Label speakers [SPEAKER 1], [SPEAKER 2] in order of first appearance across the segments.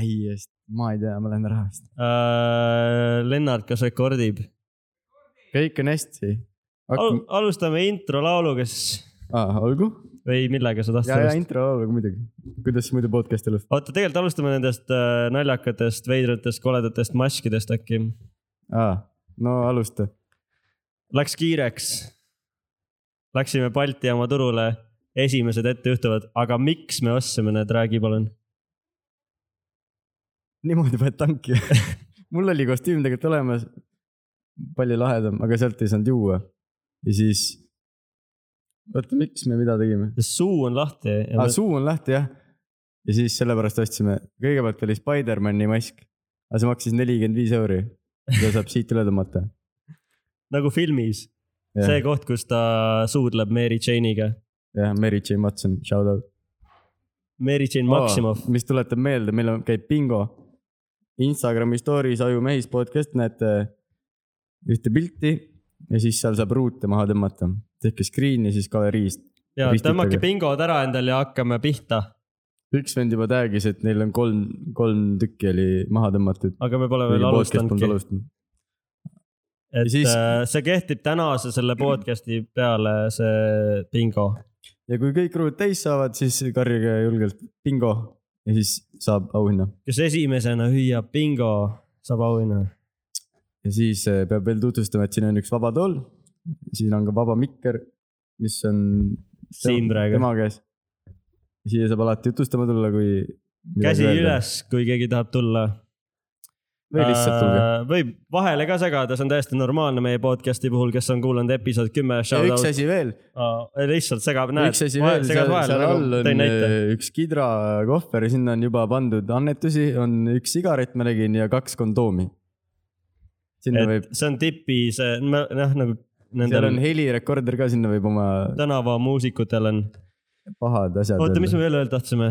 [SPEAKER 1] ei , ma ei tea , ma lähen ära vist .
[SPEAKER 2] Äh, Lennart , kas rekordib ?
[SPEAKER 1] kõik on hästi .
[SPEAKER 2] Al alustame intro lauluga siis
[SPEAKER 1] olgu .
[SPEAKER 2] või millega sa
[SPEAKER 1] ja , ja
[SPEAKER 2] tahtsid ?
[SPEAKER 1] intro lauluga muidugi . kuidas muidu podcast elus ?
[SPEAKER 2] oota , tegelikult alustame nendest äh, naljakatest , veidratest , koledatest maskidest äkki .
[SPEAKER 1] no alusta .
[SPEAKER 2] Läks kiireks . Läksime Balti jaama turule , esimesed ettejuhtuvad , aga miks me ostsime need , räägi palun .
[SPEAKER 1] niimoodi paned tanki . mul oli kostüüm tegelikult olemas , palju lahedam , aga sealt ei saanud juua . ja siis , oota , miks me mida tegime ?
[SPEAKER 2] suu on lahti ja
[SPEAKER 1] aa ,
[SPEAKER 2] nagu- me...
[SPEAKER 1] Ah, suu on lahti jah . ja siis sellepärast ostsime , kõigepealt oli Spider-man'i mask , aga see maksis nelikümmend viis euri . seda saab siit üle tõmmata .
[SPEAKER 2] nagu filmis . see
[SPEAKER 1] jah ,
[SPEAKER 2] koht , kus ta suudleb Mary Jane'iga .
[SPEAKER 1] Mary Jane Watson , shout out .
[SPEAKER 2] Mary Jane Maximoff .
[SPEAKER 1] mis tuletab meelde , meil on , käib bingo . Instagrami story's Aju Mehis podcast näete ühte pilti ja siis seal saab ruute maha tõmmata . tehke screen'i siis galeriist .
[SPEAKER 2] ja
[SPEAKER 1] Ristitage.
[SPEAKER 2] tõmmake bingod ära endal ja hakkame pihta ,
[SPEAKER 1] üks vend juba tag'is , et neil on kolm , kolm tükki oli maha tõmmatud .
[SPEAKER 2] aga me pole veel alustanudki .
[SPEAKER 1] Ja
[SPEAKER 2] et
[SPEAKER 1] siis-
[SPEAKER 2] siis... see kehtib tänase selle podcast'i peale , see bingo .
[SPEAKER 1] ja kui kõik ruud täis saavad , siis karjuge julgelt bingo ja siis saab auhinna .
[SPEAKER 2] kes esimesena hüüab bingo , saab auhinna .
[SPEAKER 1] ja siis eh, peab veel tutvustama , et siin on üks vaba tool , siin on ka vaba mikker , mis on
[SPEAKER 2] siin praegu .
[SPEAKER 1] tema käes . siia saab alati jutustama tulla , kui .
[SPEAKER 2] käsi . üles , kui keegi tahab tulla .
[SPEAKER 1] või lihtsalt tulge .
[SPEAKER 2] võib vahele ka segada , see on täiesti normaalne meie podcast'i puhul , kes on kuulanud episood kümme .
[SPEAKER 1] ja üks asi veel ,
[SPEAKER 2] lihtsalt segab , näed .
[SPEAKER 1] üks asi veel , seal, seal
[SPEAKER 2] nagu.
[SPEAKER 1] all on eh, üks kidra kohver , sinna on juba pandud annetusi , on üks sigaret , ma nägin , ja kaks kondoomi . sinna
[SPEAKER 2] et
[SPEAKER 1] võib ,
[SPEAKER 2] see on tipi , see , noh
[SPEAKER 1] seal
[SPEAKER 2] nagu
[SPEAKER 1] on
[SPEAKER 2] nendel
[SPEAKER 1] helirekorder ka , sinna võib oma
[SPEAKER 2] tänavamuusikutel on .
[SPEAKER 1] pahad asjad .
[SPEAKER 2] oota , mis me veel öelda tahtsime ?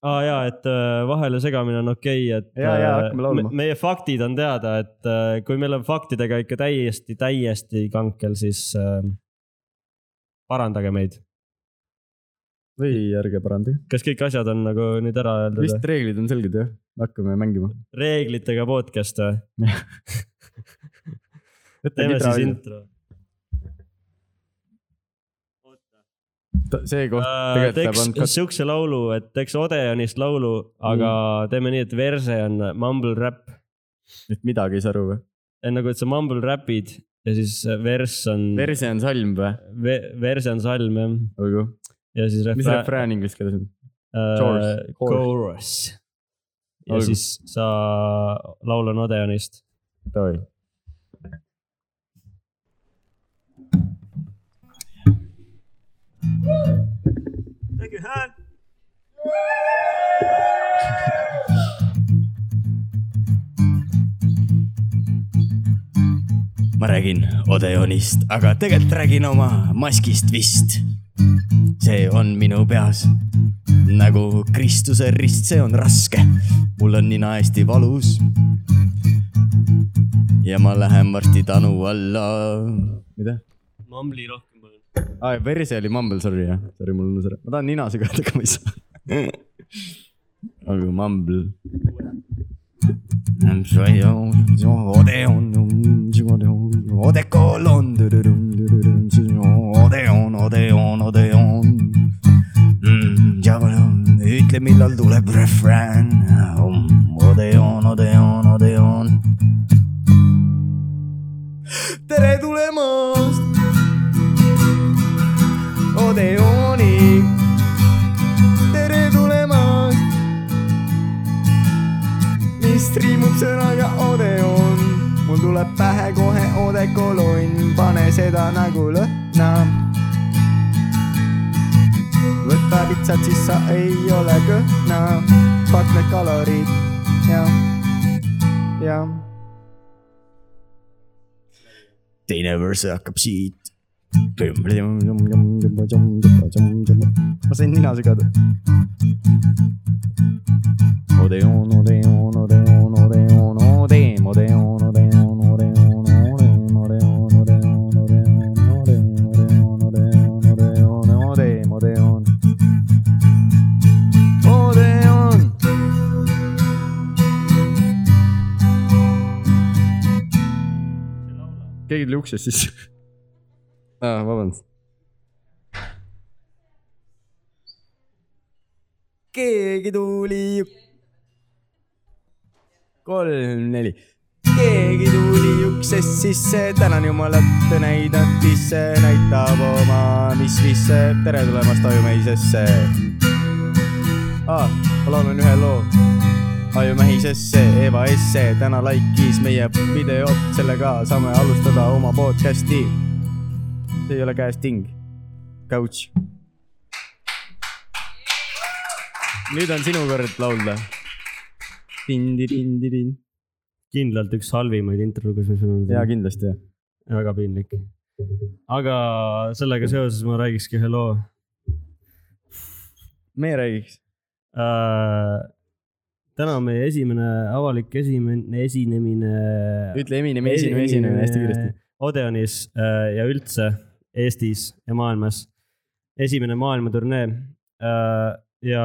[SPEAKER 2] aa ah, jaa , et äh, vahele segamine on okei okay, , et .
[SPEAKER 1] Jaa, jaa, hakkame laulma.
[SPEAKER 2] meie faktid on teada , et äh, kui meil on faktidega ikka täiesti , täiesti kankel , siis äh, parandage meid .
[SPEAKER 1] või ärge parandage ,
[SPEAKER 2] kas kõik asjad on nagu nüüd ära öeldud või ?
[SPEAKER 1] vist reeglid on selged jah , hakkame mängima .
[SPEAKER 2] reeglitega podcast või ? teeme siis
[SPEAKER 1] see
[SPEAKER 2] intro .
[SPEAKER 1] koht
[SPEAKER 2] Äh,
[SPEAKER 1] tegelikult läheb
[SPEAKER 2] teeks
[SPEAKER 1] andkat .
[SPEAKER 2] siukse laulu , et teeks Odeonist laulu , aga
[SPEAKER 1] Mm.
[SPEAKER 2] teeme nii , et verse on mumble rap ,
[SPEAKER 1] et midagi ei saa aru või ?
[SPEAKER 2] nagu et sa mumble rap'id ja siis verss on ,
[SPEAKER 1] verse on salm või ?
[SPEAKER 2] verse on salm jah ,
[SPEAKER 1] olgu ,
[SPEAKER 2] ja siis
[SPEAKER 1] mis
[SPEAKER 2] refrään ,
[SPEAKER 1] refrään inglise keeles on ?
[SPEAKER 2] äh,
[SPEAKER 1] Chorus.
[SPEAKER 2] chorus . ja
[SPEAKER 1] Olgu.
[SPEAKER 2] siis sa , laul on Odeonist .
[SPEAKER 1] Davai .
[SPEAKER 2] tegi häält .
[SPEAKER 1] ma räägin Odeonist , aga tegelikult räägin oma maskist vist . see on minu peas nagu Kristuse rist , see on raske . mul on nina hästi valus . ja ma lähen varsti tanu alla . mida ?
[SPEAKER 2] Mumble'i rohkem palun .
[SPEAKER 1] aa , verse oli mumble , sorry jah , sorry , mul unus ära , ma tahan nina segada , aga ma ei saa . olgu mumble . Odeon , Odekool on . Odeon , Odeon , Odeon . Mm, ütle , millal tuleb refrään . Um, Odeon , Odeon , Odeon . tere tulemast Odeoni . tere tulemast . mis triimub sõnaga Odeon . mul tuleb pähe kohe odekolonn , pane seda nagu lõhna . võta pitsat , siis sa ei ole kõhna . Fuck need kalorid ja , ja . teine võrse hakkab siit . ma sain nina segada . Odeon , Odeon , Odeon , Odeon , Odeon , Odeon , Odeon , Odeon , Odeon , Odeon , Odeon , Odeon , Odeon , Odeon , Odeon , Odeon , Odeon , Odeon , Odeon .
[SPEAKER 3] keegi tuli uksest sisse .
[SPEAKER 1] aa , vabandust . keegi tuli . kolm , neli . keegi tuli uksest sisse , tänan jumalat , näidab sisse , näitab oma , mis visse . tere tulemast Ajumähisesse . aa , ma laulan ühe loo . Ajumähisesse , Eva Esse , täna like'is meie videot , sellega saame alustada oma podcast'i see ei ole käes ting , couch . nüüd on sinu kord laulda . tindirindirind .
[SPEAKER 2] kindlalt üks halvimaid introdusid , mis mul
[SPEAKER 1] jaa ,
[SPEAKER 2] on .
[SPEAKER 1] kindlasti jah .
[SPEAKER 2] väga piinlik . aga sellega seoses ma räägikski ühe loo
[SPEAKER 1] meie räägiks .
[SPEAKER 2] äh, . täna on meie esimene avalik esimene esinemine .
[SPEAKER 1] ütle Eminemi esine , esinemine hästi kiiresti .
[SPEAKER 2] Odeonis äh, ja üldse Eestis ja maailmas esimene maailmaturnee äh, ja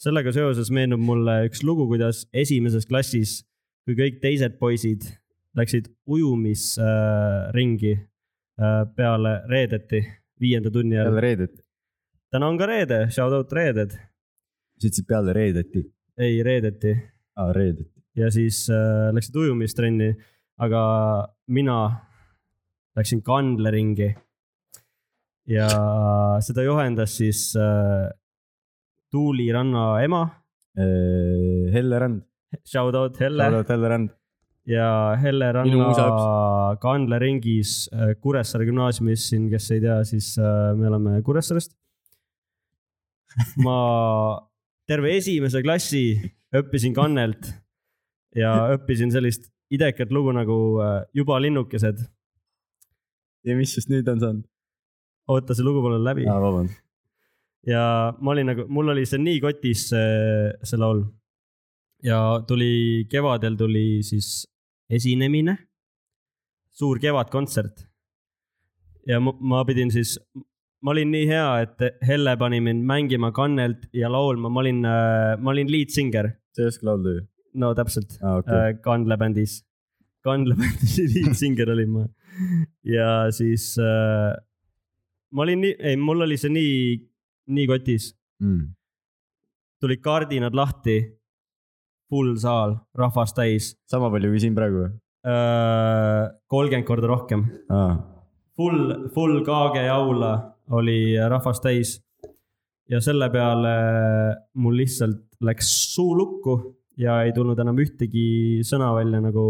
[SPEAKER 2] sellega seoses meenub mulle üks lugu , kuidas esimeses klassis , kui kõik teised poisid läksid ujumisringi äh, äh, peale reedeti viienda tunni ajal .
[SPEAKER 1] peale reedet .
[SPEAKER 2] täna on ka reede , shout out reeded ,
[SPEAKER 1] sa ütlesid peale reedeti .
[SPEAKER 2] ei reedeti
[SPEAKER 1] aa , reedet .
[SPEAKER 2] ja siis äh, läksid ujumistrenni , aga mina läksin kandleringi . ja seda juhendas siis äh, Tuuli Ranna ema ,
[SPEAKER 1] Äh, Helle Rand .
[SPEAKER 2] shout out Helle
[SPEAKER 1] laulavad Helle Rand .
[SPEAKER 2] ja Helle
[SPEAKER 1] Minu uus
[SPEAKER 2] Ranna
[SPEAKER 1] laps.
[SPEAKER 2] kandleringis äh, Kuressaare gümnaasiumis siin , kes ei tea , siis äh, me oleme Kuressaarest . ma terve esimese klassi õppisin kannelt ja õppisin sellist idekat lugu nagu äh, Juba linnukesed .
[SPEAKER 1] ja mis siis nüüd on saanud ?
[SPEAKER 2] oota , see lugu pole läbi
[SPEAKER 1] aa , vabandust .
[SPEAKER 2] ja ma olin nagu , mul oli see nii kotis see, see laul . ja tuli , kevadel tuli siis esinemine , suur kevadkontsert . ja ma, ma pidin siis , ma olin nii hea , et Helle pani mind mängima kannelt ja laulma , ma olin , ma olin lead singer ,
[SPEAKER 1] sa ei oska laulda ju ?
[SPEAKER 2] no täpselt
[SPEAKER 1] aa , okei okay. .
[SPEAKER 2] okay. Kandla bändis , Kandla bändis lead singer olin ma ja siis äh, ma olin nii , ei , mul oli see nii , nii kotis
[SPEAKER 1] Mm.
[SPEAKER 2] tulid kardinad lahti , full saal , rahvast täis ,
[SPEAKER 1] sama palju kui siin praegu või ?
[SPEAKER 2] kolmkümmend korda rohkem .
[SPEAKER 1] aa .
[SPEAKER 2] Full , full kaage jaula oli rahvast täis . ja selle peale äh, mul lihtsalt läks suu lukku ja ei tulnud enam ühtegi sõna välja nagu .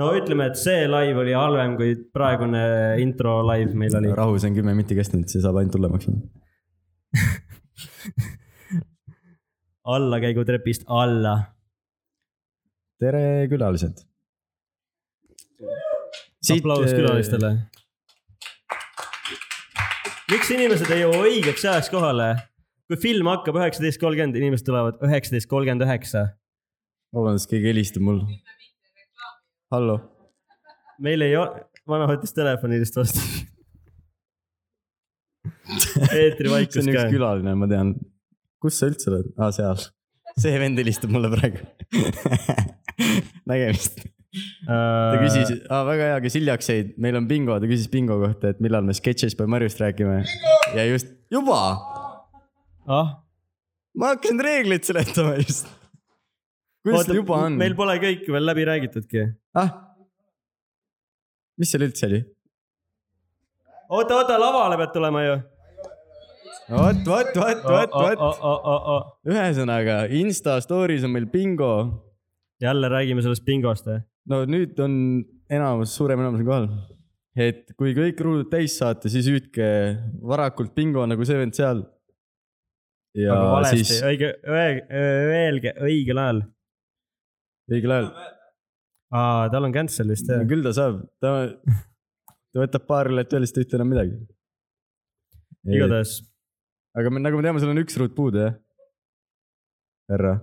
[SPEAKER 2] no ütleme , et see live oli halvem kui praegune intro live meil oli .
[SPEAKER 1] rahu , see on kümme minutit kestnud , see saab ainult hullemaks .
[SPEAKER 2] allakäigutrepist alla .
[SPEAKER 1] tere , külalised . äh,
[SPEAKER 2] aplaus külalistele . miks inimesed ei jõua õigeks ajaks kohale ? kui film hakkab üheksateist kolmkümmend , inimesed tulevad üheksateist kolmkümmend üheksa .
[SPEAKER 1] vabandust , keegi helistab mul . hallo ,
[SPEAKER 2] meil ei ole , vana võttis telefoni vist vastu .
[SPEAKER 1] see
[SPEAKER 2] eetrivaikus
[SPEAKER 1] on üks
[SPEAKER 2] ka .
[SPEAKER 1] külaline , ma tean . kus sa üldse oled ? aa , seal . see vend helistab mulle praegu . nägemist .
[SPEAKER 2] Äh,
[SPEAKER 1] ta küsis , aa , väga hea , kes hiljaks jäid , meil on bingo , ta küsis bingo kohta , et millal me sketšis peame Marjust rääkima . ja just , juba ,
[SPEAKER 2] ah ,
[SPEAKER 1] ma hakkasin reegleid seletama just . kuidas
[SPEAKER 2] oota
[SPEAKER 1] ta juba , on ?
[SPEAKER 2] meil pole kõik veel läbi räägitudki .
[SPEAKER 1] ah. mis seal üldse oli ?
[SPEAKER 2] oota , oota , lavale pead tulema ju .
[SPEAKER 1] Oh, vot , vot , vot , vot , vot .
[SPEAKER 2] vot .
[SPEAKER 1] oh. ühesõnaga Insta story's on meil bingo .
[SPEAKER 2] jälle räägime sellest eh? bingost või ?
[SPEAKER 1] no nüüd on enamus , suurem enamus on kohal . et kui kõik ruudud täis saate , siis hüüdke varakult bingo nagu see vend seal . ja
[SPEAKER 2] aga Nagu valesti
[SPEAKER 1] siis
[SPEAKER 2] siis... , õige , öelge õigel ajal .
[SPEAKER 1] õigel ajal ,
[SPEAKER 2] aa , tal on cancel vist jah ?
[SPEAKER 1] küll ta saab , ta , ta võtab paar õllet veel , siis ta ei ütle enam midagi .
[SPEAKER 2] igatahes
[SPEAKER 1] aga me , nagu me teame , sul on üks ruut puudu jah ? härra ,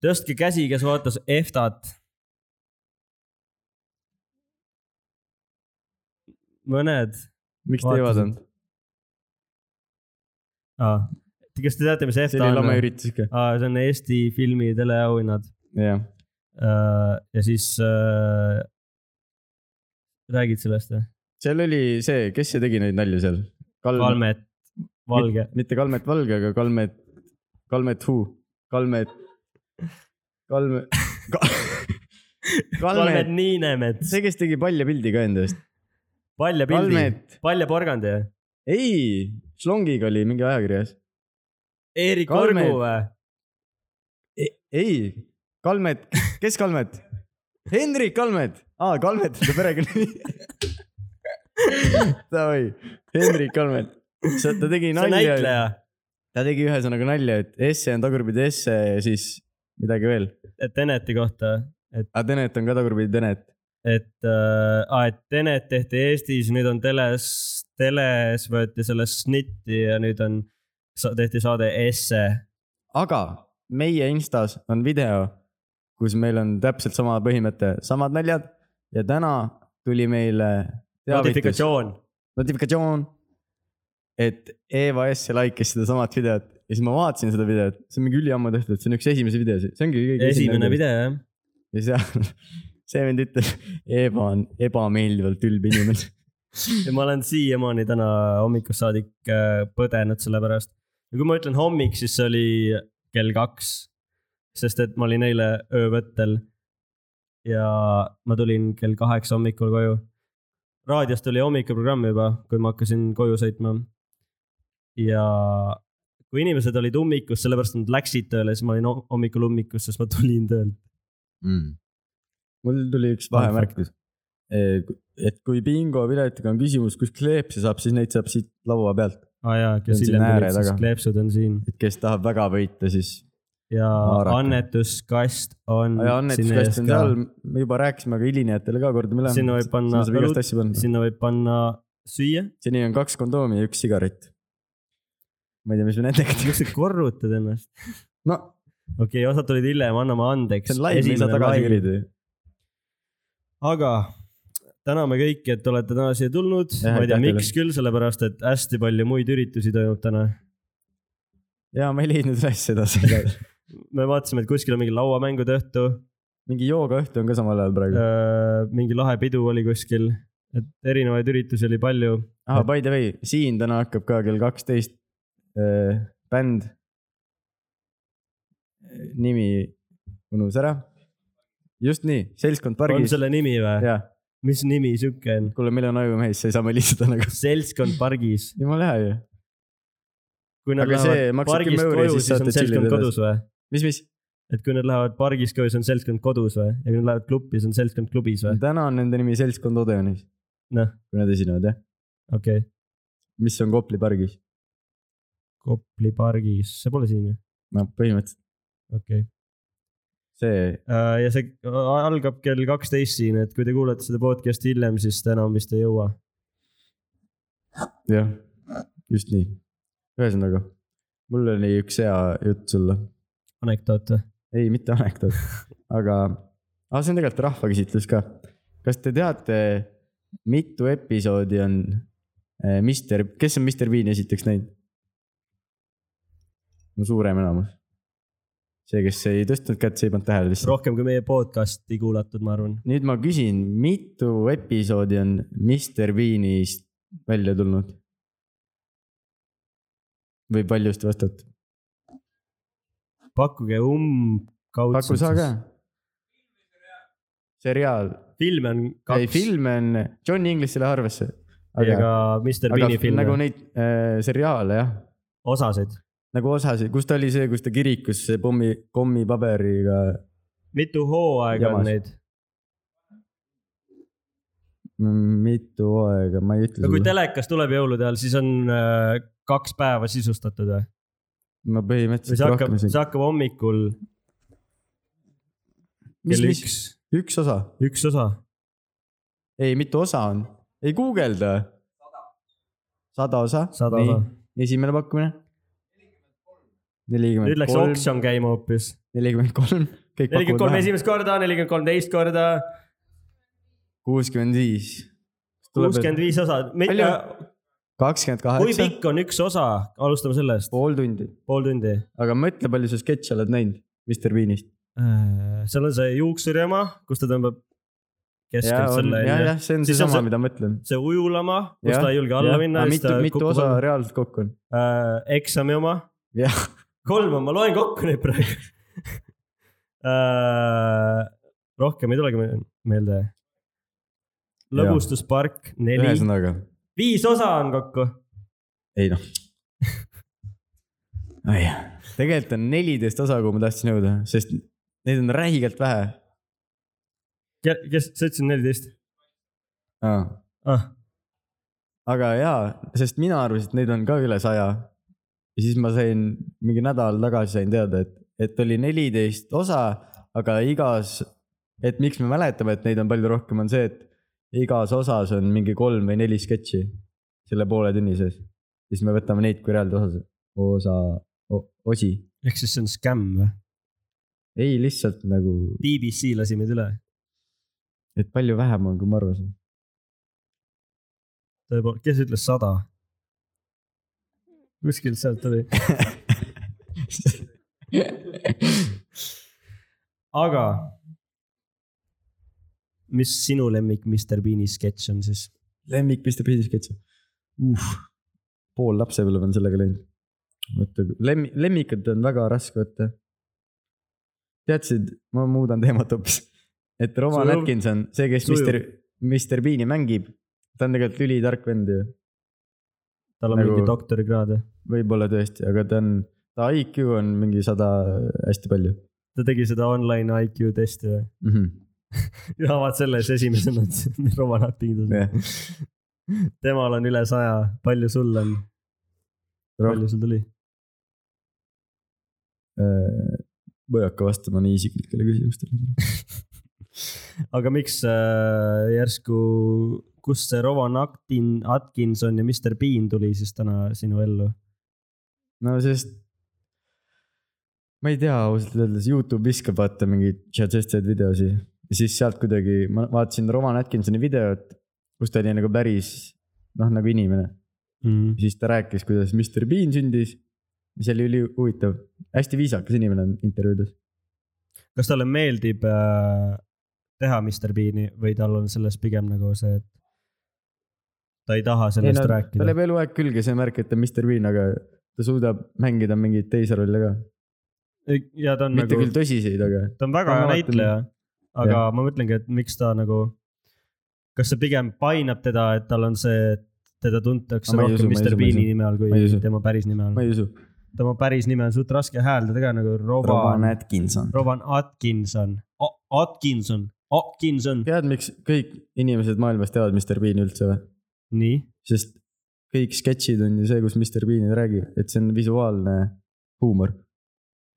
[SPEAKER 2] tõstke käsi , kes vaatas EFTA-t . mõned
[SPEAKER 1] miks te ei
[SPEAKER 2] Vaatasin.
[SPEAKER 1] vaadanud ?
[SPEAKER 2] ah. . kas te teate , mis
[SPEAKER 1] see
[SPEAKER 2] EFTA
[SPEAKER 1] oli
[SPEAKER 2] on ?
[SPEAKER 1] lame üritus ikka ,
[SPEAKER 2] Ah, see on Eesti filmi teleauhinnad
[SPEAKER 1] jah .
[SPEAKER 2] Äh, ja siis äh, räägid sellest või ?
[SPEAKER 1] seal oli see , kes see tegi neid nalju seal ?
[SPEAKER 2] Kalmet , Valge ,
[SPEAKER 1] mitte Kalmet Valge , aga Kalmet , Kalmet Who , Kalmet , Kalme ka, ,
[SPEAKER 2] Kalmet
[SPEAKER 1] Kalmet ,
[SPEAKER 2] Niinemets ,
[SPEAKER 1] see , kes tegi palja pildi ka endast .
[SPEAKER 2] Palja pildi ,
[SPEAKER 1] Kalmet ,
[SPEAKER 2] Palja porgandi või ?
[SPEAKER 1] ei , Schlongiga oli mingi ajakirjas .
[SPEAKER 2] Eerik
[SPEAKER 1] Kalmet.
[SPEAKER 2] Orgu või ?
[SPEAKER 1] E-, ei , Kalmet , kes Kalmet ? Hendrik Kalmet , aa , Kalmet on ta perekonnanimi . Davai , Hendrik Kalmet , ta tegi
[SPEAKER 2] see on
[SPEAKER 1] nalja ,
[SPEAKER 2] näitleja ,
[SPEAKER 1] ta tegi ühesõnaga nalja , et esse on tagurpidi esse ja siis midagi veel .
[SPEAKER 2] et Eneti kohta ,
[SPEAKER 1] aga Tenet on ka tagurpidi Tenet .
[SPEAKER 2] et äh, , et Tenet tehti Eestis , nüüd on teles , teles võeti sellest snitti ja nüüd on , tehti saade Esse .
[SPEAKER 1] aga meie Instas on video , kus meil on täpselt sama põhimõte , samad naljad ja täna tuli meile teavitus ,
[SPEAKER 2] notifikatsioon ,
[SPEAKER 1] notifikatsioon , et Eva S like'is sedasamat videot ja siis ma vaatasin seda videot , see on mingi üliammu tehtud , see on üks esimesi videosid , see ongi kõige
[SPEAKER 2] esimene . video jah .
[SPEAKER 1] ja seal see vend ütleb , Eva on ebameeldivalt ülbe inimene .
[SPEAKER 2] ja ma olen siiamaani täna hommikust saadik äh, põdenud selle pärast . ja kui ma ütlen hommik , siis see oli kell kaks , sest et ma olin eile öövõttel . ja ma tulin kell kaheksa hommikul koju . raadiost oli hommikuprogramm juba , kui ma hakkasin koju sõitma . ja kui inimesed olid ummikus , sellepärast nad läksid tööle , siis ma olin ho- hommikul ummikus , sest ma tulin töölt .
[SPEAKER 1] mm. . mul tuli üks vahemärkus . et kui bingopiletiga on küsimus , kus kleepse saab , siis neid saab siit laua pealt ,
[SPEAKER 2] aa jaa ,
[SPEAKER 1] See
[SPEAKER 2] kes
[SPEAKER 1] on siin
[SPEAKER 2] hiljem
[SPEAKER 1] ääre
[SPEAKER 2] tulid , siis
[SPEAKER 1] taga.
[SPEAKER 2] kleepsud on siin
[SPEAKER 1] et kes tahab väga võita , siis .
[SPEAKER 2] ja
[SPEAKER 1] Haarata.
[SPEAKER 2] annetuskast on .
[SPEAKER 1] annetuskast on seal , me juba rääkisime , aga hilinejatele ka kordame üle .
[SPEAKER 2] Sinna võib panna
[SPEAKER 1] saab igast
[SPEAKER 2] õlut,
[SPEAKER 1] asju panna .
[SPEAKER 2] sinna võib panna süüa ,
[SPEAKER 1] seni on kaks kondoomi ja üks sigaret . ma ei tea , mis me nendega teeme .
[SPEAKER 2] kas sa korrutad ennast ?
[SPEAKER 1] no
[SPEAKER 2] okei okay, , osad tulid hiljem , anname andeks
[SPEAKER 1] see on nagu live , me ei saa tagasi . kerida ju .
[SPEAKER 2] aga täname kõiki , et olete täna siia tulnud ,
[SPEAKER 1] Jah,
[SPEAKER 2] ma ei tea ,
[SPEAKER 1] aitäh
[SPEAKER 2] miks küll , sellepärast et hästi palju muid üritusi toimub täna .
[SPEAKER 1] ja ma ei leidnud üles edasi .
[SPEAKER 2] me vaatasime , et kuskil on mingi lauamängude õhtu ,
[SPEAKER 1] mingi joogaõhtu on ka samal ajal praegu .
[SPEAKER 2] äh, mingi lahe pidu oli kuskil , et erinevaid üritusi oli palju .
[SPEAKER 1] ah, . By the way , siin täna hakkab ka kell kaksteist äh, bänd . nimi unus ära . just nii , seltskond
[SPEAKER 2] on
[SPEAKER 1] pargis .
[SPEAKER 2] selle nimi või ?
[SPEAKER 1] jah ,
[SPEAKER 2] mis nimi sihuke on ?
[SPEAKER 1] kuule , meil on ajumehis , see saame lihtsalt nagu .
[SPEAKER 2] seltskond pargis .
[SPEAKER 1] jumala hea ju .
[SPEAKER 2] kui nad
[SPEAKER 1] Aga see
[SPEAKER 2] lähevad
[SPEAKER 1] maksabki
[SPEAKER 2] pargist
[SPEAKER 1] mõõri,
[SPEAKER 2] koju ,
[SPEAKER 1] siis
[SPEAKER 2] siis on
[SPEAKER 1] saate
[SPEAKER 2] seltskond
[SPEAKER 1] tšillida
[SPEAKER 2] kodus või ?
[SPEAKER 1] mis , mis ?
[SPEAKER 2] et kui nad lähevad pargis ka või siis on seltskond kodus või ? ja kui nad lähevad klubi , siis on seltskond klubis või ?
[SPEAKER 1] täna on nende nimi seltskond Odeonis ,
[SPEAKER 2] noh ,
[SPEAKER 1] kui nad esinevad jah ,
[SPEAKER 2] okei okay. .
[SPEAKER 1] mis on Kopli pargis .
[SPEAKER 2] Kopli pargis , see pole siin ju ,
[SPEAKER 1] no põhimõtteliselt
[SPEAKER 2] okei okay. .
[SPEAKER 1] see ,
[SPEAKER 2] ja see äh, algab kell kaksteist siin , et kui te kuulete seda podcast'i hiljem , siis te enam vist ei jõua .
[SPEAKER 1] jah , just nii . ühesõnaga , mul oli üks hea jutt sulle
[SPEAKER 2] anekdoot või ?
[SPEAKER 1] ei , mitte anekdoot , aga ah, see on tegelikult rahvaküsitlus ka . kas te teate , mitu episoodi on eh, Mister , kes on Mister Bean'i esiteks näinud ? no suurem enamus . see , kes ei tõstnud kätt , see ei pannud tähele lihtsalt .
[SPEAKER 2] rohkem kui meie podcast'i kuulatud , ma arvan .
[SPEAKER 1] nüüd ma küsin , mitu episoodi on Mister Bean'ist välja tulnud ? või palju te vastate ?
[SPEAKER 2] pakkuge
[SPEAKER 1] paku sa ka
[SPEAKER 2] umbkaudselt ..
[SPEAKER 1] seriaal
[SPEAKER 2] filme on
[SPEAKER 1] ei ,
[SPEAKER 2] kaks ,
[SPEAKER 1] filme on , John English ei lähe arvesse .
[SPEAKER 2] aga ka Mr
[SPEAKER 1] aga
[SPEAKER 2] Bean'i filme
[SPEAKER 1] nagu
[SPEAKER 2] nagu... ,
[SPEAKER 1] neid äh, seriaale jah ,
[SPEAKER 2] osasid .
[SPEAKER 1] nagu osasid , kus ta oli see , kus ta kirikus see pommi , kommipaberiga ,
[SPEAKER 2] mitu hooaega
[SPEAKER 1] Jamas.
[SPEAKER 2] on neid ?
[SPEAKER 1] mitu hooaega , ma ei ütle
[SPEAKER 2] no kui
[SPEAKER 1] sulle .
[SPEAKER 2] telekas tuleb jõulude ajal , siis on äh, kaks päeva sisustatud või ?
[SPEAKER 1] ma
[SPEAKER 2] või
[SPEAKER 1] põhimõtteliselt
[SPEAKER 2] see hakkab
[SPEAKER 1] rohkem ,
[SPEAKER 2] see
[SPEAKER 1] isegi .
[SPEAKER 2] hakkab hommikul
[SPEAKER 1] mis ,
[SPEAKER 2] kell
[SPEAKER 1] mis ,
[SPEAKER 2] üks ,
[SPEAKER 1] üks osa ,
[SPEAKER 2] üks osa .
[SPEAKER 1] ei , mitu osa on , ei guugelda . sada osa .
[SPEAKER 2] Sada osa. .
[SPEAKER 1] esimene pakkumine . nelikümmend
[SPEAKER 2] nüüd läks
[SPEAKER 1] kolm ,
[SPEAKER 2] oksjon käima hoopis .
[SPEAKER 1] nelikümmend kolm , kõik
[SPEAKER 2] nelikümmend kolm
[SPEAKER 1] pakuvad vähem ,
[SPEAKER 2] esimest korda , nelikümmend kolm teist korda ,
[SPEAKER 1] kuuskümmend viis .
[SPEAKER 2] kuuskümmend viis osa .
[SPEAKER 1] Palju? kakskümmend
[SPEAKER 2] kui
[SPEAKER 1] kaheksa ,
[SPEAKER 2] pikk on üks osa , alustame sellest ,
[SPEAKER 1] pool tundi
[SPEAKER 2] pool tundi .
[SPEAKER 1] aga mõtle , palju sa sketši oled näinud Mr Beanist .
[SPEAKER 2] Äh, seal on see juuksuri oma , kus ta tõmbab
[SPEAKER 1] ja
[SPEAKER 2] keskelt
[SPEAKER 1] on ,
[SPEAKER 2] selle
[SPEAKER 1] ja ,
[SPEAKER 2] onju.
[SPEAKER 1] jah , see on
[SPEAKER 2] Siis on
[SPEAKER 1] seesama
[SPEAKER 2] see- ,
[SPEAKER 1] mida ma mõtlen .
[SPEAKER 2] see ujulama , kus ta ei julge alla minna .
[SPEAKER 1] mitu , mitu osa reaalselt kokku on ?
[SPEAKER 2] äh, eksami oma .
[SPEAKER 1] Jah.
[SPEAKER 2] kolm on , ma loen kokku neid praegu äh, . rohkem ei tulegi me- meelde . lõbustuspark neli ,
[SPEAKER 1] ühesõnaga ,
[SPEAKER 2] viis osa on kokku .
[SPEAKER 1] ei noh . ai , tegelikult on neliteist osa , kuhu ma tahtsin jõuda , sest neid on räigelt vähe
[SPEAKER 2] kes , sa ütlesid neliteist
[SPEAKER 1] ah. .
[SPEAKER 2] ah, ?
[SPEAKER 1] aga jaa , sest mina arvasin , et neid on ka üle saja . ja siis ma sain mingi nädal tagasi sain teada , et , et oli neliteist osa , aga igas , et miks me mäletame , et neid on palju rohkem , on see , et igas osas on mingi kolm või neli sketši selle poole tunni sees . siis me võtame neid kui reaalse osa , osa , osi .
[SPEAKER 2] ehk siis see on skäm või ?
[SPEAKER 1] ei , lihtsalt nagu ,
[SPEAKER 2] BBC lasi meid üle .
[SPEAKER 1] et palju vähem on , kui ma arvasin .
[SPEAKER 2] tõepoolest , kes ütles sada ? kuskilt sealt tuli . aga mis sinu lemmik Mr Bean'i sketš on siis ?
[SPEAKER 1] lemmik Mr. Bean'i sketš uh. . pool lapsepõlve on sellega läinud . oota , lemmi- , lemmikut on väga raske võtta . teadsid , ma muudan teemat hoopis . et Roman
[SPEAKER 2] Sujuv.
[SPEAKER 1] Atkinson , see , kes
[SPEAKER 2] Sujuv.
[SPEAKER 1] Mr , Mr. Bean'i mängib , ta on tegelikult ülitark vend ju ,
[SPEAKER 2] tal on
[SPEAKER 1] Nagu-
[SPEAKER 2] nagu... mingi doktorikraad või ?
[SPEAKER 1] võib-olla tõesti , aga ta on , ta IQ on mingi sada hästi palju
[SPEAKER 2] ta tegi seda online IQ testi või ?
[SPEAKER 1] mm . -hmm.
[SPEAKER 2] ja vaat selles esimesena Roman Atkinson
[SPEAKER 1] Jah. .
[SPEAKER 2] temal on üle saja , palju sul on , palju sul tuli ?
[SPEAKER 1] ma ei hakka äh, vastama nii isiklikele küsimustele .
[SPEAKER 2] aga miks äh, järsku , kust see Roman Atkin- , Atkinson ja Mr Bean tuli siis täna sinu ellu ?
[SPEAKER 1] no sest . ma ei tea ausalt öeldes , Youtube viskab vaata mingeid chat'istid videosi ja siis sealt kuidagi ma vaatasin Roman Atkinsoni videot , kus ta oli nagu päris noh , nagu inimene .
[SPEAKER 2] Mm.
[SPEAKER 1] siis ta rääkis , kuidas Mr Bean sündis . see oli ülihuvitav , hästi viisakas inimene on intervjuudes .
[SPEAKER 2] kas talle meeldib äh, teha Mr Bean'i või tal on selles pigem nagu see , et ta ei taha
[SPEAKER 1] ei
[SPEAKER 2] sellest
[SPEAKER 1] no
[SPEAKER 2] ei, no,
[SPEAKER 1] tal
[SPEAKER 2] rääkida ?
[SPEAKER 1] jääb eluaeg külge see märk , et ta on Mr Bean , aga ta suudab mängida mingeid teisi rolle ka .
[SPEAKER 2] ja ta on
[SPEAKER 1] mitte
[SPEAKER 2] nagu
[SPEAKER 1] küll , tõsiseid , aga
[SPEAKER 2] ta on väga
[SPEAKER 1] ta on
[SPEAKER 2] hea
[SPEAKER 1] alati-
[SPEAKER 2] näitleja , aga ja. ma mõtlengi , et miks ta nagu , kas see pigem painab teda , et tal on see , et teda tuntakse
[SPEAKER 1] Ma ei usu,
[SPEAKER 2] rohkem
[SPEAKER 1] ma ei
[SPEAKER 2] Mr
[SPEAKER 1] usu, ma ei
[SPEAKER 2] Bean'i
[SPEAKER 1] usu.
[SPEAKER 2] nime all
[SPEAKER 1] Ma ei
[SPEAKER 2] kui
[SPEAKER 1] usu.
[SPEAKER 2] tema päris nime
[SPEAKER 1] ma
[SPEAKER 2] all .
[SPEAKER 1] ei usu .
[SPEAKER 2] tema päris nime on suht raske hääldada ka nagu Roban ,
[SPEAKER 1] Atkinson .
[SPEAKER 2] Roban Atkinson , Atkinson , Atkinson ,
[SPEAKER 1] tead , miks kõik inimesed maailmas teavad Mr Bean'i üldse või ?
[SPEAKER 2] nii
[SPEAKER 1] sest kõik sketšid on ju see , kus Mr Bean räägib , et see on visuaalne huumor .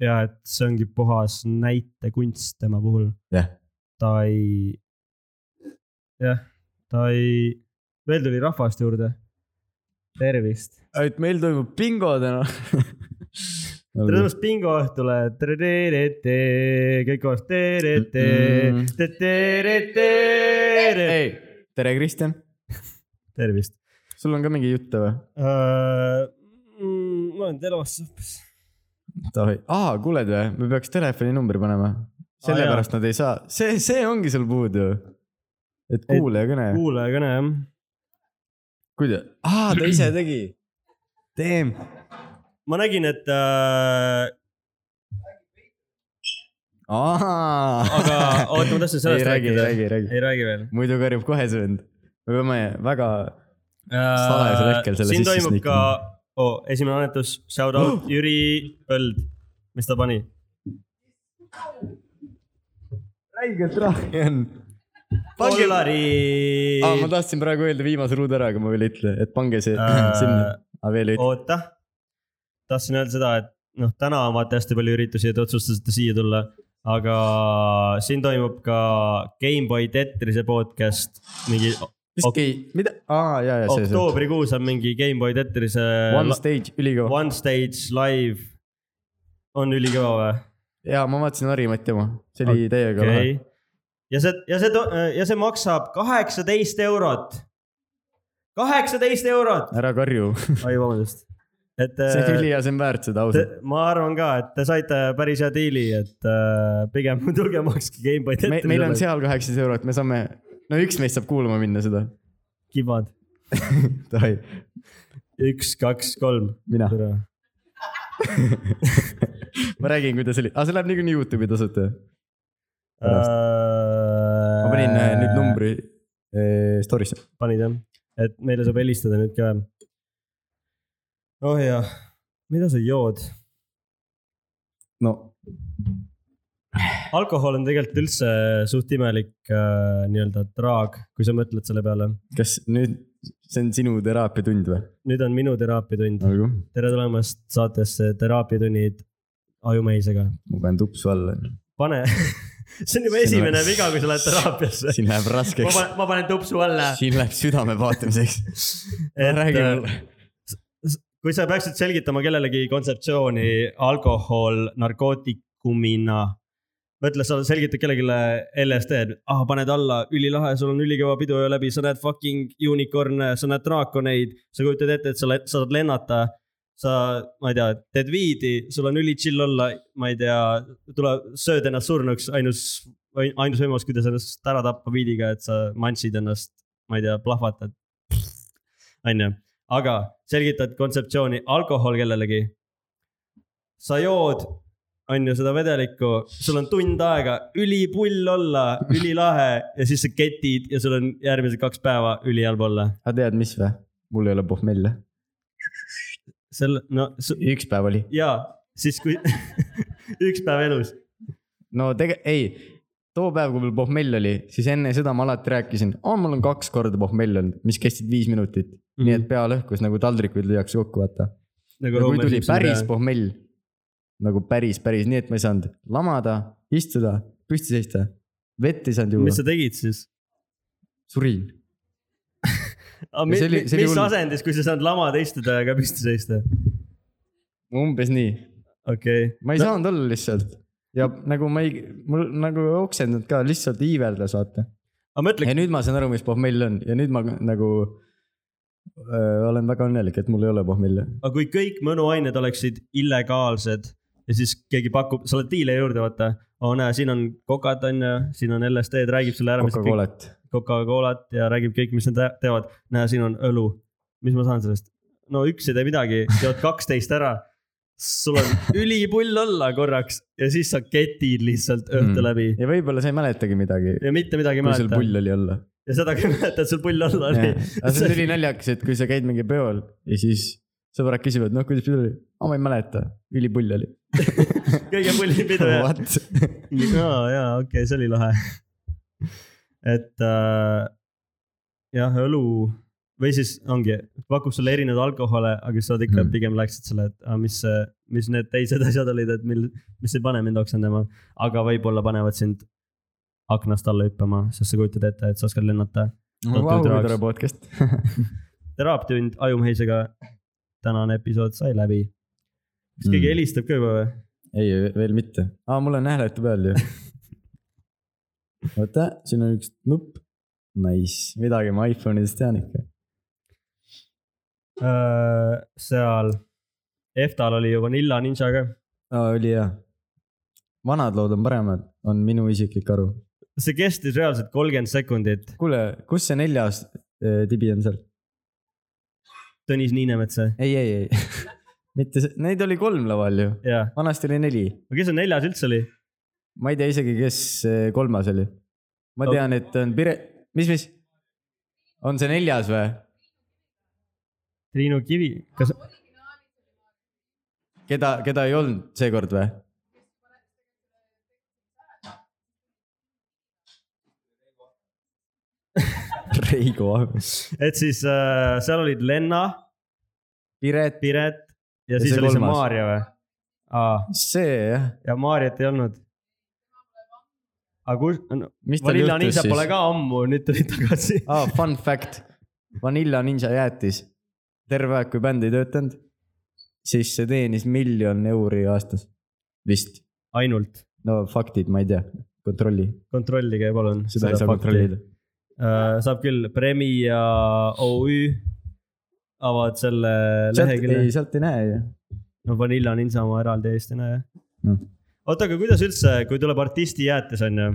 [SPEAKER 2] ja et see ongi puhas näitekunst tema puhul
[SPEAKER 1] Jah. .
[SPEAKER 2] ta ei , jah , ta ei , veel tuli rahvast juurde . tervist .
[SPEAKER 1] et meil toimub bingo täna .
[SPEAKER 2] tere tulemast bingoõhtule . kõik koos .
[SPEAKER 1] Mm. ei , tere , Kristjan ,
[SPEAKER 2] tervist .
[SPEAKER 1] sul on ka mingi jutt või ?
[SPEAKER 2] Äh, mm, ma olen telos hoopis .
[SPEAKER 1] Davai , aa , kuuled või , me peaks telefoninumbri panema , sellepärast nad ei saa , see , see ongi sul puudu . et kuulaja kõne ,
[SPEAKER 2] kuulaja kõne jah .
[SPEAKER 1] kuidas , aa , ta ise tegi , teem ,
[SPEAKER 2] ma nägin , et äh, ,
[SPEAKER 1] aa .
[SPEAKER 2] aga oota , ma tahtsin
[SPEAKER 1] ei
[SPEAKER 2] sellest
[SPEAKER 1] räägi ,
[SPEAKER 2] rääkida .
[SPEAKER 1] räägi , räägi ,
[SPEAKER 2] ei räägi veel .
[SPEAKER 1] muidu karjub kohe see vend , me peame väga Salajasel hetkel selle
[SPEAKER 2] Äh, siin
[SPEAKER 1] sisse
[SPEAKER 2] toimub
[SPEAKER 1] sneakima.
[SPEAKER 2] ka oh, , esimene annetus , shout out Jüri Põld , mis ta pani ?
[SPEAKER 1] räigelt raske on . pange ,
[SPEAKER 2] dollari
[SPEAKER 1] aa , ma tahtsin praegu öelda viimase ruudu ära , aga ma veel ei ütle , et pange see
[SPEAKER 2] Äh,
[SPEAKER 1] sinna , aga veel ei ütle .
[SPEAKER 2] oota , tahtsin öelda seda , et noh , täna on vaata hästi palju üritusi ja te otsustasite siia tulla , aga siin toimub ka Gameboy Tetrise podcast , mingi
[SPEAKER 1] mis
[SPEAKER 2] ok-
[SPEAKER 1] okei , mida , aa ja , ja see , see .
[SPEAKER 2] oktoobrikuus on mingi Gameboy Tetrise
[SPEAKER 1] One stage , ülikõva .
[SPEAKER 2] one stage live . on ülikõva või ?
[SPEAKER 1] ja ma vaatasin Harimati oma , see oli täiega lahe .
[SPEAKER 2] okei . ja see , ja see , ja see maksab kaheksateist eurot . kaheksateist eurot .
[SPEAKER 1] ära karju ,
[SPEAKER 2] ai , vabandust . et
[SPEAKER 1] see
[SPEAKER 2] äh,
[SPEAKER 1] on ülihea , see on väärt seda
[SPEAKER 2] te,
[SPEAKER 1] ausalt .
[SPEAKER 2] ma arvan ka , et te saite päris hea diili , et äh, pigem tulge makske Gameboy
[SPEAKER 1] me , meil on . seal kaheksateist eurot , me saame , no üks meist saab kuulama minna seda .
[SPEAKER 2] kibad ,
[SPEAKER 1] Davai ,
[SPEAKER 2] üks , kaks , kolm ,
[SPEAKER 1] mina .
[SPEAKER 2] tere .
[SPEAKER 1] ma räägin , kuidas oli , aga see läheb niikuinii Youtube'i tasuta . Pärast. ma panin äh, nüüd . numbri äh, story'sse .
[SPEAKER 2] panid jah , et meile saab helistada nüüd ka . oh jah , mida sa jood ?
[SPEAKER 1] no
[SPEAKER 2] alkohol on tegelikult üldse suht imelik äh, nii-öelda draag , kui sa mõtled selle peale .
[SPEAKER 1] kas nüüd , see on sinu teraapiatund või ?
[SPEAKER 2] nüüd on minu teraapiatund .
[SPEAKER 1] olgu ,
[SPEAKER 2] tere tulemast saatesse Teraapiatunnid ajumehisega .
[SPEAKER 1] ma panen tupsu alla .
[SPEAKER 2] pane , see on juba esimene viga , kui sa lähed teraapiasse .
[SPEAKER 1] siin läheb
[SPEAKER 2] ma
[SPEAKER 1] raskeks ,
[SPEAKER 2] panen , ma panen tupsu alla .
[SPEAKER 1] siin läheb südame vaatamiseks . räägi mulle .
[SPEAKER 2] äh, kui sa peaksid selgitama kellelegi kontseptsiooni alkohol narkootikumina , mõtle , sa selgitad kellelegi LSD-d ah, , paned alla , ülilahe , sul on ülikõva pidu öö läbi , sa näed fucking unicorn'e , sa näed draakoneid , sa kujutad ette , et sa le- saad lennata . sa , ma ei tea , teed viidi , sul on üli chill olla , ma ei tea , tule , sööd ennast surnuks , ainus , ainus võimalus , kuidas ennast ära tappa viidiga , et sa mantsid ennast , ma ei tea , plahvatad . onju aga selgitad kontseptsiooni alkohol kellelegi . sa jood , on ju seda vedelikku , sul on tund aega ülipull olla , ülilahe ja siis sa ketid ja sul on järgmised kaks päeva ülihalb olla .
[SPEAKER 1] aga Ah, tead , mis või ? mul ei ole pohmelle .
[SPEAKER 2] selle , no su-
[SPEAKER 1] üks päev oli .
[SPEAKER 2] ja siis , kui üks päev elus ,
[SPEAKER 1] no tege- , ei , too päev , kui mul pohmell oli , siis enne seda ma alati rääkisin , aa , mul on kaks korda pohmell olnud , mis kestsid viis minutit mm. . nii et pea lõhkus nagu taldrikud lüüakse kokku , vaata .
[SPEAKER 2] nagu
[SPEAKER 1] ja kui
[SPEAKER 2] Homer
[SPEAKER 1] tuli
[SPEAKER 2] Simpsoni
[SPEAKER 1] päris
[SPEAKER 2] pea.
[SPEAKER 1] pohmell , nagu päris , päris , nii et ma ei saanud lamada , istuda , püsti seista , vett ei saanud
[SPEAKER 2] mis
[SPEAKER 1] juua
[SPEAKER 2] sa , tegid siis ?
[SPEAKER 1] surin .
[SPEAKER 2] mis,
[SPEAKER 1] see oli-
[SPEAKER 2] mis,
[SPEAKER 1] see oli
[SPEAKER 2] Ah, mis
[SPEAKER 1] hull.
[SPEAKER 2] asendis , kui sa saad lamada istuda ja ka püsti seista ?
[SPEAKER 1] umbes nii ,
[SPEAKER 2] okei okay. ,
[SPEAKER 1] ma ei no. saanud olla lihtsalt ja nagu ma ei , mul nagu ei oksendanud ka , lihtsalt iiveldas , vaata .
[SPEAKER 2] aga Ah, mõtle ,
[SPEAKER 1] ja nüüd ma saan aru , mis pohmell on ja nüüd ma nagu öö, olen väga õnnelik , et mul ei ole pohmelle .
[SPEAKER 2] aga kui kõik mõnuained oleksid illegaalsed ja siis keegi pakub , sa oled diile juurde , vaata . oo näe , siin on kokad on ju , siin on LSD-d , räägib sulle ära , mis kõik ,
[SPEAKER 1] Coca-Colat .
[SPEAKER 2] Coca-Colat ja räägib kõik , mis nad tä- teevad . näe , siin on õlu . mis ma saan sellest ? no üks ei tee midagi , jood kaksteist ära . sul on ülipull olla korraks ja siis sa ketid lihtsalt õhtu
[SPEAKER 1] Mm.
[SPEAKER 2] läbi
[SPEAKER 1] ja võib-olla sa ei mäletagi midagi ,
[SPEAKER 2] ja mitte midagi ei
[SPEAKER 1] kui sul
[SPEAKER 2] mäleta .
[SPEAKER 1] pull oli olla .
[SPEAKER 2] ja seda ka ei mäleta , et sul pull olla oli .
[SPEAKER 1] aga see on ülinaljakas , et kui sa käid mingi peol ja siis sõbrad küsivad , noh , kuidas pidu oli ? aa , ma ei mäleta , ülipull oli .
[SPEAKER 2] kõige pullim pidu jah . ja , ja okei okay, , see oli lahe . et äh, jah , õlu või siis ongi , pakub sulle erinevaid alkohole , aga sa oled ikka
[SPEAKER 1] Mm.
[SPEAKER 2] mm. pigem läksid selle , et ah, mis , mis need teised asjad olid , et mil , mis ei pane mind oksendama , aga võib-olla panevad sind aknast alla hüppama , sest sa kujutad ette , et sa oskad lennata .
[SPEAKER 1] Vau , kui
[SPEAKER 2] Tüdruks.
[SPEAKER 1] tore podcast .
[SPEAKER 2] teraapiatund ajumehisega . tänane episood sai läbi . kas
[SPEAKER 1] Mm.
[SPEAKER 2] keegi mm. helistab ka juba või ?
[SPEAKER 1] ei , veel mitte . aa , mul on hääletu peal ju . oota , siin on üks nupp . Nice , midagi ma iPhone'idest tean ikka .
[SPEAKER 2] Äh, seal EFTA-l oli ju Vanilla Ninja ka
[SPEAKER 1] aa , oli hea . vanad lood on paremad , on minu isiklik aru .
[SPEAKER 2] see kestis reaalselt kolmkümmend sekundit .
[SPEAKER 1] kuule , kus see neljas äh, tibi on seal ?
[SPEAKER 2] Tõnis Niinemets või ?
[SPEAKER 1] ei , ei , ei , mitte see , neid oli kolm laval ju ,
[SPEAKER 2] jaa ,
[SPEAKER 1] vanasti oli neli ,
[SPEAKER 2] aga kes see neljas üldse oli ?
[SPEAKER 1] ma ei tea isegi , kes see kolmas oli . ma tean , et on Pire , mis , mis ? on see neljas või ?
[SPEAKER 2] Triinu Kivi , kas ,
[SPEAKER 1] keda , keda ei olnud seekord või ? Reigo Aavas ,
[SPEAKER 2] et siis äh, seal olid Lenna ,
[SPEAKER 1] Piret ,
[SPEAKER 2] Piret ja,
[SPEAKER 1] Ja
[SPEAKER 2] ja siis
[SPEAKER 1] see
[SPEAKER 2] oli see
[SPEAKER 1] kolmas.
[SPEAKER 2] Maarja või ? aa ,
[SPEAKER 1] see jah ,
[SPEAKER 2] ja Maarjat ei olnud . aga kus no, ,
[SPEAKER 1] mis tal
[SPEAKER 2] Vanilla
[SPEAKER 1] juhtus
[SPEAKER 2] Ninja pole
[SPEAKER 1] siis ?
[SPEAKER 2] ka ammu , nüüd tuli tagasi .
[SPEAKER 1] aa , fun fact , Vanilla Ninja jäätis terve aeg , kui bänd ei töötanud , siis see teenis miljon euri aastas , vist .
[SPEAKER 2] ainult ,
[SPEAKER 1] no faktid , ma ei tea , kontrolli ,
[SPEAKER 2] kontrollige palun .
[SPEAKER 1] seda ei saa kontrollida .
[SPEAKER 2] äh, . saab küll , Premia OÜ avad selle
[SPEAKER 1] sealt
[SPEAKER 2] lehekülje
[SPEAKER 1] ei ,. sealt ei näe ju .
[SPEAKER 2] no Vanilla on Insa oma eraldi eest , on ju
[SPEAKER 1] Mm.
[SPEAKER 2] oota , aga kuidas üldse , kui tuleb artisti jäätis , on ju ,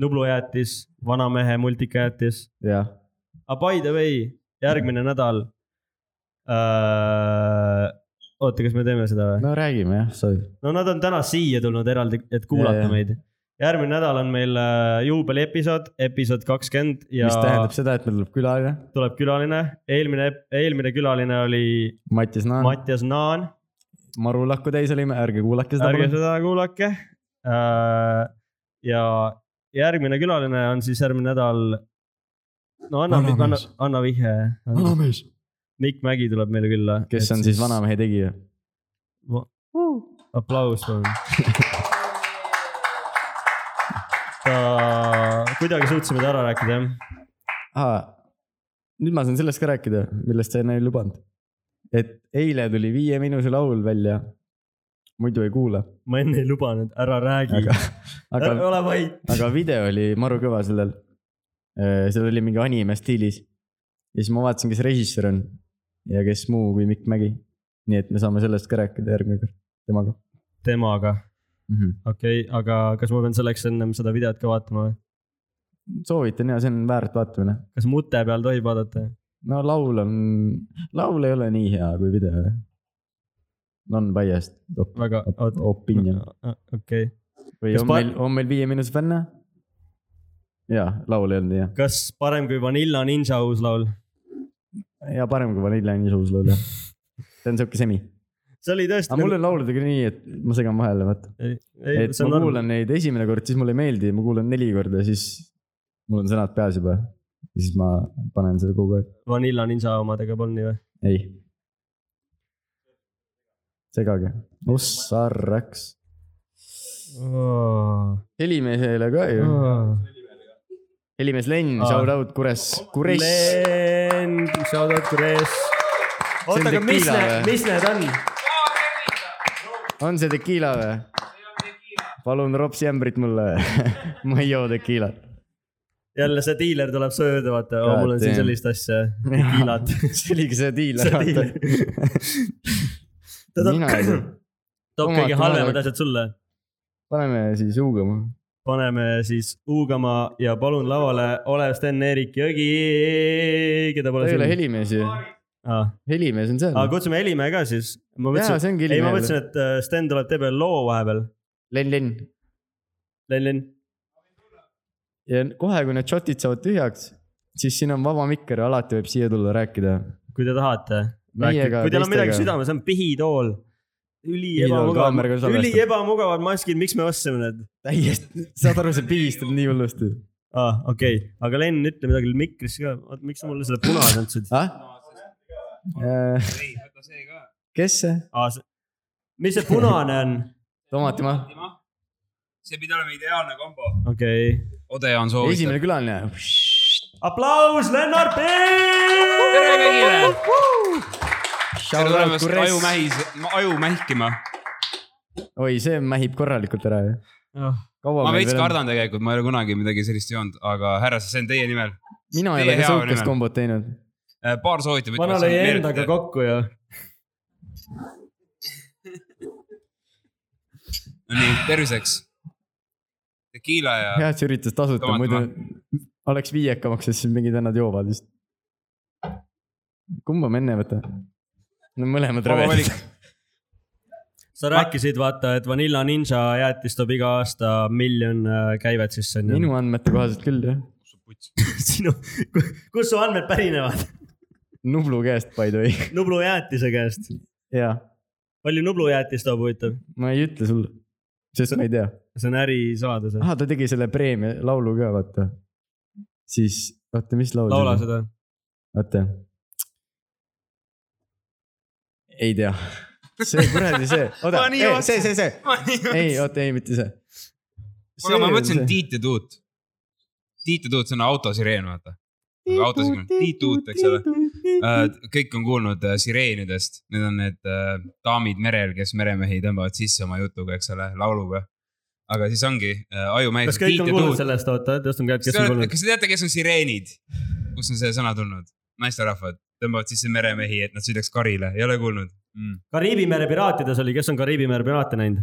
[SPEAKER 2] Nublu jäätis , Vanamehe multika jäätis .
[SPEAKER 1] jah ,
[SPEAKER 2] aga by the way , järgmine nädal äh, . oota , kas me teeme seda või ?
[SPEAKER 1] no räägime jah , sorry .
[SPEAKER 2] no nad on täna siia tulnud eraldi , et kuulata
[SPEAKER 1] Ja,
[SPEAKER 2] ja,
[SPEAKER 1] ja.
[SPEAKER 2] meid . järgmine nädal on meil äh, juubeliepisood , episood kakskümmend ja
[SPEAKER 1] mis tähendab seda , et meil tuleb külaline ,
[SPEAKER 2] tuleb külaline . eelmine , eelmine külaline oli
[SPEAKER 1] Mattias Naan ,
[SPEAKER 2] Mattias Naan ,
[SPEAKER 1] Maru Lahku täis olime , ärge kuulake seda .
[SPEAKER 2] ärge seda kuulake äh, . ja järgmine külaline on siis järgmine nädal . no anna ,
[SPEAKER 1] Vanamees.
[SPEAKER 2] anna , anna vihje .
[SPEAKER 1] vanamees .
[SPEAKER 2] Mikk Mägi tuleb meile külla .
[SPEAKER 1] kes on siis vanamehe tegija .
[SPEAKER 2] aplaus palun . ta , kuidagi suutsime ta ära rääkida jah .
[SPEAKER 1] nüüd ma saan sellest ka rääkida , millest sa enne ei lubanud . et eile tuli Viie Miinuse laul välja . muidu ei kuula ,
[SPEAKER 2] ma enne ei lubanud , ära räägi
[SPEAKER 1] aga ,
[SPEAKER 2] ära
[SPEAKER 1] aga ,
[SPEAKER 2] ole vait .
[SPEAKER 1] aga video oli maru kõva sellel . seal oli mingi anime stiilis . ja siis ma vaatasin , kes režissöör on ja kes muu kui Mikk Mägi . nii et me saame sellest ka rääkida järgmine kord temaga
[SPEAKER 2] temaga ,
[SPEAKER 1] mm . -hmm.
[SPEAKER 2] okei okay, , aga kas ma pean selleks ennem seda videot ka vaatama või ?
[SPEAKER 1] soovitan ja see on väärt vaatamine .
[SPEAKER 2] kas mute peal tohib vaadata ?
[SPEAKER 1] no laul on , laul ei ole nii hea kui video . Non-biased op-
[SPEAKER 2] väga ,
[SPEAKER 1] op-
[SPEAKER 2] oota ,
[SPEAKER 1] opinion .
[SPEAKER 2] okei okay. .
[SPEAKER 1] või
[SPEAKER 2] Kas
[SPEAKER 1] on
[SPEAKER 2] pa-
[SPEAKER 1] meil , on meil Viie Miinuse fänne ? jaa , laul ei olnud nii hea .
[SPEAKER 2] kas parem kui Vanilla Ninja uus laul ?
[SPEAKER 1] ja parem kui Vanilla on niisuguse laul jah . see on siuke semi .
[SPEAKER 2] see oli tõesti
[SPEAKER 1] aga mul on lauludega nii , et ma segan vahele , vaata .
[SPEAKER 2] ei, ei,
[SPEAKER 1] et
[SPEAKER 2] see on
[SPEAKER 1] ma
[SPEAKER 2] norm-
[SPEAKER 1] kuulan neid esimene kord , siis mulle ei meeldi , ma kuulan neli korda , siis mul on sõnad peas juba . ja siis ma panen seda kogu aeg .
[SPEAKER 2] Vanilla Ninja omadega polnud nii või ?
[SPEAKER 1] ei . segage . ossarraks . helimehele ka ju . helimees Len ,
[SPEAKER 2] Aa.
[SPEAKER 1] shout out Kures , Kures .
[SPEAKER 2] Len , shout out Kures .
[SPEAKER 1] See on
[SPEAKER 2] oota , aga mis
[SPEAKER 1] tekiila
[SPEAKER 2] need ,
[SPEAKER 1] või?
[SPEAKER 2] mis need on ?
[SPEAKER 1] on see tekiila või ? palun ropsi ämbrit mulle . ma ei joo tekiilat .
[SPEAKER 2] jälle see diiler tuleb sööda , vaata oh, ,
[SPEAKER 1] God
[SPEAKER 2] mul on siin
[SPEAKER 1] damn.
[SPEAKER 2] sellist asja , tekiilat .
[SPEAKER 1] see oligi see diil .
[SPEAKER 2] See diil. ta
[SPEAKER 1] Mina ei
[SPEAKER 2] toob
[SPEAKER 1] tea. ,
[SPEAKER 2] toob kõige
[SPEAKER 1] Omati
[SPEAKER 2] halvemad
[SPEAKER 1] vaevalt.
[SPEAKER 2] asjad sulle .
[SPEAKER 1] paneme siis huugama .
[SPEAKER 2] paneme siis huugama ja palun lavale Olev Sten-Erik Jõgi , keda
[SPEAKER 1] ta
[SPEAKER 2] pole
[SPEAKER 1] ei ole
[SPEAKER 2] siin .
[SPEAKER 1] helimees ju .
[SPEAKER 2] Ah,
[SPEAKER 1] helimees on seal
[SPEAKER 2] aga . kutsume Helimäe ka siis . ma
[SPEAKER 1] jaa ,
[SPEAKER 2] mõtlesin ,
[SPEAKER 1] see ongi
[SPEAKER 2] ei ma
[SPEAKER 1] helimees .
[SPEAKER 2] mõtlesin , et äh, Sten tuleb , teeb veel loo vahepeal .
[SPEAKER 1] Len , Len .
[SPEAKER 2] Len-Len ,
[SPEAKER 1] ja kohe , kui need šotid saavad tühjaks , siis siin on vaba mikker , alati võib siia tulla rääkida .
[SPEAKER 2] kui te tahate .
[SPEAKER 1] Meiega,
[SPEAKER 2] kui teil on midagi
[SPEAKER 1] teistega.
[SPEAKER 2] südames , on pihitool . üli
[SPEAKER 1] Pihitool kaameraga
[SPEAKER 2] ebamugavad ,
[SPEAKER 1] salvestab.
[SPEAKER 2] üli ebamugavad maskid , miks me ostsime need ?
[SPEAKER 1] täiesti , saad aru , see pigistab nii hullusti .
[SPEAKER 2] aa , Ah, okei okay. , aga Len , ütle midagi mikrisse ka , oot , miks sa mulle selle punase andsid ?
[SPEAKER 1] ah ? kes see ?
[SPEAKER 2] aa , see , mis Ah, see punane on ?
[SPEAKER 1] tomatimaa .
[SPEAKER 4] noh, see pidi olema ideaalne kombo .
[SPEAKER 2] okei okay. ,
[SPEAKER 4] Odeon soovitab .
[SPEAKER 1] esimene külaline .
[SPEAKER 2] aplaus Lennart Pihl !
[SPEAKER 4] tere kõigile , tere
[SPEAKER 1] Shout out
[SPEAKER 4] tulemast
[SPEAKER 1] Kures .
[SPEAKER 4] ajumähis , ajumähkima .
[SPEAKER 1] oi , see mähib korralikult ära ju .
[SPEAKER 2] Ah,
[SPEAKER 1] kaua
[SPEAKER 4] ma
[SPEAKER 1] meil
[SPEAKER 4] veits
[SPEAKER 1] veel on ?
[SPEAKER 4] kardan tegelikult , ma ei ole kunagi midagi sellist joonud , aga härrased , see on teie nimel .
[SPEAKER 1] mina ei ole ka
[SPEAKER 4] teie heaolu
[SPEAKER 1] sihukest
[SPEAKER 4] nimel.
[SPEAKER 1] kombot teinud .
[SPEAKER 4] paar soovitab .
[SPEAKER 2] vana lõi endaga kokku ja
[SPEAKER 4] nii , terviseks . Tekiila ja
[SPEAKER 1] hea , et sa üritas tasuta , muidu
[SPEAKER 4] Tomatimaa.
[SPEAKER 1] oleks viiekamaks , sest siis mingid vennad joovad vist . kumba me enne võtame ? no mõlemad
[SPEAKER 4] Vaba
[SPEAKER 1] rõvedad .
[SPEAKER 4] valik.
[SPEAKER 2] sa rääkisid , vaata , et Vanilla Ninja jäätis toob iga aasta miljon äh, käivet sisse , onju .
[SPEAKER 1] minu andmete kohaselt küll jah .
[SPEAKER 2] sinu , kus su andmed pärinevad ?
[SPEAKER 1] Nublu käest by the way .
[SPEAKER 2] Nublu jäätise käest .
[SPEAKER 1] jaa ,
[SPEAKER 2] palju Nublu jäätis toob , huvitav ?
[SPEAKER 1] ma ei ütle sulle , sest ma ei tea .
[SPEAKER 2] see on ärisaladus .
[SPEAKER 1] ahah , ta tegi selle preemia laulu ka , vaata . siis , oota , mis laul
[SPEAKER 2] laula
[SPEAKER 1] see oli ?
[SPEAKER 2] seda .
[SPEAKER 1] oota . ei tea . see kuradi see , oota
[SPEAKER 4] Ma , nii
[SPEAKER 1] see , see ,
[SPEAKER 4] ootasin.
[SPEAKER 1] see, see. , ei , oota , ei , mitte see .
[SPEAKER 4] kuule , ma mõtlesin . Tiit ja Tuut . Tiit ja Tuut , see on autosireen , vaata . autosireen , Tiit Tuut , eks ole .
[SPEAKER 2] Mhm.
[SPEAKER 4] kõik on kuulnud äh, sireenidest , need on need äh, daamid merel , kes meremehi tõmbavad sisse oma jutuga , eks ole , lauluga . aga siis ongi äh, ajumehed .
[SPEAKER 2] kas kõik on kuulnud sellest , oota , tõstame käed , kes on kuulnud .
[SPEAKER 4] kas te teate , kes on sireenid ? kust on see sõna tulnud ? naisterahvad tõmbavad sisse meremehi , et nad sõidaks karile , ei ole kuulnud mm. ?
[SPEAKER 2] Kariibi mere piraatides oli , kes on Kariibi mere piraate näinud ?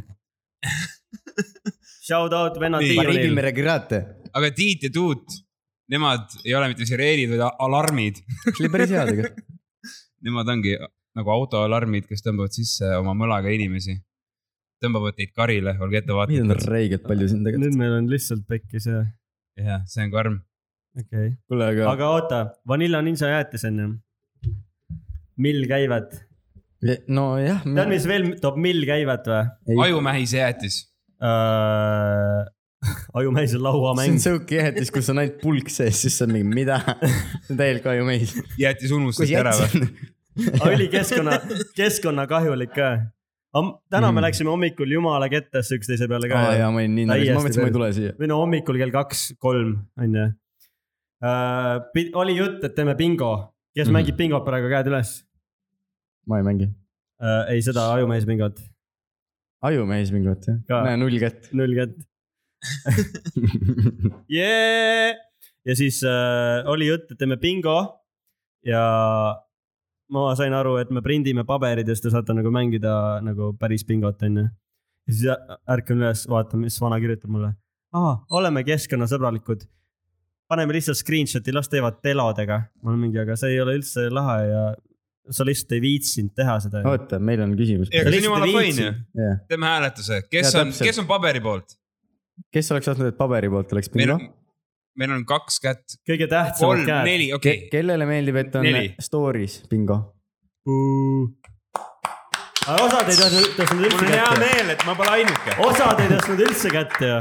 [SPEAKER 2] Shout out vennad
[SPEAKER 4] Nii.
[SPEAKER 1] Kariibi
[SPEAKER 2] Tiironil .
[SPEAKER 1] mere piraate .
[SPEAKER 4] aga Tiit ja Tuut , nemad ei ole mitte sireenid , vaid a- alarmid .
[SPEAKER 1] see oli päris hea tegelikult .
[SPEAKER 4] Nemad ongi nagu autoalarmid , kes tõmbavad sisse oma mõlaga inimesi . tõmbavad neid karile , olge
[SPEAKER 1] Neid on
[SPEAKER 4] ettevaatlikud .
[SPEAKER 1] räigelt palju siin
[SPEAKER 2] nüüd
[SPEAKER 1] tegelikult .
[SPEAKER 2] meil on lihtsalt pekkis ja ,
[SPEAKER 4] jah , see on karm .
[SPEAKER 2] okei okay. .
[SPEAKER 1] kuule , aga
[SPEAKER 2] aga oota , Vanilla Ninja jäätis on ju . mill käivad ,
[SPEAKER 1] nojah .
[SPEAKER 2] tead , mis veel toob mill käivad või
[SPEAKER 4] ajumähise jäätis .
[SPEAKER 2] uh, ? ajumäise
[SPEAKER 1] see on
[SPEAKER 2] lauamäng .
[SPEAKER 1] sihuke jäätis , kus on ainult pulk sees , siis on mingi mida , täielik aju mees .
[SPEAKER 4] jäätis unustati ära või ??
[SPEAKER 2] oli keskkonna , keskkonnakahjulik ka . täna mm.
[SPEAKER 1] Mm.
[SPEAKER 2] me läksime hommikul jumala kettesse üksteise peale ka
[SPEAKER 1] aa . jaa , ma olin nii naljas , ma mõtlesin , ma ei tule siia .
[SPEAKER 2] või no hommikul kell kaks , kolm , onju . oli jutt , et teeme bingo , kes
[SPEAKER 1] Mhm.
[SPEAKER 2] mm -hmm. mängib bingot praegu , käed üles
[SPEAKER 1] ma ei mängi .
[SPEAKER 2] uh, . ei , seda ajumees bingot ,
[SPEAKER 1] aju mees mingi võtt jah
[SPEAKER 2] Jaa. ,
[SPEAKER 1] näe null kätt .
[SPEAKER 2] null kätt yeah! . ja siis uh, oli jutt , et teeme bingo ja ma sain aru , et me prindime paberid ja siis te saate nagu mängida nagu päris bingot , onju . ja siis ä- ärkan üles , vaatan , mis vana kirjutab mulle . aa , oleme keskkonnasõbralikud . paneme lihtsalt screenshot'i , las teevad telodega . ma olen mingi , aga see ei ole üldse lahe ja sa lihtsalt ei viitsinud teha seda .
[SPEAKER 1] oota , meil on küsimus .
[SPEAKER 4] see on jumala fine ju .
[SPEAKER 1] jah ,
[SPEAKER 4] teeme hääletuse , kes
[SPEAKER 1] Jaa,
[SPEAKER 4] on ,
[SPEAKER 1] täpselt.
[SPEAKER 4] kes on paberi poolt ?
[SPEAKER 1] kes oleks tahtnud , et paberi poolt oleks
[SPEAKER 4] meil
[SPEAKER 1] bingo
[SPEAKER 4] on ?, meil on kaks kätt ,
[SPEAKER 2] kõige tähtsamad
[SPEAKER 4] kolm ,
[SPEAKER 2] käed .
[SPEAKER 4] neli , okei okay. .
[SPEAKER 1] kellele meeldib , et on
[SPEAKER 4] Neli.
[SPEAKER 1] story's bingo ?
[SPEAKER 2] aga osad ei tõstnud , tõstnud
[SPEAKER 4] mul
[SPEAKER 2] üldse
[SPEAKER 4] on hea
[SPEAKER 2] kätte .
[SPEAKER 4] meel , et ma pole ainuke .
[SPEAKER 2] osad ei tõstnud üldse kätte ju .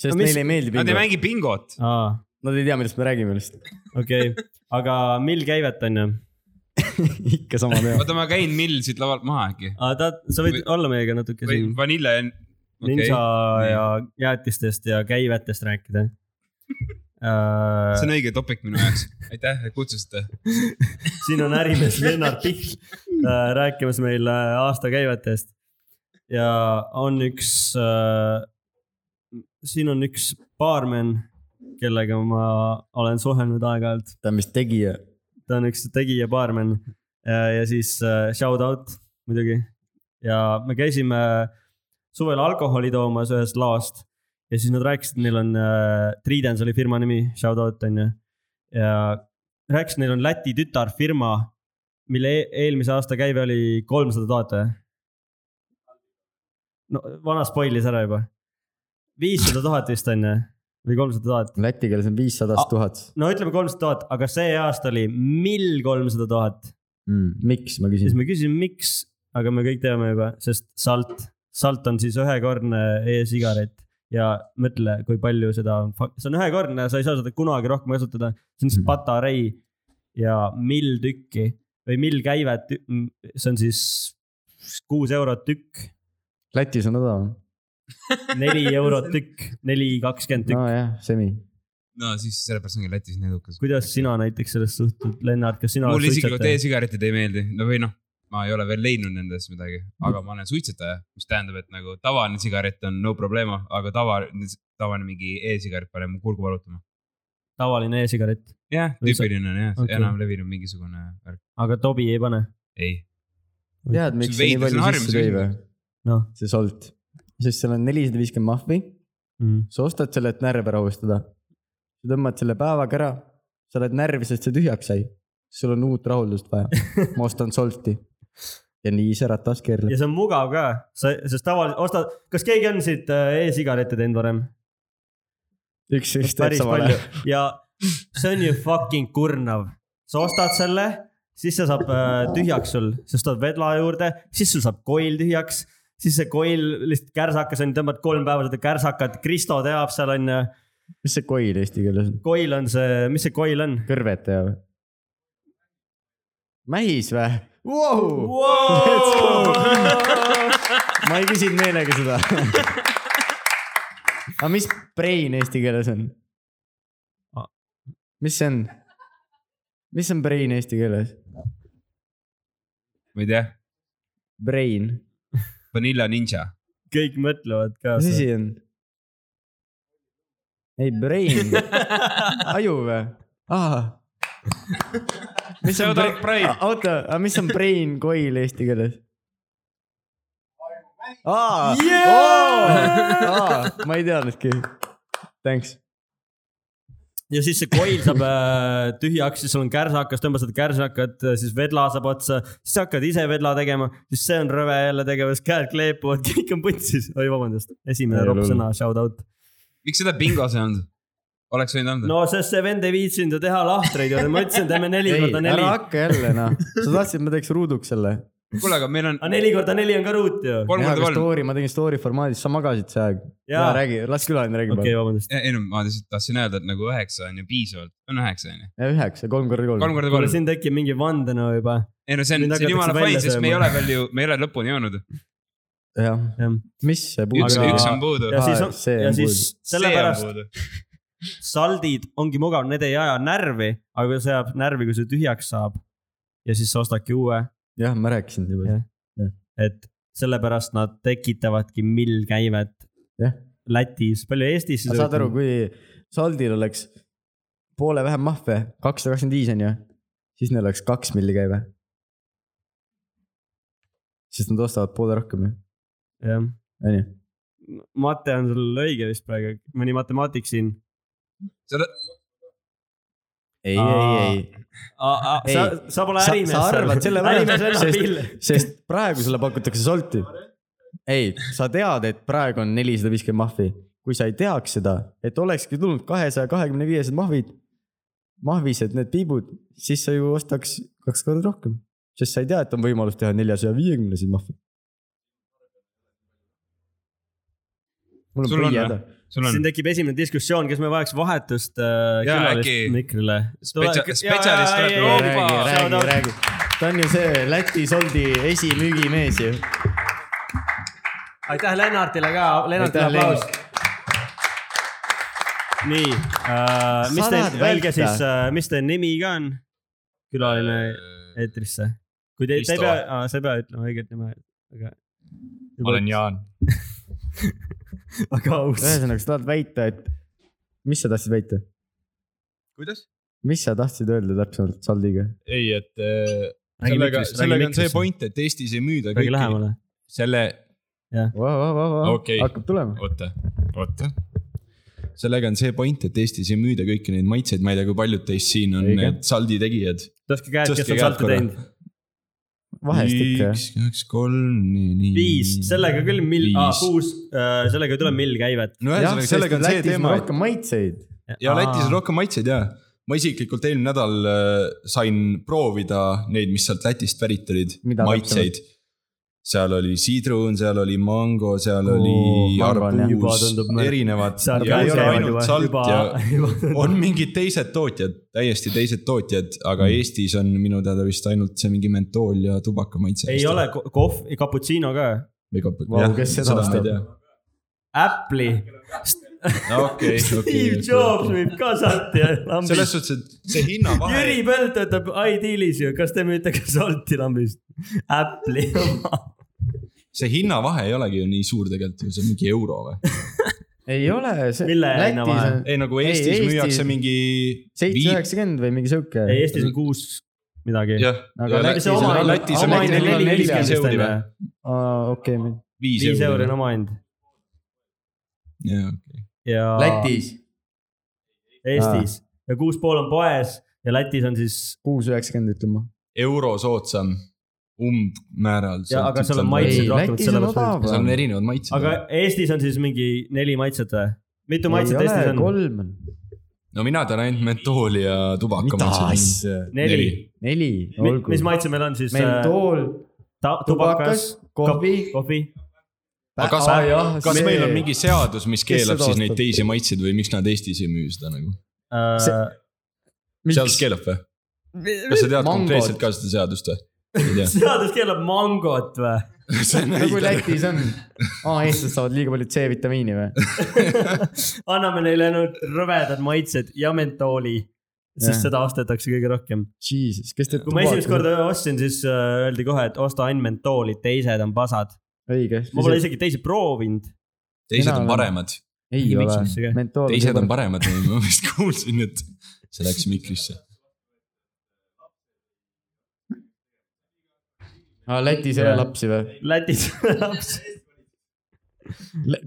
[SPEAKER 1] sest
[SPEAKER 2] No mis-
[SPEAKER 1] neile ei meeldi
[SPEAKER 4] Nad ei
[SPEAKER 1] bingo .
[SPEAKER 4] mängi bingot .
[SPEAKER 2] aa ,
[SPEAKER 1] Nad ei tea , millest me räägime lihtsalt .
[SPEAKER 2] okei okay. , aga mill käivet on ju ?
[SPEAKER 1] ikka sama teema .
[SPEAKER 4] oota , ma käin Mill siit lavalt maha äkki .
[SPEAKER 2] ta , sa võid
[SPEAKER 4] Või-
[SPEAKER 2] olla meiega natuke
[SPEAKER 4] või
[SPEAKER 2] siin
[SPEAKER 4] Vanilla ja okei
[SPEAKER 2] ninja
[SPEAKER 4] okay. , nii.
[SPEAKER 2] ja jäätistest ja käivetest rääkida
[SPEAKER 4] see . on õige topik minu jaoks . aitäh , et kutsusite .
[SPEAKER 2] siin on ärimees Lennart Pihl äh, rääkimas meile aasta käivetest . ja on üks , siin on üks baarmen , kellega ma olen suhelnud aeg-ajalt .
[SPEAKER 1] ta on vist tegija .
[SPEAKER 2] ta on üks tegija , baarmen ja siis äh, shout out muidugi . ja me käisime suvel alkoholi toomas ühest laost ja siis nad rääkisid , neil on äh, , Tridens oli firma nimi , shout out on ju . ja rääkisid , neil on Läti tütarfirma , mille e eelmise aasta käive oli kolmsada tuhat või ? no vana spoilis ära juba . viissada tuhat vist on ju , või kolmsada tuhat .
[SPEAKER 1] Läti keeles on viissadast tuhat .
[SPEAKER 2] no ütleme kolmsada tuhat , aga see aasta oli mill kolmsada tuhat .
[SPEAKER 1] Mm, miks , ma
[SPEAKER 2] siis
[SPEAKER 1] küsin .
[SPEAKER 2] me küsime , miks , aga me kõik teame juba , sest salt , salt on siis ühekordne e-sigaret ja mõtle , kui palju seda on , see on ühekordne , sa ei saa seda kunagi rohkem kasutada , see on siis
[SPEAKER 1] Mhm.
[SPEAKER 2] patarei ja mill tükki või mill käivet , see on siis kuus eurot tükk ,
[SPEAKER 1] Lätis on odavam .
[SPEAKER 2] neli eurot tükk , neli kakskümmend tükk .
[SPEAKER 1] nojah , semi .
[SPEAKER 4] no siis sellepärast ongi Lätis nii edukas .
[SPEAKER 2] kuidas sina näiteks sellest suhtud , Lennart , kas sina
[SPEAKER 4] mulle isiklikult e-sigaretid ei meeldi , no või noh , ma ei ole veel leidnud nendes midagi , aga ma olen suitsetaja , mis tähendab , et nagu tavaline sigaret on no problema , aga tava , tavaline mingi e-sigaret paneb mu kurgu valutama .
[SPEAKER 2] tavaline e-sigaret ,
[SPEAKER 4] jah ,
[SPEAKER 2] Või sa-
[SPEAKER 4] tüüpiline on jah
[SPEAKER 2] Okei.
[SPEAKER 4] okay. , enam levinud mingisugune värk ,
[SPEAKER 2] aga Tobi ei pane
[SPEAKER 4] ei .
[SPEAKER 1] tead , miks see nii
[SPEAKER 4] veidi- see on
[SPEAKER 1] palju
[SPEAKER 4] harjumus-
[SPEAKER 1] sisse tõi või ?
[SPEAKER 2] Noh.
[SPEAKER 1] see solt . sest seal on nelisada viiskümmend mahvi ,
[SPEAKER 2] mm. .
[SPEAKER 1] sa ostad selle , et närve rahustada . sa tõmbad selle päevaga ära , sa oled närvis , et see tühjaks sai . sul on uut rahuldust vaja . ma ostan solti . ja nii see ratas
[SPEAKER 2] ja
[SPEAKER 1] keerleb .
[SPEAKER 2] see on mugav ka , sa , sest tavaliselt ostad , kas keegi on siit äh, e-sigarette teinud varem ?
[SPEAKER 1] üks , üks teeb
[SPEAKER 2] päris
[SPEAKER 1] samal
[SPEAKER 2] palju
[SPEAKER 1] ajal .
[SPEAKER 2] ja see on ju fucking kurnav . sa ostad selle , siis see saab äh, tühjaks sul , sa ostad vedla juurde , siis sul saab koil tühjaks , siis see koil lihtsalt kärsakas on , tõmbad kolm päeva seda kärsakat , Kristo teab seal on ju ,
[SPEAKER 1] mis see koil eesti keeles on ?
[SPEAKER 2] koil on see , mis see koil on ?
[SPEAKER 1] kõrvetaja või ? mähis või wow! ? ma ei küsinud meelega seda . aga mis brain eesti keeles on ? mis see on ? mis on brain eesti keeles ?
[SPEAKER 4] ma ei tea ,
[SPEAKER 1] Brain ,
[SPEAKER 4] Vanilla Ninja ,
[SPEAKER 2] kõik mõtlevad ka .
[SPEAKER 1] mis asi on ? ei , brain , aju või ? mis on
[SPEAKER 4] Shout
[SPEAKER 1] brain
[SPEAKER 4] out Brain. ,
[SPEAKER 1] oota , aga mis on brain coil eesti keeles ? Ah. aa ,
[SPEAKER 2] Yeah!
[SPEAKER 1] Ah, aa , ma ei teadnudki . Thanks ,
[SPEAKER 2] ja siis see koil saab äh, tühjaks , siis sul on kärsakas , tõmbad seda kärsakat , siis vedla saab otsa , siis hakkad ise vedla tegema , siis see on rõve jälle tegevus , käed kleepuvad , kõik on põntsis . oi , vabandust , esimene
[SPEAKER 1] Ei,
[SPEAKER 2] ropp
[SPEAKER 1] hull.
[SPEAKER 2] sõna , shout out .
[SPEAKER 4] miks seda bingos ei olnud ? oleks võinud anda no. .
[SPEAKER 2] no sest see vend ei viitsinud ju teha lahtreid ja ma ütlesin , teeme neli
[SPEAKER 1] ei ,
[SPEAKER 2] korda
[SPEAKER 1] ära
[SPEAKER 2] neli .
[SPEAKER 1] hakka jälle noh , sa tahtsid , et ma teeks ruuduks selle .
[SPEAKER 4] kuule , aga meil on
[SPEAKER 2] aga neli korda neli on ka ruut ju .
[SPEAKER 4] kolm korda kolm .
[SPEAKER 1] story , ma tegin story formaadis , sa magasid see aeg .
[SPEAKER 2] jaa ,
[SPEAKER 1] räägi , las külaline räägib
[SPEAKER 2] okei , vabandust .
[SPEAKER 4] ei no ma lihtsalt tahtsin öelda , et nagu üheksa on ju piisavalt , on üheksa on ju .
[SPEAKER 1] okay. . üheksa , kolm korda kolm .
[SPEAKER 4] kolm korda
[SPEAKER 2] kuule ,
[SPEAKER 4] kolm .
[SPEAKER 2] siin tekib mingi vandenõu juba .
[SPEAKER 4] ei no see on ,
[SPEAKER 2] Nüüd
[SPEAKER 4] see on jumala
[SPEAKER 2] hakatakse välja
[SPEAKER 4] fine , sest me ei
[SPEAKER 2] sööma.
[SPEAKER 4] ole veel ju , me ei ole lõpuni jõudnud .
[SPEAKER 1] jah ,
[SPEAKER 2] jah ,
[SPEAKER 1] mis see puudub
[SPEAKER 4] üks ,
[SPEAKER 2] Aga-
[SPEAKER 4] üks on puudu .
[SPEAKER 2] ja siis
[SPEAKER 1] Aa,
[SPEAKER 2] on ,
[SPEAKER 1] see
[SPEAKER 2] ja
[SPEAKER 1] on
[SPEAKER 2] siis sellepärast saldid ongi mugav , need ei aja närvi , aga kui see ajab närvi , kui see tühjaks saab ja siis sa ostadki uue ,
[SPEAKER 1] jah , ma rääkisin juba
[SPEAKER 2] Jah. . et sellepärast nad tekitavadki millkäivet
[SPEAKER 1] Jah.
[SPEAKER 2] Lätis , palju Eestis .
[SPEAKER 1] saad aru ,? kui saldil oleks poole vähem mahve , kakssada kakskümmend viis on ju , siis neil oleks kaks milli käive . sest nad ostavad poole rohkem ju ,
[SPEAKER 2] jah ,
[SPEAKER 1] on ju .
[SPEAKER 2] mate on sul õige vist praegu , mõni matemaatik siin .
[SPEAKER 1] ei ,
[SPEAKER 2] Aa.
[SPEAKER 1] ei , ei , Ei.
[SPEAKER 2] sa , sa pole
[SPEAKER 1] Sa-
[SPEAKER 2] ärimees .
[SPEAKER 1] sa arvad selle ärimees välja, sest-
[SPEAKER 2] välja .
[SPEAKER 1] sest praegu sulle pakutakse solti . ei , sa tead , et praegu on nelisada viiskümmend mahvi , kui sa ei teaks seda , et olekski tulnud kahesaja kahekümne viiesed mahvid , mahvised need piibud , siis sa ju ostaks kaks korda rohkem , sest sa ei tea , et on võimalus teha neljasaja viiekümneseid mahve . mul on
[SPEAKER 4] Sul on
[SPEAKER 1] põhi
[SPEAKER 4] või?
[SPEAKER 1] häda ,
[SPEAKER 4] sul on
[SPEAKER 2] siin tekib esimene diskussioon , kas me vajaks vahetust äh,
[SPEAKER 4] Jaa,
[SPEAKER 2] külalist
[SPEAKER 4] äkki-
[SPEAKER 2] mikrile .
[SPEAKER 4] Spetsia- spetsialist tuleb
[SPEAKER 1] Ei,
[SPEAKER 4] Opa!
[SPEAKER 1] räägi , räägi , räägi . ta on ju see Läti soldi esimüügimees ju .
[SPEAKER 2] aitäh Lennartile ka , Lennartile
[SPEAKER 1] Aitäh,
[SPEAKER 2] aplaus . nii äh, , mis
[SPEAKER 1] Sa
[SPEAKER 2] teil ,
[SPEAKER 1] tahad
[SPEAKER 2] öelge
[SPEAKER 1] väita?
[SPEAKER 2] siis äh, , mis teie nimi ka on ? külaline
[SPEAKER 5] Äh,
[SPEAKER 2] eetrisse . kui te , te ei
[SPEAKER 5] Kristo.
[SPEAKER 2] pea , sa ei pea ütlema õiget nime , aga .
[SPEAKER 5] ma olen . Jaan .
[SPEAKER 2] aga aus .
[SPEAKER 1] ühesõnaga , sa tahad väita , et , mis sa tahtsid väita ?
[SPEAKER 5] kuidas ?
[SPEAKER 1] mis sa tahtsid öelda täpsemalt saldiga ?
[SPEAKER 5] ei , et äh,
[SPEAKER 2] Räägi
[SPEAKER 5] sellega ,
[SPEAKER 2] mikrisse, räägi
[SPEAKER 5] sellega on see
[SPEAKER 2] mikrisse.
[SPEAKER 5] point , et Eestis ei müüda
[SPEAKER 2] räägi
[SPEAKER 5] kõiki
[SPEAKER 2] lähemale .
[SPEAKER 5] selle , Okei.
[SPEAKER 1] hakkab tulema .
[SPEAKER 5] oota , oota . sellega on see point , et Eestis ei müüda kõiki neid maitseid , ma ei tea , kui paljud teist siin on
[SPEAKER 1] Õige.
[SPEAKER 5] need saldi tegijad .
[SPEAKER 2] tõstke käed , kes
[SPEAKER 5] Tõstke
[SPEAKER 2] on
[SPEAKER 5] käed
[SPEAKER 2] salte
[SPEAKER 5] korra.
[SPEAKER 2] teinud .
[SPEAKER 1] vahest ikka jah .
[SPEAKER 5] üks , kaks , kolm , nii , nii .
[SPEAKER 2] viis , sellega küll Ah, mill , aa
[SPEAKER 5] Viis.
[SPEAKER 2] kuus , sellega ei tule mill käivet .
[SPEAKER 5] no
[SPEAKER 1] jah ,
[SPEAKER 5] ühesõnaga ,
[SPEAKER 1] sest
[SPEAKER 5] sellega on see
[SPEAKER 1] Lätis on
[SPEAKER 5] teema , et
[SPEAKER 1] rohkem maitseid .
[SPEAKER 5] ja Lätis on rohkem maitseid ja . ma isiklikult eelmine nädal äh, sain proovida neid , mis sealt Lätist pärit olid ,
[SPEAKER 1] Mida
[SPEAKER 5] maitseid . seal oli sidrun , seal oli mango , seal
[SPEAKER 1] Oo,
[SPEAKER 5] oli
[SPEAKER 1] mango on jah.
[SPEAKER 2] Juba
[SPEAKER 5] arbuus
[SPEAKER 2] tundub , mõelda.
[SPEAKER 5] erinevad .
[SPEAKER 2] seal
[SPEAKER 5] ja ei ole
[SPEAKER 1] käivad
[SPEAKER 5] ainult salt ja
[SPEAKER 2] juba .
[SPEAKER 5] on mingid teised tootjad , täiesti teised tootjad ,
[SPEAKER 1] Mm.
[SPEAKER 5] aga Eestis on minu teada vist ainult see mingi mentool ja tubakamaitse .
[SPEAKER 2] ei ole ko- kohv , cappuccino ka .
[SPEAKER 5] või kapu-
[SPEAKER 1] Vau,
[SPEAKER 5] jah,
[SPEAKER 1] kes seda
[SPEAKER 5] seda ma
[SPEAKER 1] ostab?
[SPEAKER 5] ei tea .
[SPEAKER 2] Apple'i .
[SPEAKER 5] okei ,
[SPEAKER 2] Steve Jobs
[SPEAKER 5] okei .
[SPEAKER 2] müüb ka salti ja lambi .
[SPEAKER 5] selles suhtes , et see hinnavahe .
[SPEAKER 2] Jüri Pöld töötab iDealis ju , kas te müüte ka salti lambist ? Apple'i oma .
[SPEAKER 5] see hinnavahe ei olegi ju nii suur tegelikult ju , see on mingi euro või ?
[SPEAKER 1] ei ole , see .
[SPEAKER 2] Mille hinna vahe?
[SPEAKER 5] ei nagu
[SPEAKER 1] Ei,
[SPEAKER 5] Eestis
[SPEAKER 1] Eestis-
[SPEAKER 5] ei, müüakse mingi .
[SPEAKER 1] seitse üheksakümmend või mingi sihuke .
[SPEAKER 2] ei , Eestis on kuus midagi .
[SPEAKER 5] jah ,
[SPEAKER 1] Aga
[SPEAKER 5] aga
[SPEAKER 1] Lätis
[SPEAKER 5] Lätis
[SPEAKER 1] on-
[SPEAKER 5] on ,
[SPEAKER 1] Lätis
[SPEAKER 5] Lätis
[SPEAKER 1] on
[SPEAKER 5] on
[SPEAKER 1] omaine
[SPEAKER 5] mingi
[SPEAKER 1] neli-
[SPEAKER 5] nelikümmend
[SPEAKER 1] nelikümmend
[SPEAKER 5] euri või ?
[SPEAKER 1] okei ,
[SPEAKER 2] viis euri on . omahind .
[SPEAKER 5] jaa , okei .
[SPEAKER 2] ja .
[SPEAKER 1] Lätis
[SPEAKER 2] Eestis ja kuus pool on poes ja Lätis on siis ,
[SPEAKER 1] kuus üheksakümmend ütleme .
[SPEAKER 5] euro soodsam , umbmääral .
[SPEAKER 2] Jaa, aga seal on maitsed
[SPEAKER 1] ei ,
[SPEAKER 2] rohkem,
[SPEAKER 1] Lätis on
[SPEAKER 2] sellepärast
[SPEAKER 5] seal on
[SPEAKER 1] odavam .
[SPEAKER 5] erinevad maitsed .
[SPEAKER 2] aga Eestis on siis mingi neli maitset või ? mitu maitset Eestis on ?
[SPEAKER 1] kolm on .
[SPEAKER 5] no mina tean ainult mentooli ja tubaka maitseid .
[SPEAKER 2] neli .
[SPEAKER 1] neli , olgu .
[SPEAKER 2] mis maitse meil on siis ?
[SPEAKER 1] meil tool ,
[SPEAKER 2] tubakas ,
[SPEAKER 1] tubakas , kohvi .
[SPEAKER 2] kohvi .
[SPEAKER 5] aga kas , kas meil on ? mingi seadus , mis
[SPEAKER 1] Ah, Kes
[SPEAKER 5] keelab
[SPEAKER 1] seda
[SPEAKER 5] siis neid
[SPEAKER 1] ostab?
[SPEAKER 5] teisi maitseid või miks nad Eestis ei müü seda nagu ?
[SPEAKER 2] Äh,
[SPEAKER 1] See-
[SPEAKER 5] seadus keelab või ? kas sa tead
[SPEAKER 1] Mangot.
[SPEAKER 5] konkreetselt ka seda seadust või ? ei tea .
[SPEAKER 2] seadus keelab mangot või ?
[SPEAKER 5] see on
[SPEAKER 1] nagu
[SPEAKER 5] õige .
[SPEAKER 1] Lätis on . aa , eestlased saavad liiga palju C-vitamiini või ?
[SPEAKER 2] anname neile ainult rõvedad maitsed ja mentooli ,
[SPEAKER 1] Jah.
[SPEAKER 2] sest seda ostetakse kõige rohkem .
[SPEAKER 1] Jesus , kes teeb .
[SPEAKER 2] kui ma esimest . korda ostsin , siis äh, öeldi kohe , et osta ainult mentooli , teised on pasad .
[SPEAKER 1] õige .
[SPEAKER 2] ma pole isegi teisi proovinud .
[SPEAKER 5] teised
[SPEAKER 1] Mina
[SPEAKER 5] on
[SPEAKER 1] olen-
[SPEAKER 5] paremad ,
[SPEAKER 1] ei
[SPEAKER 2] Mingi
[SPEAKER 1] ole
[SPEAKER 2] miksisse ka. ,
[SPEAKER 1] mentool .
[SPEAKER 5] teised on . paremad , ma vist kuulsin , et see läks mikrisse .
[SPEAKER 1] aa , Lätis ei ole
[SPEAKER 2] Jah.
[SPEAKER 1] lapsi või ?
[SPEAKER 2] Lätis laps ,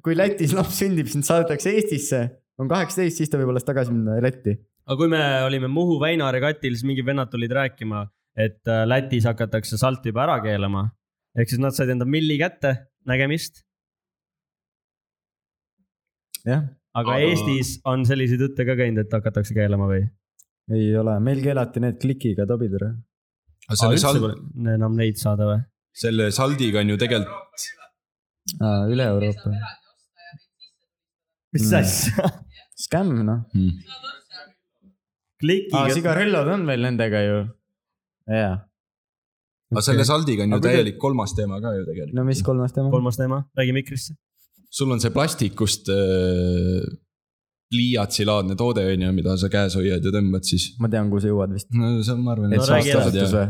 [SPEAKER 1] kui Lätis laps sünnib , siis saadetakse Eestisse
[SPEAKER 3] on kaheksateist , siis ta võib alles tagasi minna Lätti .
[SPEAKER 2] aga kui me olime Muhu väina regatil , siis mingid vennad tulid rääkima , et äh, Lätis hakatakse salt juba ära keelama . ehk siis nad said enda milli kätte , nägemist .
[SPEAKER 3] Jah.
[SPEAKER 2] aga
[SPEAKER 4] Aga-
[SPEAKER 2] Eestis on selliseid jutte ka käinud , et hakatakse keelama või ?
[SPEAKER 3] ei ole , meil keelati need klikiga tobid ära .
[SPEAKER 5] selle sald ,
[SPEAKER 2] enam neid saada või ?
[SPEAKER 5] selle saldiga on ju tegelikult ,
[SPEAKER 3] üle Euroopa .
[SPEAKER 2] mis
[SPEAKER 3] Mm.
[SPEAKER 2] asja ?
[SPEAKER 3] Skämm noh .
[SPEAKER 1] Hmm.
[SPEAKER 2] klikiga
[SPEAKER 1] Ah,
[SPEAKER 3] aa , sigarellod on meil nendega ju . jaa ,
[SPEAKER 5] aga selle saldiga on ju
[SPEAKER 3] Aga kuidas-
[SPEAKER 5] täielik kolmas teema ka ju tegelikult .
[SPEAKER 3] no mis kolmas tema ?
[SPEAKER 2] kolmas teema , räägi mikrisse .
[SPEAKER 5] sul on see plastikust äh, pliiatsilaadne toode , on ju , mida sa käes hoiad ja tõmbad siis .
[SPEAKER 3] ma tean , kuhu sa jõuad vist .
[SPEAKER 5] no see on , ma arvan ,
[SPEAKER 3] et
[SPEAKER 2] No
[SPEAKER 3] no,
[SPEAKER 2] räägi ära.
[SPEAKER 3] saastasutus või ?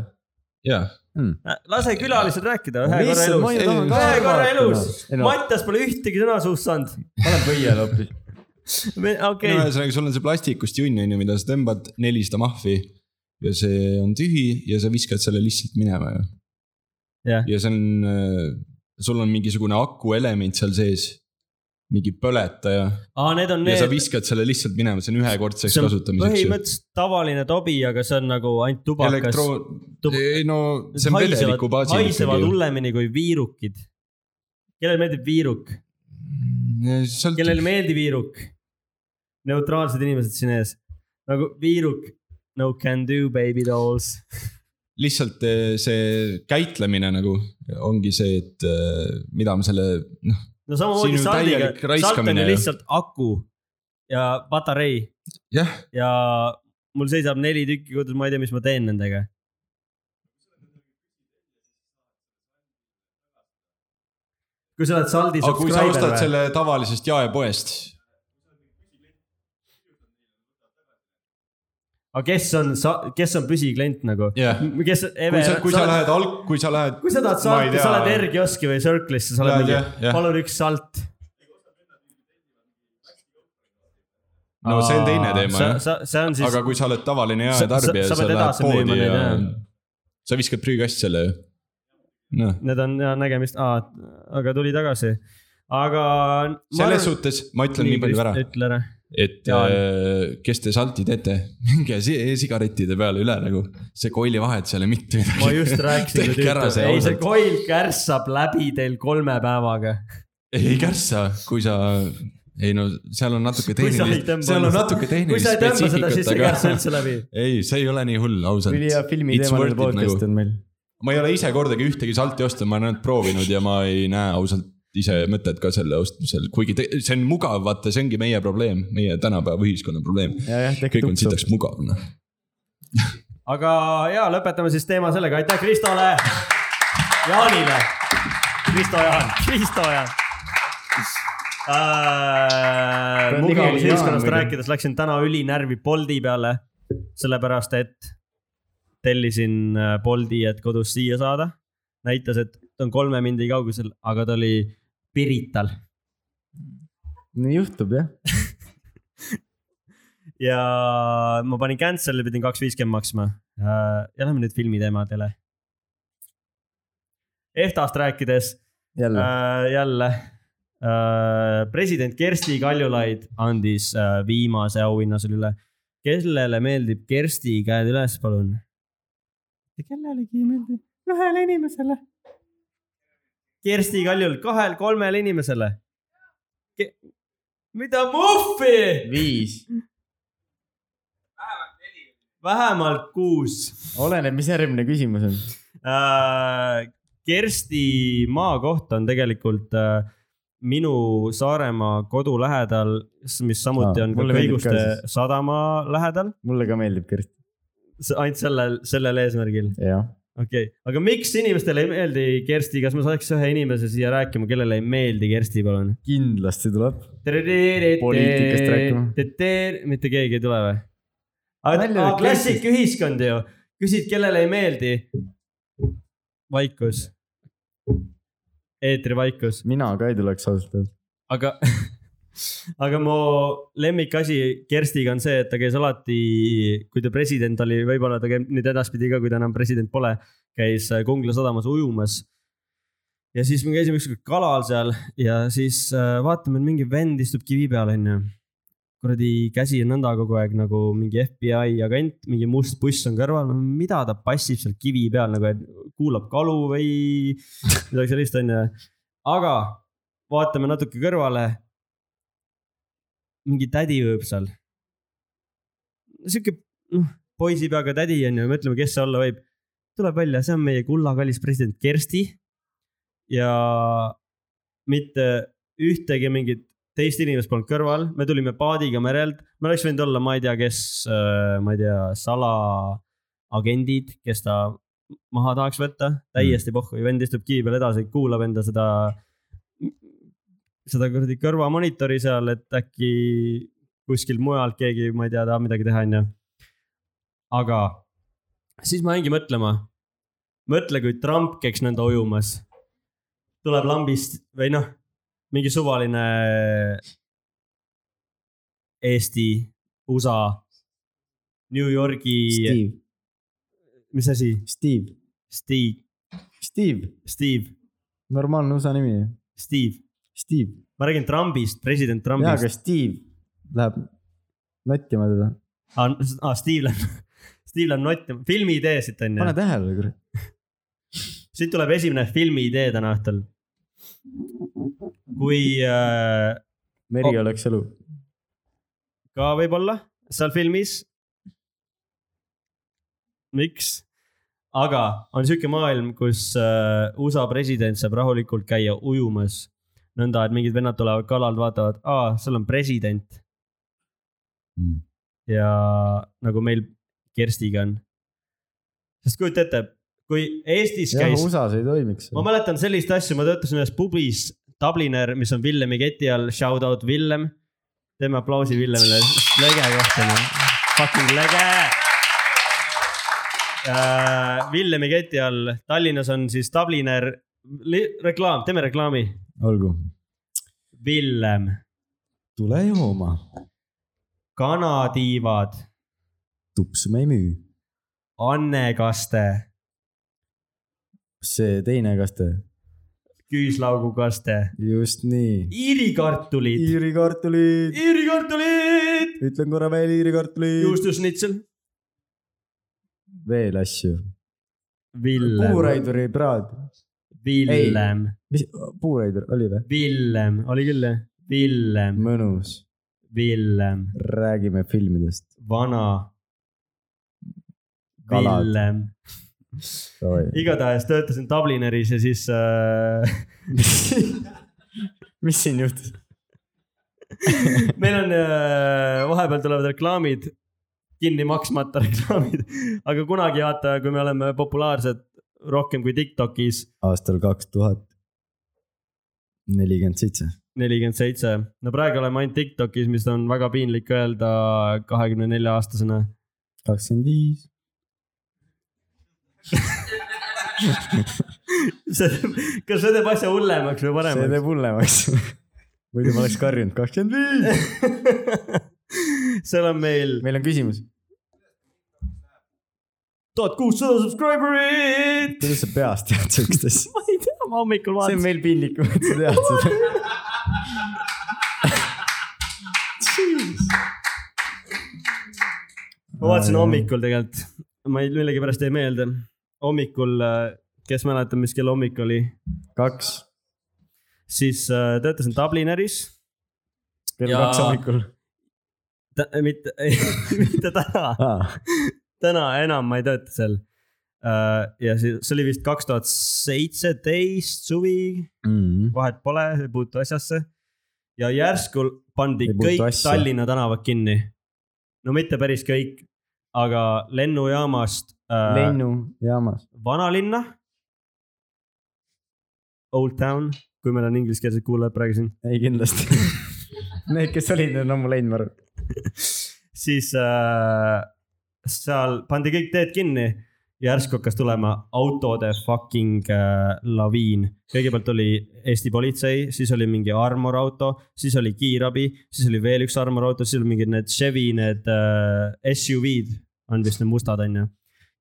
[SPEAKER 5] jaa ,
[SPEAKER 2] Äh, lase külalised rääkida ühe korra
[SPEAKER 3] lihtsalt ma
[SPEAKER 2] elus .
[SPEAKER 3] ju tahan ka
[SPEAKER 2] Ühe korra elus.
[SPEAKER 3] ei no ,
[SPEAKER 2] Mattias pole ühtegi sõna suust saanud .
[SPEAKER 3] pane pöial hoopis .
[SPEAKER 2] okei
[SPEAKER 5] no , ühesõnaga , sul on see plastikust junn , on ju , mida sa tõmbad nelisada mahvi ja see on tühi ja sa viskad selle lihtsalt minema ju .
[SPEAKER 2] Jah.
[SPEAKER 5] ja see on , sul on mingisugune akuelement seal sees , mingi põletaja
[SPEAKER 2] aa , need on
[SPEAKER 5] Need. ja sa
[SPEAKER 2] need
[SPEAKER 5] viskad selle lihtsalt minema , see on ühekordseks
[SPEAKER 2] see on
[SPEAKER 5] kasutamiseks ju .
[SPEAKER 2] põhimõtteliselt tavaline tobi , aga see on nagu ainult tubakas .
[SPEAKER 5] elektroon ,
[SPEAKER 2] tub-
[SPEAKER 5] ei no see on
[SPEAKER 2] haisevad
[SPEAKER 5] vedeliku , baasil .
[SPEAKER 2] haisevad hullemini kui viirukid . kellele meeldib viiruk , kellele
[SPEAKER 5] kellele
[SPEAKER 2] meeldib viiruk ? neutraalsed inimesed siin ees , nagu viiruk , no can do baby dolls .
[SPEAKER 5] lihtsalt eh, see käitlemine nagu ongi see , et eh, mida me selle , noh ,
[SPEAKER 2] no
[SPEAKER 5] Siin
[SPEAKER 2] samamoodi
[SPEAKER 5] ju
[SPEAKER 2] saldiga
[SPEAKER 5] täielik ,
[SPEAKER 2] salt on
[SPEAKER 5] raiskamine
[SPEAKER 2] ju
[SPEAKER 5] ju.
[SPEAKER 2] lihtsalt aku ja patarei
[SPEAKER 5] jah ,
[SPEAKER 2] ja mul seisab neli tükki kodus , ma ei tea , mis ma teen nendega . kui sa oled saldi
[SPEAKER 5] aga kui sa
[SPEAKER 2] subscriber
[SPEAKER 5] ostad
[SPEAKER 2] või ?
[SPEAKER 5] selle tavalisest jaepoest ,
[SPEAKER 2] aga kes on , kes on püsiklient nagu ?
[SPEAKER 5] jah .
[SPEAKER 2] kes , Eve
[SPEAKER 5] kui sa ,, kui sa lähed alg- , kui sa lähed ,
[SPEAKER 2] kui sa tahad
[SPEAKER 5] Ma ei
[SPEAKER 2] salti , sa
[SPEAKER 5] tea.
[SPEAKER 2] oled R-kioski või Circle'isse , sa oled
[SPEAKER 5] Lähed jah,
[SPEAKER 2] mingi ,
[SPEAKER 5] jah.
[SPEAKER 2] palun üks salt .
[SPEAKER 5] no see on teine teema
[SPEAKER 2] sa ,
[SPEAKER 5] jah ,
[SPEAKER 2] sa , see on siis
[SPEAKER 5] aga , kui sa oled tavaline
[SPEAKER 2] Sa-
[SPEAKER 5] jaetarbija ,
[SPEAKER 2] sa- sa pead
[SPEAKER 5] sa, sa, sa lähed
[SPEAKER 2] edasi müüma
[SPEAKER 5] poodi
[SPEAKER 2] neid,
[SPEAKER 5] ja
[SPEAKER 2] jah.
[SPEAKER 5] sa viskad prügikasti selle ju . noh ,
[SPEAKER 2] need on ja nägemist , aga tuli tagasi , aga .
[SPEAKER 5] selles suhtes ma ütlen nii palju ära ,
[SPEAKER 2] ütle ära .
[SPEAKER 5] et
[SPEAKER 2] Jaan.
[SPEAKER 5] äh, kes te salti teete , minge si- e-sigarettide peale üle nagu , see koili vahet seal ei ole mitte midagi .
[SPEAKER 2] ma just rääkisin .
[SPEAKER 5] tehke ära
[SPEAKER 2] ei ,
[SPEAKER 5] see
[SPEAKER 2] see
[SPEAKER 5] ausalt ,
[SPEAKER 2] koil kärssab läbi teil kolme päevaga .
[SPEAKER 5] ei kärssa , kui sa , ei no seal on natuke
[SPEAKER 2] Kui sa ei
[SPEAKER 5] tehnilist
[SPEAKER 2] tõmba ,
[SPEAKER 5] seal on
[SPEAKER 2] seda-
[SPEAKER 5] natuke
[SPEAKER 2] kui sa
[SPEAKER 5] tehnilist
[SPEAKER 2] ei tõmba seda , siis ei kärssa
[SPEAKER 5] spetsiifikat ,
[SPEAKER 2] üldse läbi .
[SPEAKER 5] aga ei , see ei ole nii hull ,
[SPEAKER 3] ülihea
[SPEAKER 5] ausalt .
[SPEAKER 3] filmi
[SPEAKER 5] It's
[SPEAKER 3] teemaline
[SPEAKER 5] worth it
[SPEAKER 3] podcast
[SPEAKER 5] nagu.
[SPEAKER 3] on meil .
[SPEAKER 5] ma ei ole ise kordagi ühtegi salti ostnud , ma olen ainult proovinud ja ma ei näe ausalt ise mõtet ka selle ostmisel , kuigi te, see on mugav , vaata , see ongi meie probleem , meie tänapäeva ühiskonna probleem .
[SPEAKER 3] jajah , tehke
[SPEAKER 5] kõik on
[SPEAKER 3] tuksu .
[SPEAKER 5] sitaks mugav , noh .
[SPEAKER 2] aga ja lõpetame siis teema sellega , aitäh Kristole , Jaanile , Kristo Jaan , Kristo Jaan äh, .
[SPEAKER 3] Ta on
[SPEAKER 2] mugavus
[SPEAKER 3] nimeline Jaan
[SPEAKER 2] ühiskonnast
[SPEAKER 3] muidu.
[SPEAKER 2] rääkides läksin täna ülinärvi Boldi peale , sellepärast et tellisin äh, Boldi , et kodus siia saada . näitas , et ta on kolme mindi kaugusel , aga ta oli Pirital
[SPEAKER 3] nii juhtub jah .
[SPEAKER 2] ja ma panin cancel'i , pidin kaks viiskümmend maksma . ja lähme nüüd filmi teemadele . EFTA-st rääkides
[SPEAKER 3] jälle ,
[SPEAKER 2] äh, jälle äh, president Kersti Kaljulaid andis äh, viimase auhinna selle üle . kellele meeldib Kersti , käed üles , palun . kellelegi ei meeldi , ühele inimesele . Kersti Kaljul , kahel , kolmele inimesele Ke . mida muhvi ?
[SPEAKER 3] viis ,
[SPEAKER 2] vähemalt kuus
[SPEAKER 3] oleneb , mis järgmine küsimus on .
[SPEAKER 2] äh, . Kersti maakoht on tegelikult äh, minu Saaremaa kodu lähedal , mis samuti
[SPEAKER 3] Aa,
[SPEAKER 2] on ka
[SPEAKER 3] mulle meeldib ka
[SPEAKER 2] Kõiguste
[SPEAKER 3] siis.
[SPEAKER 2] sadama lähedal ,
[SPEAKER 3] mulle ka meeldib Kersti ,
[SPEAKER 2] ainult sellel , sellel eesmärgil ,
[SPEAKER 3] jah .
[SPEAKER 2] okei okay. . aga miks inimestele ei meeldi Kersti , kas ma saaks ühe inimese siia rääkima , kellele ei meeldi Kersti , palun ?
[SPEAKER 3] kindlasti tuleb . Poliitikast rääkima.
[SPEAKER 2] poliitikast . mitte keegi ei tule või ?
[SPEAKER 3] Nalja
[SPEAKER 2] aga
[SPEAKER 3] teeb
[SPEAKER 2] klassik
[SPEAKER 3] Kerstist.
[SPEAKER 2] ühiskond ju , küsid , kellele ei meeldi . vaikus . eetrivaikus ,
[SPEAKER 3] mina ka ei tuleks ausalt öeldes .
[SPEAKER 2] aga , aga mu lemmikasi Kerstiga on see , et ta käis alati , kui ta president oli , võib-olla ta käib nüüd edaspidi ka , kui ta enam president pole , käis Kungla sadamas ujumas ja siis me käisime ükskord kalal seal ja siis äh, vaatame , mingi vend istub kivi peal , onju . kuradi käsi on nõnda kogu aeg nagu mingi FBI agent, mingi must buss on kõrval, mida ta passib seal kivi peal nagu , et kuulab kalu või midagi sellist onju . aga vaatame natuke kõrvale . mingi tädi ööb seal . sihuke noh, poisi peaga tädi onju , mõtleme , kes see olla võib . tuleb välja , see on meie kullakallis president Kersti ja mitte ühtegi mingit teist inimest polnud kõrval , me tulime paadiga merelt , me oleks võinud olla , ma ei tea , kes , ma ei tea , salaagendid , kes ta maha tahaks võtta , täiesti pohhu , vend istub kivi peal edasi , kuulab enda seda , seda kuradi kõrvamonitori seal , et äkki kuskil mujal keegi , ma ei tea , tahab midagi teha , onju . aga siis ma jäingi mõtlema , mõtle , kui Trump käiks nõnda ujumas , tuleb lambist või noh , mingi suvaline Eesti , USA , New Yorgi ,
[SPEAKER 3] Steve ,
[SPEAKER 2] mis asi ,
[SPEAKER 3] Steve ,
[SPEAKER 2] Steve ,
[SPEAKER 3] Steve ,
[SPEAKER 2] Steve ,
[SPEAKER 3] normaalne USA nimi ,
[SPEAKER 2] Steve ,
[SPEAKER 3] Steve .
[SPEAKER 2] ma räägin Trumbist , president
[SPEAKER 3] jaa ,
[SPEAKER 2] Trumbist
[SPEAKER 3] aga . Steve läheb nottima teda .
[SPEAKER 2] aa ah, , Steve läheb , Steve läheb nottima , filmi idee siit on
[SPEAKER 3] pane
[SPEAKER 2] ju ,
[SPEAKER 3] tähele , kurat .
[SPEAKER 2] siit tuleb esimene filmi idee täna õhtul . kui äh,
[SPEAKER 3] meri
[SPEAKER 2] Oh.
[SPEAKER 3] oh. oleks elu .
[SPEAKER 2] ka võib-olla seal filmis . miks ? aga on sihuke maailm , kus äh, USA president saab rahulikult käia ujumas . nõnda , et mingid vennad tulevad kalalt , vaatavad , aa , seal on president
[SPEAKER 5] Mm. .
[SPEAKER 2] ja nagu meil Kerstiga on . sest kujuta ette , kui Eestis
[SPEAKER 3] jah ,
[SPEAKER 2] käis ,
[SPEAKER 3] USA-s ei toimiks .
[SPEAKER 2] ma mäletan sellist asja , ma töötasin ühes pubis , Dubliner , mis on Villemi keti all , shout out Villem . teeme aplausi Villemile , lege kohta , fucking lege . Äh, Villemi keti all , Tallinnas on siis Dubliner , reklaam , teeme reklaami .
[SPEAKER 3] olgu .
[SPEAKER 2] Villem ,
[SPEAKER 3] tule jooma ,
[SPEAKER 2] kanatiivad ,
[SPEAKER 3] tupsu me ei müü .
[SPEAKER 2] annekaste ,
[SPEAKER 3] see teine kaste ,
[SPEAKER 2] küüslaugukaste ,
[SPEAKER 3] just nii .
[SPEAKER 2] iirikartulid ,
[SPEAKER 3] Iiri kartulid ,
[SPEAKER 2] iirikartulid ,
[SPEAKER 3] ütlen korra veel Iiri kartulid .
[SPEAKER 2] juustusnitsel ,
[SPEAKER 3] veel asju .
[SPEAKER 2] Villem ,
[SPEAKER 3] puuraidur ei praad .
[SPEAKER 2] Villem
[SPEAKER 3] mis , puuraidur oli või ?
[SPEAKER 2] Villem , oli küll jah , Villem ,
[SPEAKER 3] mõnus ,
[SPEAKER 2] Villem ,
[SPEAKER 3] räägime filmidest .
[SPEAKER 2] vana ,
[SPEAKER 3] Kalad.
[SPEAKER 2] Villem . igatahes töötasin Dublineris ja siis äh,
[SPEAKER 3] mis siin juhtus ?
[SPEAKER 2] meil on äh, , vahepeal tulevad reklaamid , kinni maksmata reklaamid , aga kunagi vaata , kui me oleme populaarsed rohkem kui Tiktokis ,
[SPEAKER 3] aastal kaks tuhat nelikümmend seitse .
[SPEAKER 2] nelikümmend seitse , no praegu oleme ainult Tiktokis , mis on väga piinlik öelda kahekümne nelja aastasena .
[SPEAKER 3] kakskümmend viis .
[SPEAKER 2] see , kas see teeb asja hullemaks või
[SPEAKER 3] see
[SPEAKER 2] paremaks ?
[SPEAKER 3] teeb hullemaks . muidu ma oleks karjunud kakskümmend viis .
[SPEAKER 2] seal on meil
[SPEAKER 3] meil on küsimus ,
[SPEAKER 2] tuhat kuussada subscriberit .
[SPEAKER 3] kuidas sa peast tead siukest asja ?
[SPEAKER 2] ma ei tea , ma hommikul
[SPEAKER 3] see on
[SPEAKER 2] vaatasin .
[SPEAKER 3] meil piinlikum , et sa tead seda .
[SPEAKER 2] ma vaatasin hommikul tegelikult , ma ei , millegipärast ei meeldi . hommikul , kes mäletab , mis kell hommik oli ,
[SPEAKER 3] kaks ,
[SPEAKER 2] siis äh, töötasin Dublineris .
[SPEAKER 3] kell
[SPEAKER 2] Jaa.
[SPEAKER 3] kaks hommikul .
[SPEAKER 2] äh, mitte , mitte täna , täna enam ma ei tööta seal . ja siis see oli vist kaks tuhat seitseteist suvi ,
[SPEAKER 3] Mm-hmm.
[SPEAKER 2] vahet pole , ei puutu asjasse . ja järsku pandi
[SPEAKER 3] Ei puutu
[SPEAKER 2] kõik
[SPEAKER 3] asja.
[SPEAKER 2] asja. Tallinna tänavad kinni . no mitte päris kõik , aga lennujaamast äh,
[SPEAKER 3] lennujaamas .
[SPEAKER 2] vanalinna . Old Town , kui meil on ingliskeelsed kuulajad praegu siin ,
[SPEAKER 3] ei kindlasti . Need , kes olid , need on ammu läinud , ma arvan .
[SPEAKER 2] siis äh, seal pandi kõik teed kinni . järsku hakkas tulema autode fucking äh, laviin , kõigepealt oli Eesti politsei , siis oli mingi armor auto , siis oli kiirabi , siis oli veel üks armor auto , siis oli mingid need Chevy need äh, SUV-d on vist need mustad , onju .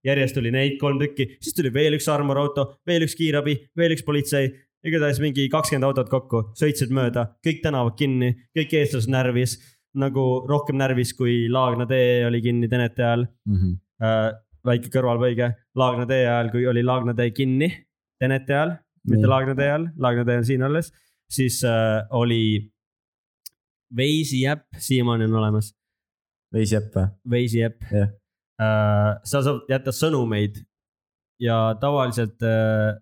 [SPEAKER 2] järjest oli neid kolm tükki , siis tuli veel üks armor auto , veel üks kiirabi , veel üks politsei , igatahes mingi kakskümmend autot kokku , sõitsid mööda , kõik tänavad kinni , kõik eestlased närvis . nagu rohkem närvis , kui Laagna tee oli kinni Tenete ajal
[SPEAKER 3] -hmm.
[SPEAKER 2] äh, . väike kõrvalpõige , Laagna tee ajal , kui oli Laagna tee kinni Tenete ajal , mitte
[SPEAKER 3] Nii.
[SPEAKER 2] Laagna tee ajal , Laagna tee on siin alles , siis äh, oli Veisi äpp , siiamaani on olemas ,
[SPEAKER 3] veisiäpp või ?
[SPEAKER 2] Veisi äpp
[SPEAKER 3] Jah.
[SPEAKER 2] äh, . seal saab jätta sõnumeid ja tavaliselt äh,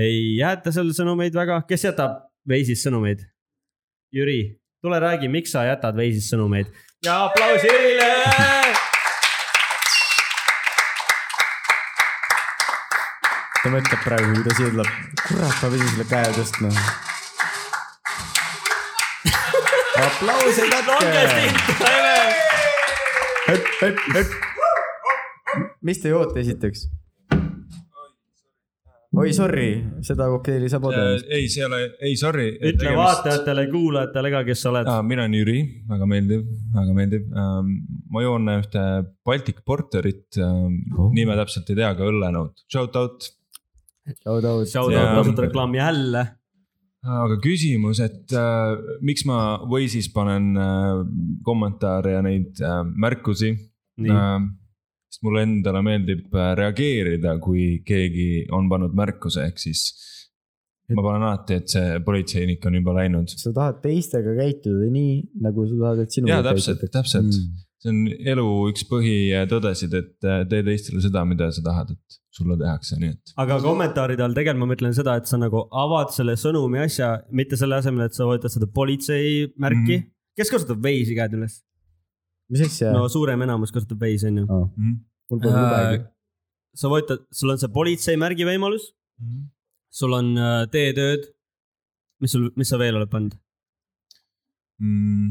[SPEAKER 2] ei jäeta seal sõnumeid väga , kes jätab Veisis sõnumeid ? Jüri , tule räägi , miks sa jätad Veisis sõnumeid ja aplaus Jürile .
[SPEAKER 3] ta mõtleb praegu , kui ta siia tuleb . kurat , ma pidin selle käe tõstma . aplause
[SPEAKER 2] longest
[SPEAKER 3] kätte . mis te joote esiteks ? oi , sorry , seda kokteili saab odavamalt .
[SPEAKER 5] Äh, ei , see ei ole , ei sorry .
[SPEAKER 2] ütle . vaatajatele , kuulajatele ka , kes sa oled .
[SPEAKER 5] Ah, mina olen Jüri , väga meeldiv , väga meeldiv ähm, . ma joon ühte Baltic Porterit ähm, oh. , nime täpselt ei tea , aga õllenõud . Shout out
[SPEAKER 3] Shout out .
[SPEAKER 2] Shout out
[SPEAKER 5] Jaa.
[SPEAKER 2] tasuta reklaam jälle .
[SPEAKER 5] aga küsimus , et äh, miks ma Waze'is panen äh, kommentaare ja neid äh, märkusi .
[SPEAKER 2] nii ,
[SPEAKER 5] Äh, sest mulle endale meeldib äh, reageerida , kui keegi on pannud märkuse , ehk siis ma panen alati , et see politseinik on juba läinud .
[SPEAKER 3] sa tahad teistega käituda nii , nagu sa tahad , et sinuga
[SPEAKER 5] jaa , täpselt , täpselt mm. . see on elu üks põhitõdesid , et äh, tee teistele seda , mida sa tahad , et sulle tehakse , nii et .
[SPEAKER 2] aga kommentaaride all tegelikult ma mõtlen seda , et sa nagu avad selle sõnumi asja , mitte selle asemel , et sa võtad seda politsei märki mm .
[SPEAKER 5] Mhm.
[SPEAKER 2] -hmm. kes kasutab Waze'i käed üles ?
[SPEAKER 3] mis asja no, ?
[SPEAKER 2] no suurem enamus kasutab Waze'i on ju .
[SPEAKER 3] mul pole
[SPEAKER 5] äh,
[SPEAKER 3] midagi .
[SPEAKER 2] sa võtad , sul on see politsei märgi võimalus , Mm-hmm. sul on äh, teetööd . mis sul , mis sa veel oled pannud ?
[SPEAKER 5] mm. .
[SPEAKER 2] Mm-hmm.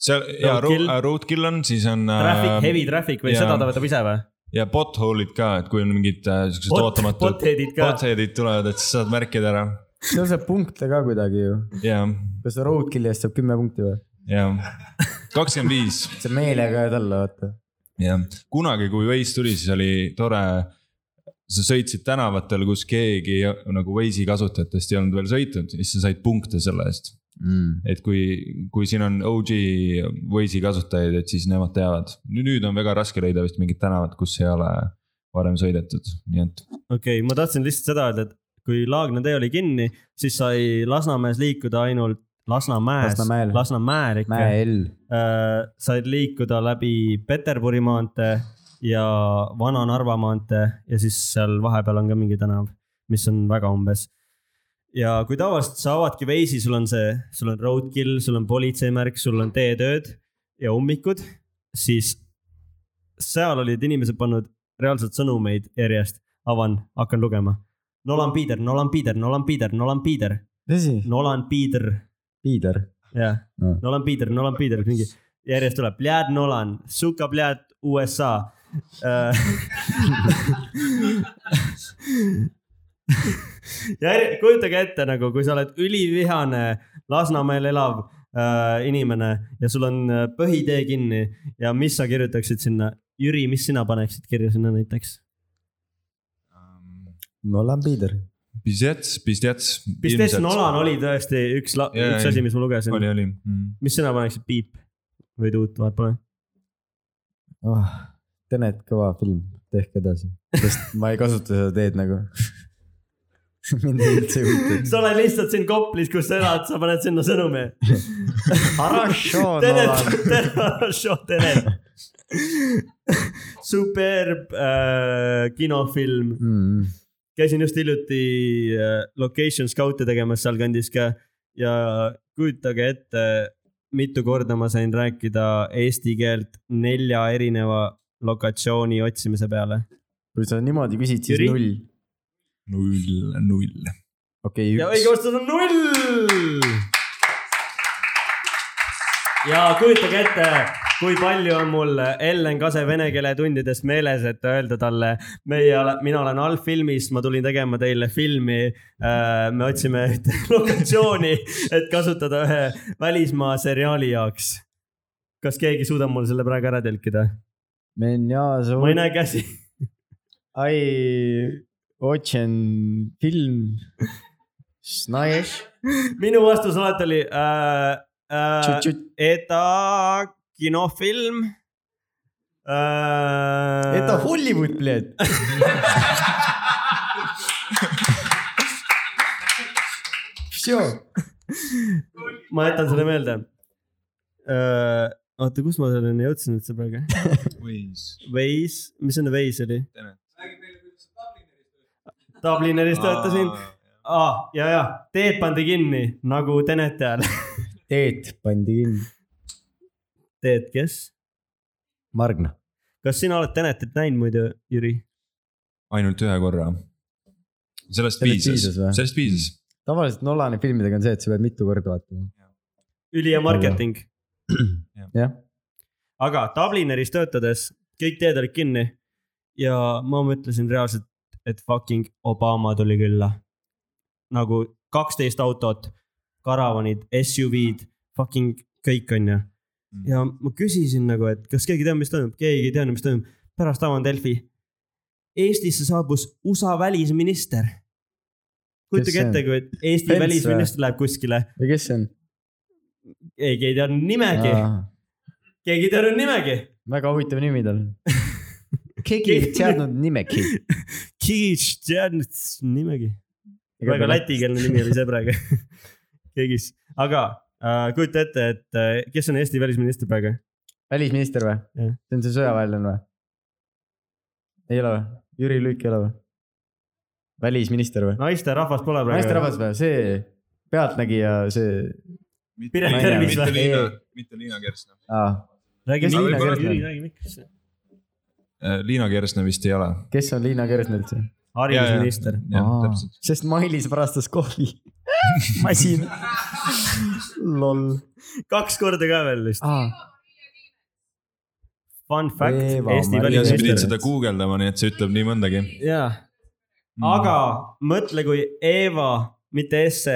[SPEAKER 5] seal ja
[SPEAKER 2] Roadkill.
[SPEAKER 5] road , roadkill on , siis on .
[SPEAKER 2] Traffic , heavy traffic või
[SPEAKER 5] Äh, jaa.
[SPEAKER 2] seda ta võtab ise või ?
[SPEAKER 5] ja pothole'id ka , et kui on mingid äh, siuksed ootamatud
[SPEAKER 2] pothead'id ka .
[SPEAKER 5] pothead'id tulevad , et siis saad märkida ära
[SPEAKER 3] seal saab punkte ka kuidagi ju .
[SPEAKER 5] ja ,
[SPEAKER 3] kas sa roadkill'i eest saab kümme punkti või ?
[SPEAKER 5] ja kakskümmend viis
[SPEAKER 3] see meelega jääd alla , vaata .
[SPEAKER 5] jah , kunagi , kui Waze tuli , siis oli tore . sa sõitsid tänavatel , kus keegi nagu Waze'i kasutajatest ei olnud veel sõitnud , siis sa said punkte selle eest .
[SPEAKER 3] Mm.
[SPEAKER 5] et kui , kui siin on OG Waze'i kasutajaid , et siis nemad teavad . nüüd on väga raske leida vist mingit tänavat , kus ei ole varem sõidetud , nii et
[SPEAKER 2] okei okay, , ma tahtsin lihtsalt seda öelda , et kui Laagna tee oli kinni , siis sai Lasnamäes liikuda ainult Lasnamäes ,
[SPEAKER 3] Lasnamäel.
[SPEAKER 2] Lasnamäel ikka .
[SPEAKER 3] mäe L .
[SPEAKER 2] Äh, said liikuda läbi Peterburi maantee ja Vana-Narva maantee ja siis seal vahepeal on ka mingi tänav , mis on väga umbes . ja kui tavaliselt sa avadki Waze'i , sul on see , sul on roadkill , sul on politseimärk , sul on teetööd ja ummikud , siis seal olid inimesed pannud reaalselt sõnumeid järjest , avan , hakkan lugema . Nolan Peter , Nolan Peter , Nolan Peter , Nolan Peter ,
[SPEAKER 3] tõsi ?
[SPEAKER 2] Nolan Peter
[SPEAKER 3] piider .
[SPEAKER 2] jah
[SPEAKER 3] Mm.
[SPEAKER 2] mm. , Nolan Peter , Nolan Peter , mingi järjest tuleb , Blad Nolan , Suka Blad USA . Äh. ja jär- kujutage ette nagu , kui sa oled ülivihane Lasnamäel elav äh, inimene ja sul on äh, põhitee kinni ja mis sa kirjutaksid sinna , Jüri , mis sina paneksid kirja sinna näiteks ?
[SPEAKER 5] um, .
[SPEAKER 3] ma olen piider .
[SPEAKER 5] Pistets , pistets .
[SPEAKER 2] Pistes Nolan oli tõesti üks ,
[SPEAKER 5] Jaa,
[SPEAKER 2] üks
[SPEAKER 5] ei.
[SPEAKER 2] asi , mis ma lugesin .
[SPEAKER 5] oli , oli mm. .
[SPEAKER 2] mis sina paneksid , Piip või Tuut , vaat pole .
[SPEAKER 3] oh, . Tenet , kõva film , tehke edasi . sest ma ei kasuta seda teed nagu . mind ei üldse ei huvita .
[SPEAKER 2] sa oled lihtsalt siin Koplis , kus sa elad , sa paned sinna sõnumi .
[SPEAKER 3] Хорошо ,
[SPEAKER 2] Tenet
[SPEAKER 3] Nolan .,
[SPEAKER 2] Tenet , Tenet . superb äh, kinofilm ,
[SPEAKER 3] Mm-hmm.
[SPEAKER 2] käisin just hiljuti äh, location scout'e tegemas sealkandis ka ja kujutage ette , mitu korda ma sain rääkida eesti keelt nelja erineva lokatsiooni otsimise peale .
[SPEAKER 3] kui sa niimoodi küsid , siis
[SPEAKER 2] Jüri?
[SPEAKER 3] null .
[SPEAKER 5] null , null .
[SPEAKER 3] okei ,
[SPEAKER 2] ja õige
[SPEAKER 3] üks .
[SPEAKER 2] vastus on null . ja kujutage ette , kui palju on mul Ellen Kase vene keele tundidest meeles , et öelda talle , meie , mina olen allfilmis , ma tulin tegema teile filmi . me otsime ühte lokatsiooni , et kasutada ühe välismaa seriaali jaoks . kas keegi suudab mul selle praegu ära tõlkida ?
[SPEAKER 3] Menjazo
[SPEAKER 2] ma ei , näe käsi .
[SPEAKER 3] ai , otsin film . Snajes .
[SPEAKER 2] minu vastus alati oli äh, äh, . ETA kinofilm äh, .
[SPEAKER 3] Eta Hollywood , bled .
[SPEAKER 2] ma jätan selle meelde äh, . oota , kus ma selleni jõudsin üldse praegu ? Waze , mis enne Waze oli ? Dublineris töötasin ah, . ja , ja teed pandi kinni nagu Tenete ajal .
[SPEAKER 3] Teet pandi kinni .
[SPEAKER 2] Teet , kes ?
[SPEAKER 3] Margna .
[SPEAKER 2] kas sina oled Tenetit näinud muidu , Jüri ?
[SPEAKER 5] ainult ühe korra . sellest
[SPEAKER 3] Sellest
[SPEAKER 5] piisas
[SPEAKER 3] piisas või? ,
[SPEAKER 5] sellest piisas .
[SPEAKER 3] tavaliselt Nolani filmidega on see , et sa pead mitu korda vaatama .
[SPEAKER 2] ülihea marketing .
[SPEAKER 3] Jah. .
[SPEAKER 2] aga Dublineris töötades kõik teed olid kinni ja ma mõtlesin reaalselt , et fucking Obama tuli külla . nagu kaksteist autot , karavanid , SUV-d , fucking kõik onju . ja ma küsisin nagu , et kas keegi teab , mis toimub , keegi ei teadnud , mis toimub , pärast avan Delfi . Eestisse saabus USA välisminister . kujutage
[SPEAKER 3] see on?
[SPEAKER 2] ette , kui et Eesti
[SPEAKER 3] Pence või?
[SPEAKER 2] välisminister läheb kuskile
[SPEAKER 3] või kes see on ?
[SPEAKER 2] keegi ei teadnud nimegi , keegi ei teadnud nimegi .
[SPEAKER 3] väga huvitav nimi tal on . keegi ei teadnud nimegi .
[SPEAKER 2] keegi ei teadnud nimegi . väga . lätikeelne nimi oli see praegu . keegi , aga äh, kujuta ette , et äh, kes on Eesti välisminister praegu ?
[SPEAKER 3] välisminister või ?
[SPEAKER 2] Jah.
[SPEAKER 3] see on see sõjaväelane või ? ei ole või ? Jüri Luik ei ole või ? välisminister või ?
[SPEAKER 2] naisterahvas pole praegu .
[SPEAKER 3] naisterahvas või ? see Pealtnägija , see
[SPEAKER 2] Piret Tervis
[SPEAKER 5] mitte
[SPEAKER 2] või?
[SPEAKER 5] Liina , mitte Liina Kersna .
[SPEAKER 3] ah, ,
[SPEAKER 2] räägi
[SPEAKER 3] Kes
[SPEAKER 2] Liina
[SPEAKER 5] Liina
[SPEAKER 2] Kersna
[SPEAKER 3] Kersna? .
[SPEAKER 2] räägi mikrisse .
[SPEAKER 5] Äh, Liina Kersna vist ei ole .
[SPEAKER 3] kes on Liina Kersna üldse ?
[SPEAKER 2] haridusminister .
[SPEAKER 5] jah , täpselt .
[SPEAKER 3] sest Mailis varastas kohvi . masin . loll .
[SPEAKER 2] kaks korda ka veel vist . Fun fact ,
[SPEAKER 3] Eva
[SPEAKER 2] Eesti
[SPEAKER 3] Maria
[SPEAKER 5] ja sa pidid
[SPEAKER 2] välisminister .
[SPEAKER 5] seda guugeldama , nii et see ütleb nii mõndagi . Mm.
[SPEAKER 2] jaa , aga mõtle , kui Eva , mitte Esse ,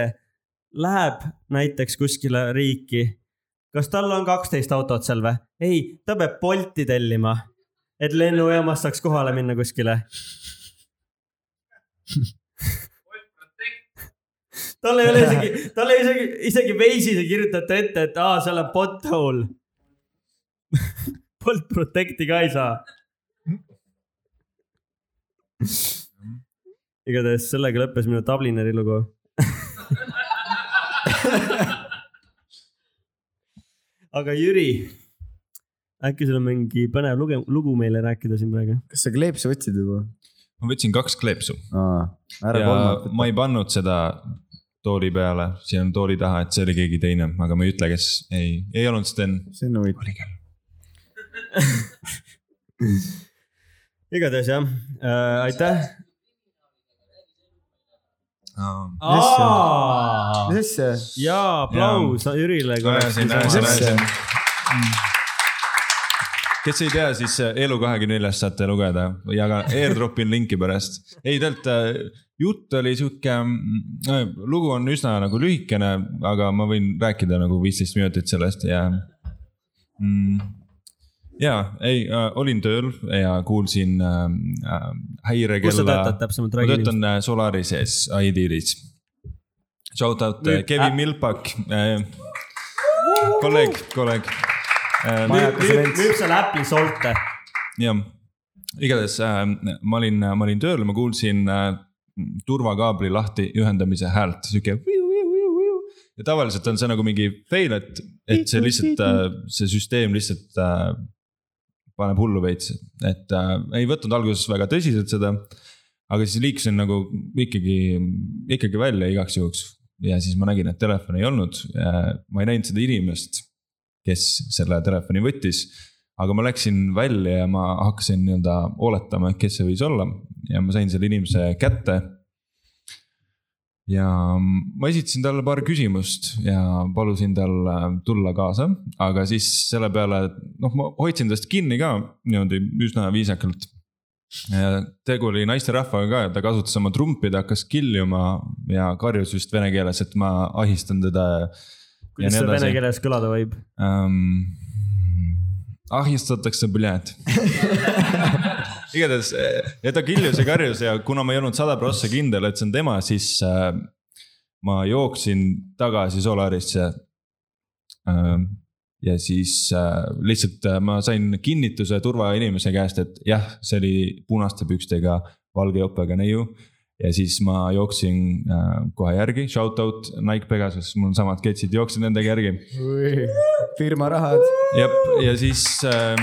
[SPEAKER 2] läheb näiteks kuskile riiki . kas tal on kaksteist autot seal või ? ei , ta peab Bolti tellima , et lennujaamast saaks kohale minna kuskile . tal ei ole isegi , tal ei isegi , isegi Waze'is ei kirjutata ette , et aa , seal on pothole . Bolt Protecti ka ei saa igatahes sellega lõppes minu Dublineri lugu . aga Jüri , äkki sul on mingi põnev lugu , lugu meile rääkida siin praegu ?
[SPEAKER 3] kas sa kleepsu otsid juba ?
[SPEAKER 5] ma võtsin kaks kleepsu
[SPEAKER 3] ära
[SPEAKER 5] ja
[SPEAKER 3] kolmandat .
[SPEAKER 5] ma ei pannud seda tooli peale , siin on tooli taha , et see oli keegi teine , aga ma ei ütle , kes ei , ei olnud Sten .
[SPEAKER 3] see on huvitav .
[SPEAKER 2] igatahes jah äh, , aitäh .
[SPEAKER 3] mis asja ?
[SPEAKER 2] ja aplaus Jürile .
[SPEAKER 5] Mm. kes ei tea , siis Elu24-st saate lugeda , jaga , airdropin linki pärast . ei , tegelikult äh, jutt oli sihuke , lugu on üsna nagu lühikene , aga ma võin rääkida nagu viisteist minutit sellest ja mm, . ja ei , olin tööl ja kuulsin äh, äh,
[SPEAKER 2] kus sa
[SPEAKER 5] häirekella .
[SPEAKER 2] töötad täpsemalt ,
[SPEAKER 5] ma
[SPEAKER 2] räägi nüüd .
[SPEAKER 5] töötan äh, Solarises , iDealis . Shout out äh,
[SPEAKER 2] Nüüd-
[SPEAKER 5] Kevin
[SPEAKER 2] äh.
[SPEAKER 5] Milpak , kolleeg , kolleeg . Äh,
[SPEAKER 2] müüb seal Apple'i solte .
[SPEAKER 5] jah , igatahes äh, ma olin , ma olin tööl , ma kuulsin äh, turvakaabli lahti ühendamise häält , sihuke . ja tavaliselt on see nagu mingi fail , et , et see lihtsalt , see süsteem lihtsalt äh, paneb hullu veits , et äh, ei võtnud alguses väga tõsiselt seda . aga siis liikusin nagu ikkagi , ikkagi välja igaks juhuks ja siis ma nägin , et telefoni ei olnud . ma ei näinud seda inimest , kes selle telefoni võttis . aga ma läksin välja ja ma hakkasin nii-öelda oletama , et kes see võis olla ja ma sain selle inimese kätte ja ma esitasin talle paar küsimust ja palusin tal äh, tulla kaasa , aga siis selle peale , noh , ma hoidsin tast kinni ka niimoodi üsna viisakalt . tegu oli naisterahvaga ka ja ta kasutas oma trumpi , ta hakkas kiljuma ja karjus vist vene keeles , et ma ahistan teda .
[SPEAKER 2] kuidas see vene keeles kõlada võib ?
[SPEAKER 5] ähm, . ahistatakse , blät . igatahes , ja ta kiljus ja karjus ja kuna ma ei olnud sada prossa kindel , et see on tema , siis äh, ma jooksin tagasi Solarisse . ja siis äh, lihtsalt äh, ma sain kinnituse turvainimese käest, et jah, see oli punaste pükstega valge jopega neiu. ja siis ma jooksin äh, kohe järgi, shout out Nike Pegasus, mul on samad ketsid, jooksin nendega järgi.
[SPEAKER 3] firma rahad.
[SPEAKER 5] jep, ja siis äh,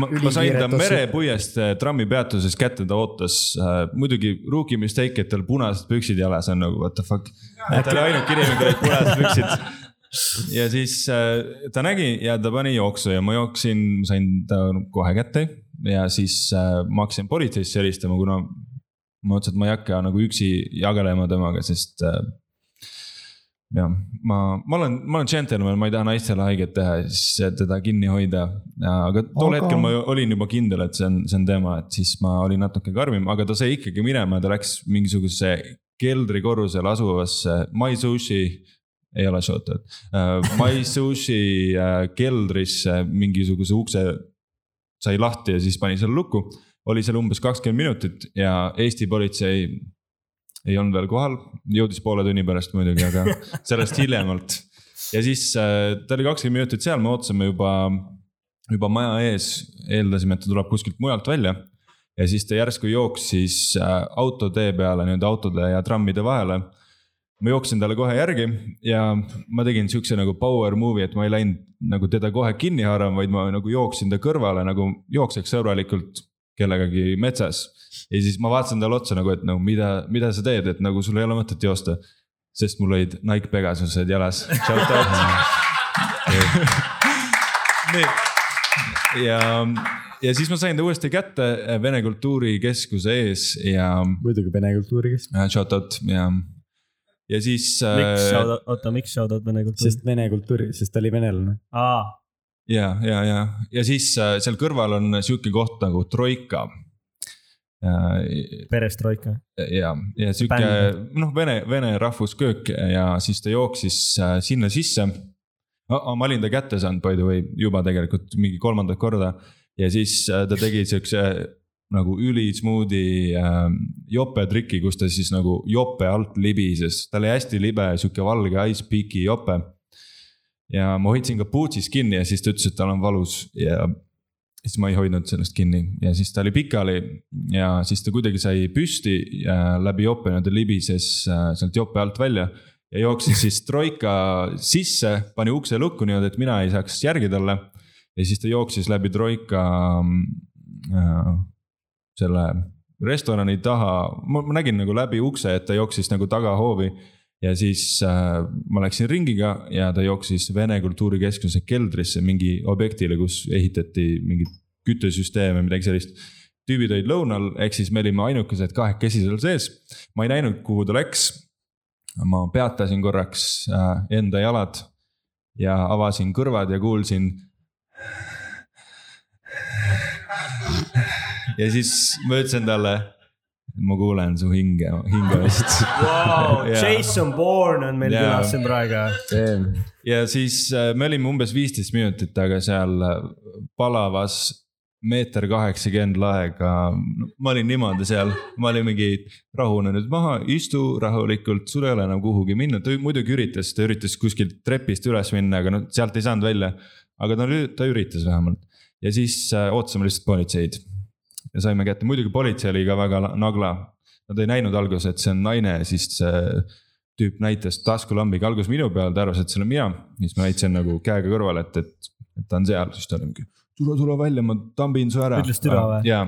[SPEAKER 5] ma, ma sain ta
[SPEAKER 3] Ülikiiret ossu.
[SPEAKER 5] merepuiest äh, trammipeatuses kätte , ta ootas äh, muidugi rookie mistake , et tal punased püksid jalas on nagu what the fuck . ta oli ainuke inimene , kellel olid punased püksid . ja siis äh, ta nägi ja ta pani jooksu ja ma jooksin , sain ta kohe kätte ja siis äh, ma hakkasin politseisse helistama , kuna ma mõtlesin , et ma ei hakka nagu üksi jagelema temaga , sest äh, jah , ma , ma olen , ma olen džentelmen , ma ei taha naistele haiget teha ja siis teda kinni hoida . aga tol aga...
[SPEAKER 3] Aga-
[SPEAKER 5] hetkel ma olin juba kindel , et see on , see on teema , et siis ma olin natuke karmim , aga ta sai ikkagi minema ja ta läks mingisugusesse keldrikorrusel asuvasse My Sushi . ei ole shoutout , My Sushi äh, keldrisse mingisuguse ukse sai lahti ja siis pani selle lukku . oli seal umbes kakskümmend minutit ja Eesti politsei ei olnud veel kohal , jõudis poole tunni pärast muidugi , aga sellest hiljemalt . ja siis äh, ta oli kakskümmend minutit seal , me ootasime juba , juba maja ees , eeldasime , et ta tuleb kuskilt mujalt välja . ja siis ta järsku jooksis äh, autotee peale nii-öelda autode ja trammide vahele . ma jooksin talle kohe järgi ja ma tegin siukse nagu power move'i , et ma ei läinud nagu teda kohe kinni haarama , vaid ma nagu jooksin ta kõrvale nagu jookseks sõbralikult kellegagi metsas . ja siis ma vaatasin talle otsa nagu , et no mida , mida sa teed , et nagu sul ei ole mõtet joosta . sest mul olid Nike Pegasused jalas . ja , ja siis ma sain ta uuesti kätte Vene Kultuurikeskuse ees ja
[SPEAKER 3] muidugi vene kultuuri keskus ,
[SPEAKER 5] äh, shout out ja , ja siis . äh,
[SPEAKER 2] miks shoutout , oota , miks shoutout vene kultuuri ?
[SPEAKER 3] sest vene kultuuri , sest ta oli venelane .
[SPEAKER 2] aa ,
[SPEAKER 5] ja , ja , ja , ja siis äh, seal kõrval on sihuke koht nagu Troika . Äh,
[SPEAKER 2] perestroika .
[SPEAKER 5] ja , ja sihuke
[SPEAKER 2] Bänd.
[SPEAKER 5] noh , vene , vene rahvusköök ja siis ta jooksis äh, sinna sisse . ma olin ta kätte saanud by the way juba tegelikult mingi kolmandat korda ja siis äh, ta tegi siukse nagu ülismuudi äh, jope triki , kus ta siis nagu jope alt libises , tal oli hästi libe sihuke valge ice peak'i jope . ja ma hoidsin kapuutsis kinni ja siis ta ütles , et tal on valus ja siis ma ei hoidnud sellest kinni ja siis ta oli pikali ja siis ta kuidagi sai püsti ja läbi jope , ta libises äh, sealt jope alt välja . ja jooksis siis troika sisse , pani ukse lukku niimoodi , et mina ei saaks järgi talle . ja siis ta jooksis läbi troika äh, selle restorani taha , ma ma nägin nagu läbi ukse , et ta jooksis nagu tagahoovi . ja siis äh, ma läksin ringiga ja ta jooksis Vene Kultuurikeskuse keldrisse mingi objektile , kus ehitati mingit küttesüsteeme , midagi sellist . tüübid olid lõunal , ehk siis me olime ainukesed kahekesi seal sees . ma ei näinud , kuhu ta läks . ma peatasin korraks äh, enda jalad ja avasin kõrvad ja kuulsin . ja siis ma ütlesin talle , ma kuulen su hinge , hingamist
[SPEAKER 2] Wow,
[SPEAKER 5] Jaa.
[SPEAKER 2] Jason Bourne on meil
[SPEAKER 5] Jaa.
[SPEAKER 2] külas siin praegu .
[SPEAKER 5] ja siis äh, me olime umbes viisteist minutit aga seal äh, palavas meeter kaheksakümmend laega . ma olin niimoodi seal , ma olin mingi rahune nüüd maha , istu rahulikult , sul ei ole enam kuhugi minna , ta muidugi üritas , ta üritas kuskilt trepist üles minna , aga noh , sealt ei saanud välja . aga ta , ta üritas vähemalt ja siis äh, ootasime lihtsalt politseid ja saime kätte , muidugi politsei oli ka väga la- nagla . Nad ei näinud alguses , et see on naine , siis see tüüp näitas taskulambiga alguses minu peale , ta arvas , et see olen mina . siis ma näitasin nagu käega kõrvale , et , et , et ta on seal , siis ta oli mingi , tule , tule välja , ma tambin su ära .
[SPEAKER 2] Ütles türa või?
[SPEAKER 5] jaa ,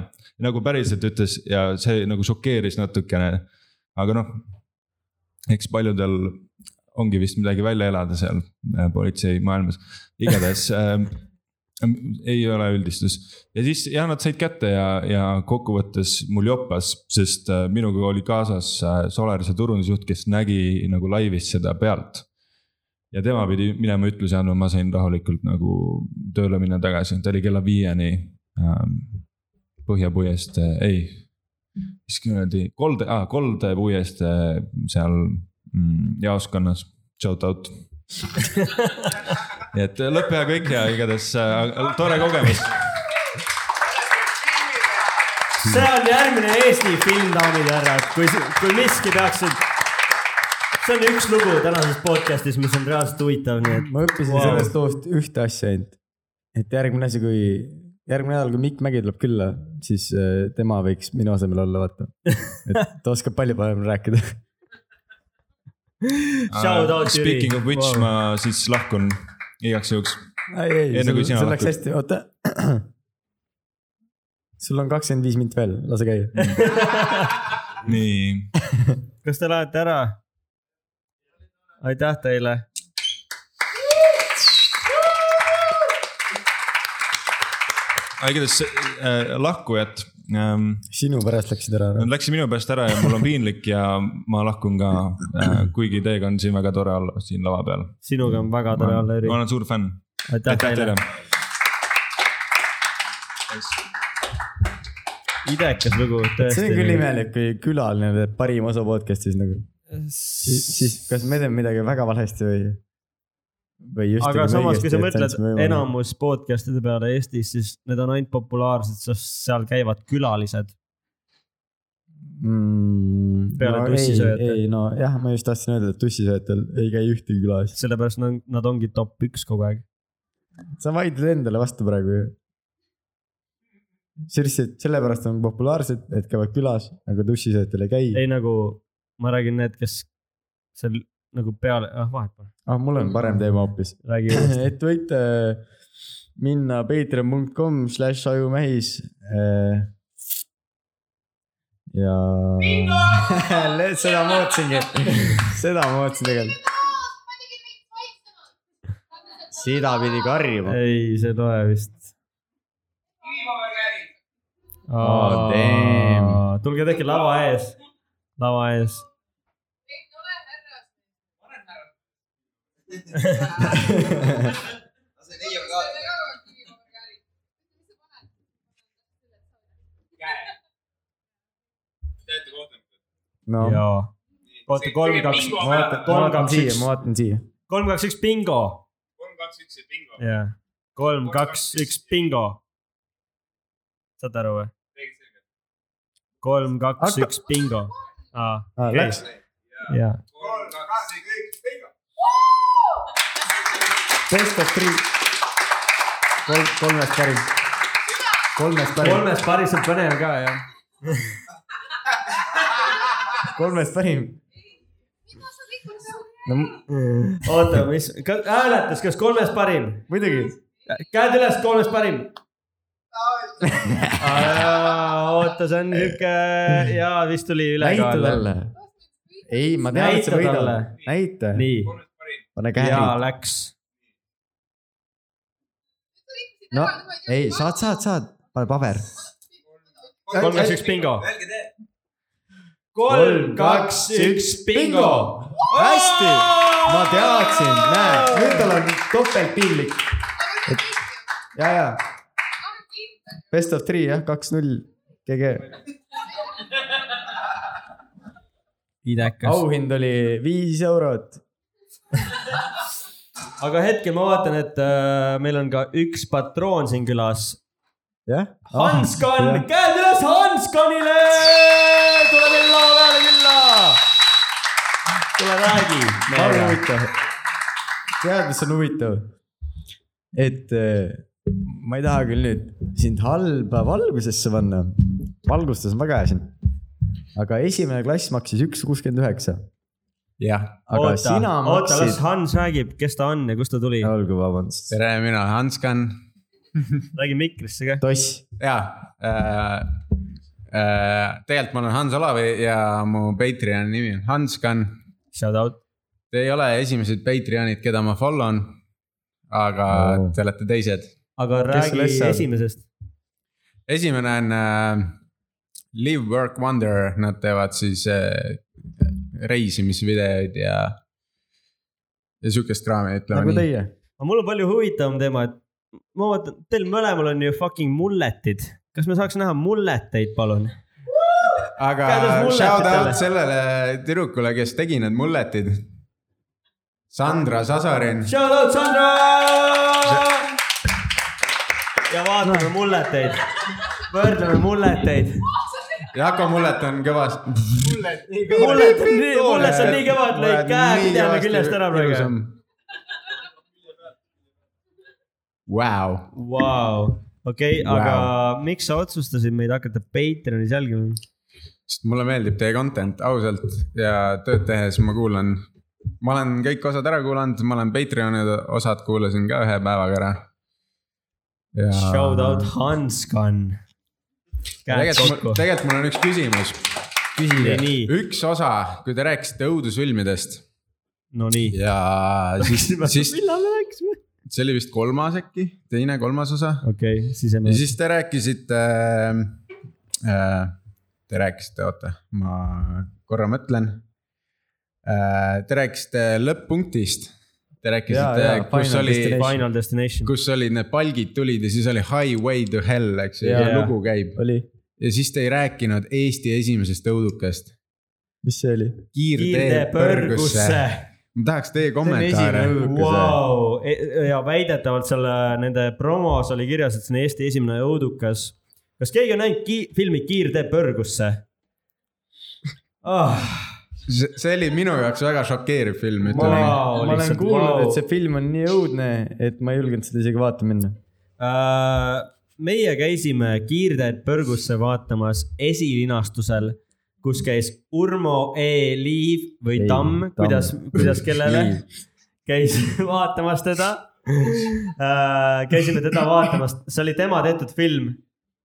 [SPEAKER 5] nagu päriselt ütles ja see nagu šokeeris natukene . aga noh , eks paljudel ongi vist midagi välja elada seal äh, politseimaailmas , igatahes ähm, ei ole üldistus ja siis jah , nad said kätte ja , ja kokkuvõttes mul joppas , sest äh, minuga oli kaasas äh, Solarise turundusjuht , kes nägi nagu laivis seda pealt . ja tema pidi minema ütlusi andma , ma sain rahulikult nagu tööle minna tagasi , ta oli kella viieni ähm, Põhjapuiest , ei , mis kuradi , kolde ah, , koldepuiest äh, seal mm, jaoskonnas , shout out . nii et lõpe hea kõik ja igatahes äh, tore kogemus .
[SPEAKER 2] see on järgmine Eesti film , daamid ja härrad , kui , kui miski peaks nüüd see on üks lugu tänases podcast'is , mis on reaalselt huvitav , nii et
[SPEAKER 1] ma õppisin
[SPEAKER 2] Wow.
[SPEAKER 1] wow. sellest loost ühte asja ainult . et järgmine asi , kui , järgmine nädal , kui Mikk Mägi tuleb külla , siis äh, tema võiks minu asemel olla , vaata . et ta oskab palju paremini rääkida .
[SPEAKER 2] shout out Jüri
[SPEAKER 5] Äh, Speaking . of which wow. ma siis lahkun igaks juhuks .
[SPEAKER 1] ei , ei ,
[SPEAKER 5] Enne kui
[SPEAKER 1] sul
[SPEAKER 5] sina
[SPEAKER 1] sul läks
[SPEAKER 5] lahkud.
[SPEAKER 1] hästi , oota . sul on kakskümmend viis mind veel , lase käia .
[SPEAKER 5] nii ,
[SPEAKER 2] kas te lähete ära ? aitäh teile .
[SPEAKER 5] aga igatahes äh, lahkujad ähm,
[SPEAKER 1] sinu pärast läksid ära .
[SPEAKER 5] Nad läksid minu pärast ära ja mul on piinlik ja ma lahkun ka äh, , kuigi teiega on siin väga tore olla siin lava peal .
[SPEAKER 2] sinuga on väga tore olla , Jüri
[SPEAKER 5] ma . olen suur fänn .
[SPEAKER 2] aitäh
[SPEAKER 5] aitäh
[SPEAKER 2] teile
[SPEAKER 5] teile ..
[SPEAKER 2] idekas lugu tõesti .
[SPEAKER 1] see on küll . imelik , kui külaline teeb parim osa podcast'is nagu . siis , siis kas me teeme midagi väga valesti või ? või just . nagu
[SPEAKER 2] aga samas , kui sa mõtled enamus podcast'ide peale Eestis , siis need on ainult populaarsed , sest seal käivad külalised .
[SPEAKER 1] mm,
[SPEAKER 2] peale
[SPEAKER 1] no,
[SPEAKER 2] tussisööjate.
[SPEAKER 1] ei , ei no jah , ma just tahtsin öelda , et tussisööjatel ei käi ühtegi külas .
[SPEAKER 2] sellepärast nad, nad ongi top üks kogu aeg .
[SPEAKER 1] sa vaidled endale vastu praegu ju . sa lihtsalt sellepärast on populaarsed , et käivad külas , aga tussisööjatel ei käi .
[SPEAKER 2] ei nagu , ma räägin need , kes seal nagu peale , ah vahet pole ,
[SPEAKER 1] ah , mul on parem teema hoopis .
[SPEAKER 2] räägi uuesti .
[SPEAKER 1] et võite äh, minna patreon.com slaš ajumähis . äh, ja . seda ma ootasingi , seda ma ootasin tegelikult . seda pidi karjuma .
[SPEAKER 2] ei , see ei loe vist .
[SPEAKER 1] Oh, damn.
[SPEAKER 2] tulge tehke lava ees , lava ees .
[SPEAKER 1] no ,
[SPEAKER 2] jaa . oota , kolm , kaks ,
[SPEAKER 4] bingo
[SPEAKER 2] ma
[SPEAKER 4] peale.
[SPEAKER 2] vaatan ,
[SPEAKER 1] ma
[SPEAKER 2] kolm ,
[SPEAKER 1] vaatan
[SPEAKER 2] kaks ,
[SPEAKER 1] siia ,
[SPEAKER 2] üks ,
[SPEAKER 1] ma vaatan siia .
[SPEAKER 2] kolm , kaks , üks , bingo .
[SPEAKER 4] kolm , kaks , üks ja bingo .
[SPEAKER 2] jah , kolm , kaks , üks , bingo . saad aru või ? kolm , kaks ,
[SPEAKER 1] Hakka-
[SPEAKER 2] üks , bingo . aa ,
[SPEAKER 1] Ah, läks ,
[SPEAKER 2] jaa .
[SPEAKER 4] kolm , kaks , üks , bingo .
[SPEAKER 1] best of three . kolm , kolmest parim . kolmest parim ,
[SPEAKER 2] kolmest paris on põnev ka , jah .
[SPEAKER 1] kolmest parim . no m-
[SPEAKER 2] oota , mis , hääletus , kas kolmest parim ?
[SPEAKER 1] muidugi ,
[SPEAKER 2] käed üles , kolmest parim . oota , see on sihuke ja vist tuli
[SPEAKER 1] näita
[SPEAKER 2] ülekaal .
[SPEAKER 1] talle . ei , ma tean , et sa
[SPEAKER 2] Näita
[SPEAKER 1] võidad
[SPEAKER 2] talle. .
[SPEAKER 1] näita ,
[SPEAKER 2] nii ,
[SPEAKER 1] pane
[SPEAKER 2] ja
[SPEAKER 1] käe .
[SPEAKER 2] läks .
[SPEAKER 1] no ei , saad , saad , saad , pane paber .
[SPEAKER 2] kolm , kaks , üks , bingo . kolm , kaks , üks , bingo !
[SPEAKER 1] hästi , ma teadsin , näe , nüüd tal on topeltpiinlik . ja , ja best of three jah , kaks-null , GG .
[SPEAKER 2] idekas .
[SPEAKER 1] auhind oli viis eurot .
[SPEAKER 2] aga hetkel ma vaatan , et äh, meil on ka üks patroon siin külas .
[SPEAKER 1] jah .
[SPEAKER 2] Hanskan , käed üles Hanskanile , tule meil laua peale külla . tule räägi
[SPEAKER 1] väga
[SPEAKER 2] meiega .
[SPEAKER 1] huvitav . tead , mis on huvitav ? et eh, ma ei taha küll nüüd sind halba valgusesse panna . valgustus on väga hea siin . aga esimene klass maksis üks kuuskümmend üheksa .
[SPEAKER 4] jah ,
[SPEAKER 1] aga Oota.
[SPEAKER 2] oota
[SPEAKER 1] sina ,
[SPEAKER 2] oota , las
[SPEAKER 1] maksid .
[SPEAKER 2] Hans räägib , kes ta on ja kust ta tuli .
[SPEAKER 1] olgu , vabandust .
[SPEAKER 4] tere , mina olen Hans Kann
[SPEAKER 2] räägi mikrisse ka .
[SPEAKER 1] toss .
[SPEAKER 4] ja äh, äh, tegelikult ma olen Hans Olavi ja mu Patreoni nimi on Hans Kann .
[SPEAKER 2] Shout out .
[SPEAKER 4] Te ei ole esimesed Patreonid , keda ma follow n , aga
[SPEAKER 1] Oo.
[SPEAKER 4] te olete teised .
[SPEAKER 2] aga
[SPEAKER 1] Kes
[SPEAKER 2] räägi
[SPEAKER 1] sul asja on?
[SPEAKER 2] esimesest .
[SPEAKER 4] esimene on äh, Live Work Wonder , nad teevad siis äh, reisimisvideoid ja , ja sihukest kraami , ütleme
[SPEAKER 1] nagu
[SPEAKER 4] nii .
[SPEAKER 1] teie .
[SPEAKER 2] aga mul on palju huvitavam teema , et ma vaatan , teil mõlemal on ju fucking mulletid . kas me saaks näha mulleteid , palun ?
[SPEAKER 4] aga
[SPEAKER 2] Käides mulletitele.
[SPEAKER 4] shout out sellele tüdrukule , kes tegi need mulletid . Sandra Sasarin ,
[SPEAKER 2] Shout out Sandra . ja vaatame mulleteid , võrdleme mulleteid .
[SPEAKER 4] Jako mullet on kõvasti .
[SPEAKER 2] mullet on nii , mullet on nii kõva , et lõid käe pidema küljest ära praegu ..
[SPEAKER 4] Vau ,
[SPEAKER 2] Vau , okei , aga miks sa otsustasid meid hakata Patreonis jälgima ?
[SPEAKER 4] sest mulle meeldib teie content ausalt ja tööd tehes ma kuulan . ma olen kõik osad ära kuulanud , ma olen Patreoni osad kuulasin ka ühe päevaga ära .
[SPEAKER 2] Shout out . Hanskan . käed
[SPEAKER 4] tegelikult
[SPEAKER 2] kokku
[SPEAKER 4] mul ,. tegelikult mul on üks küsimus .
[SPEAKER 2] küsige nii ,
[SPEAKER 4] üks osa , kui te rääkisite õudusfilmidest
[SPEAKER 2] no nii .
[SPEAKER 4] ja siis , siis
[SPEAKER 2] millal me rääkisime ?
[SPEAKER 4] see oli vist kolmas äkki , teine , kolmas osa .
[SPEAKER 2] okei okay, ,
[SPEAKER 4] ja
[SPEAKER 2] sisemine .
[SPEAKER 4] siis te rääkisite äh, . Te rääkisite , oota , ma korra mõtlen äh, . Te rääkisite lõpp-punktist . Te rääkisite
[SPEAKER 1] Jaa, jaa, ,
[SPEAKER 4] kus
[SPEAKER 1] Final
[SPEAKER 4] oli ,
[SPEAKER 2] Final Destination .
[SPEAKER 4] kus olid need palgid tulid ja siis oli Highway to hell , eks ju , ja
[SPEAKER 2] Jaa.
[SPEAKER 4] lugu käib .
[SPEAKER 1] oli ,
[SPEAKER 4] ja siis te ei rääkinud Eesti esimesest õudukast .
[SPEAKER 1] mis see oli ?
[SPEAKER 4] kiirtee põrgusse . ma tahaks teie kommentaare .
[SPEAKER 2] Vau , E, ja väidetavalt seal nende promos oli kirjas , et see on Eesti esimene õudukas . kas keegi on näinud ki filmi Kiirtee põrgusse oh, ?
[SPEAKER 4] see oli minu jaoks väga šokeeriv film ,
[SPEAKER 1] ma
[SPEAKER 4] ütleme nii .
[SPEAKER 2] Vau,
[SPEAKER 1] olen , ma olen
[SPEAKER 2] lihtsalt
[SPEAKER 1] kuulnud
[SPEAKER 2] vau.
[SPEAKER 1] wow. , et see film on nii õudne , et ma ei julgenud seda isegi vaatama minna .
[SPEAKER 2] Äh, meie käisime Kiirteed põrgusse vaatamas esilinastusel , kus käis Urmo E Liiv või
[SPEAKER 1] Ei,
[SPEAKER 2] Tamm ,
[SPEAKER 1] Tamm.
[SPEAKER 2] kuidas , kuidas kellele käis vaatamas teda . käisime teda vaatamas , see oli tema tehtud film .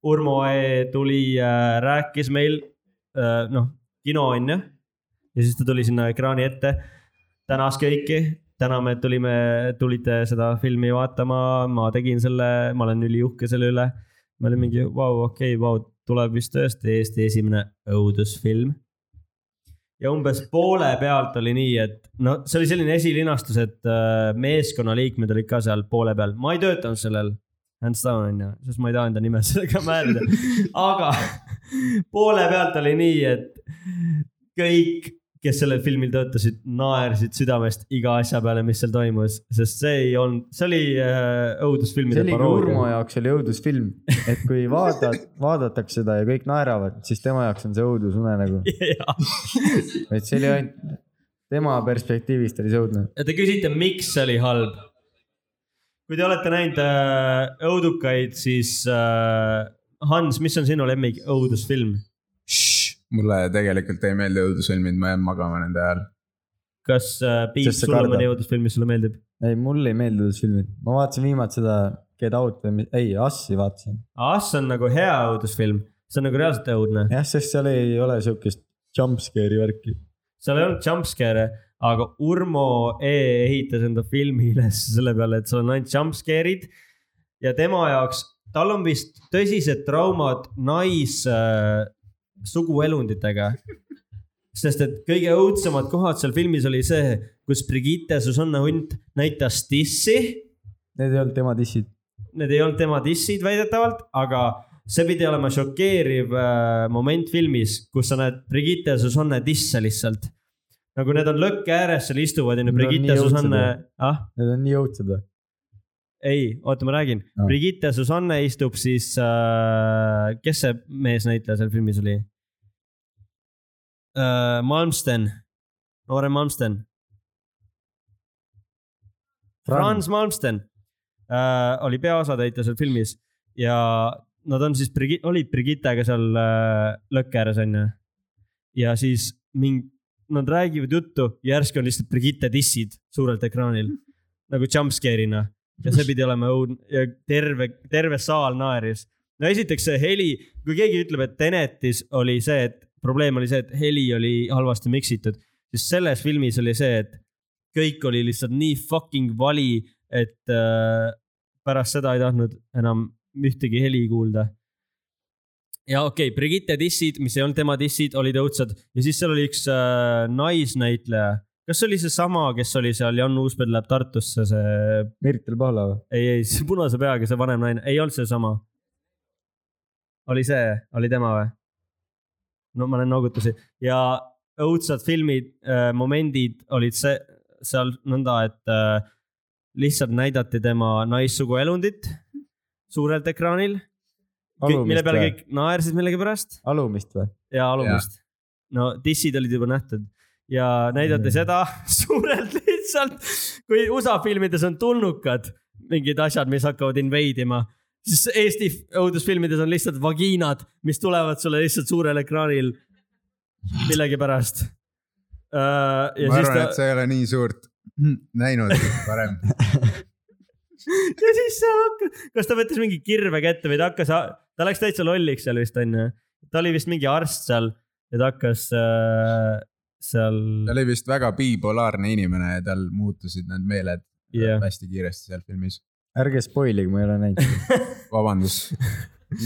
[SPEAKER 2] Urmo E tuli , rääkis meil , noh , kino on ju . ja siis ta tuli sinna ekraani ette , tänas kõiki , täna me tulime , tulite seda filmi vaatama , ma tegin selle , ma olen üliuhke selle üle . ma olin mingi vau , okei , vau , tuleb vist tõesti Eesti esimene õudusfilm . ja umbes poole pealt oli nii , et no see oli selline esilinastus , et äh, meeskonnaliikmed olid ka seal poole peal , ma ei töötanud sellel . Hands down on ju , sest ma ei taha enda nime sellega määrida , aga poole pealt oli nii , et kõik , kes sellel filmil töötasid , naersid südamest iga asja peale , mis seal toimus , sest see ei olnud , see oli äh,
[SPEAKER 1] see
[SPEAKER 2] õudusfilmide
[SPEAKER 1] oligi Urmo jaoks oli õudusfilm , et kui vaatad , vaadatakse seda ja kõik naeravad , siis tema jaoks on see nagu. õudusunenägu .
[SPEAKER 2] jaa ,
[SPEAKER 1] et see oli ainult , tema perspektiivist oli see õudne .
[SPEAKER 2] ja te küsite , miks see oli halb ? kui te olete näinud äh, õudukaid , siis äh, Hans , mis on sinu lemmik õudusfilm ?
[SPEAKER 4] mulle tegelikult ei meeldi õudusfilmid , ma jään magama nende ajal .
[SPEAKER 2] kas äh, Piip ,
[SPEAKER 1] Sest sa
[SPEAKER 2] sul on
[SPEAKER 1] kardad.
[SPEAKER 2] mõni õudusfilm , mis sulle meeldib ?
[SPEAKER 1] ei , mulle ei meeldi õudusfilmid , ma vaatasin viimati seda Get Out või mis , ei , Assi vaatasin .
[SPEAKER 2] As on nagu hea õudusfilm , see on nagu reaalselt õudne ,
[SPEAKER 1] jah , sest seal ei ole siukest jumpscare'i värki .
[SPEAKER 2] seal ei olnud jumpscare'e , aga Urmo E ehitas enda filmi üles selle peale , et seal on ainult jumpscare'id ja tema jaoks , tal on vist tõsised traumad nais äh, suguelunditega . sest et kõige õudsemad kohad seal filmis oli see , kus Brigitte Susanna Hunt näitas dissi
[SPEAKER 1] Need ei olnud tema dissid .
[SPEAKER 2] need ei olnud tema dissid väidetavalt , aga see pidi olema šokeeriv äh, moment filmis , kus sa näed Brigitte ja Susanne disse lihtsalt . nagu need on lõkke ääres , seal istuvad onju
[SPEAKER 1] Nad on
[SPEAKER 2] Brigitte ja
[SPEAKER 1] nii õudsed
[SPEAKER 2] Susanne , ah
[SPEAKER 1] Need on nii õudsed või ?
[SPEAKER 2] ei , oota , ma räägin
[SPEAKER 1] Aa.
[SPEAKER 2] no. . Brigitte Susanne istub siis äh, , kes see meesnäitleja seal filmis oli äh, ? Malmsten , noorem Malmsten .
[SPEAKER 1] Franz.
[SPEAKER 2] Franz Malmsten äh, oli peaosatäitja seal filmis ja nad on siis , olid Brigittega seal äh, lõkke ääres onju . ja siis mingi , nad räägivad juttu , järsku on lihtsalt Brigitte dissid suurelt ekraanil nagu jumpscare'ina ja see pidi olema õudne ja terve , terve saal naeris . no esiteks see heli , kui keegi ütleb , et Tenetis oli see , et probleem oli see , et heli oli halvasti miksitud , siis selles filmis oli see , et kõik oli lihtsalt nii fucking vali , et äh, pärast seda ei tahtnud enam ühtegi heli kuulda . ja okei okay, , Brigitte dissid , mis ei olnud tema dissid , olid õudsad ja siis seal oli üks äh, naisnäitleja . kas see oli seesama , kes oli seal Jan Uuspõld läheb Tartusse , see
[SPEAKER 1] Mirtel Pahla või ?
[SPEAKER 2] ei , ei , see punase peaga , see vanem naine , ei olnud seesama . oli see , oli tema või ? no ma olen noogutasin ja õudsad filmid äh, , momendid olid see , seal nõnda , et äh, lihtsalt näidati tema naissuguelundit suurelt ekraanil mille
[SPEAKER 1] alumist
[SPEAKER 2] peale
[SPEAKER 1] või ?
[SPEAKER 2] kõik naersid millegipärast
[SPEAKER 1] alumist või ?
[SPEAKER 2] ja alumist . no dissid olid juba nähtud ja näidati seda suurelt lihtsalt , kui USA filmides on tulnukad , mingid asjad , mis hakkavad inveidima , siis Eesti õudusfilmides on lihtsalt vagiinad , mis tulevad sulle lihtsalt suurel ekraanil millegipärast . ja
[SPEAKER 4] ma
[SPEAKER 2] siis
[SPEAKER 4] arvan ,
[SPEAKER 2] ta
[SPEAKER 4] et , sa ei ole nii suurt näinud varem .
[SPEAKER 2] ja siis ta hakkas , kas ta võttis mingi kirve kätte või ta hakkas , ta läks täitsa lolliks seal vist onju . ta oli vist mingi arst seal ja ta hakkas äh, seal ,
[SPEAKER 4] ta oli vist väga bipolaarne inimene ja tal muutusid need meeled
[SPEAKER 2] jah .
[SPEAKER 4] hästi kiiresti seal filmis .
[SPEAKER 1] ärge spoilige , ma ei ole näinud .
[SPEAKER 4] vabandust ,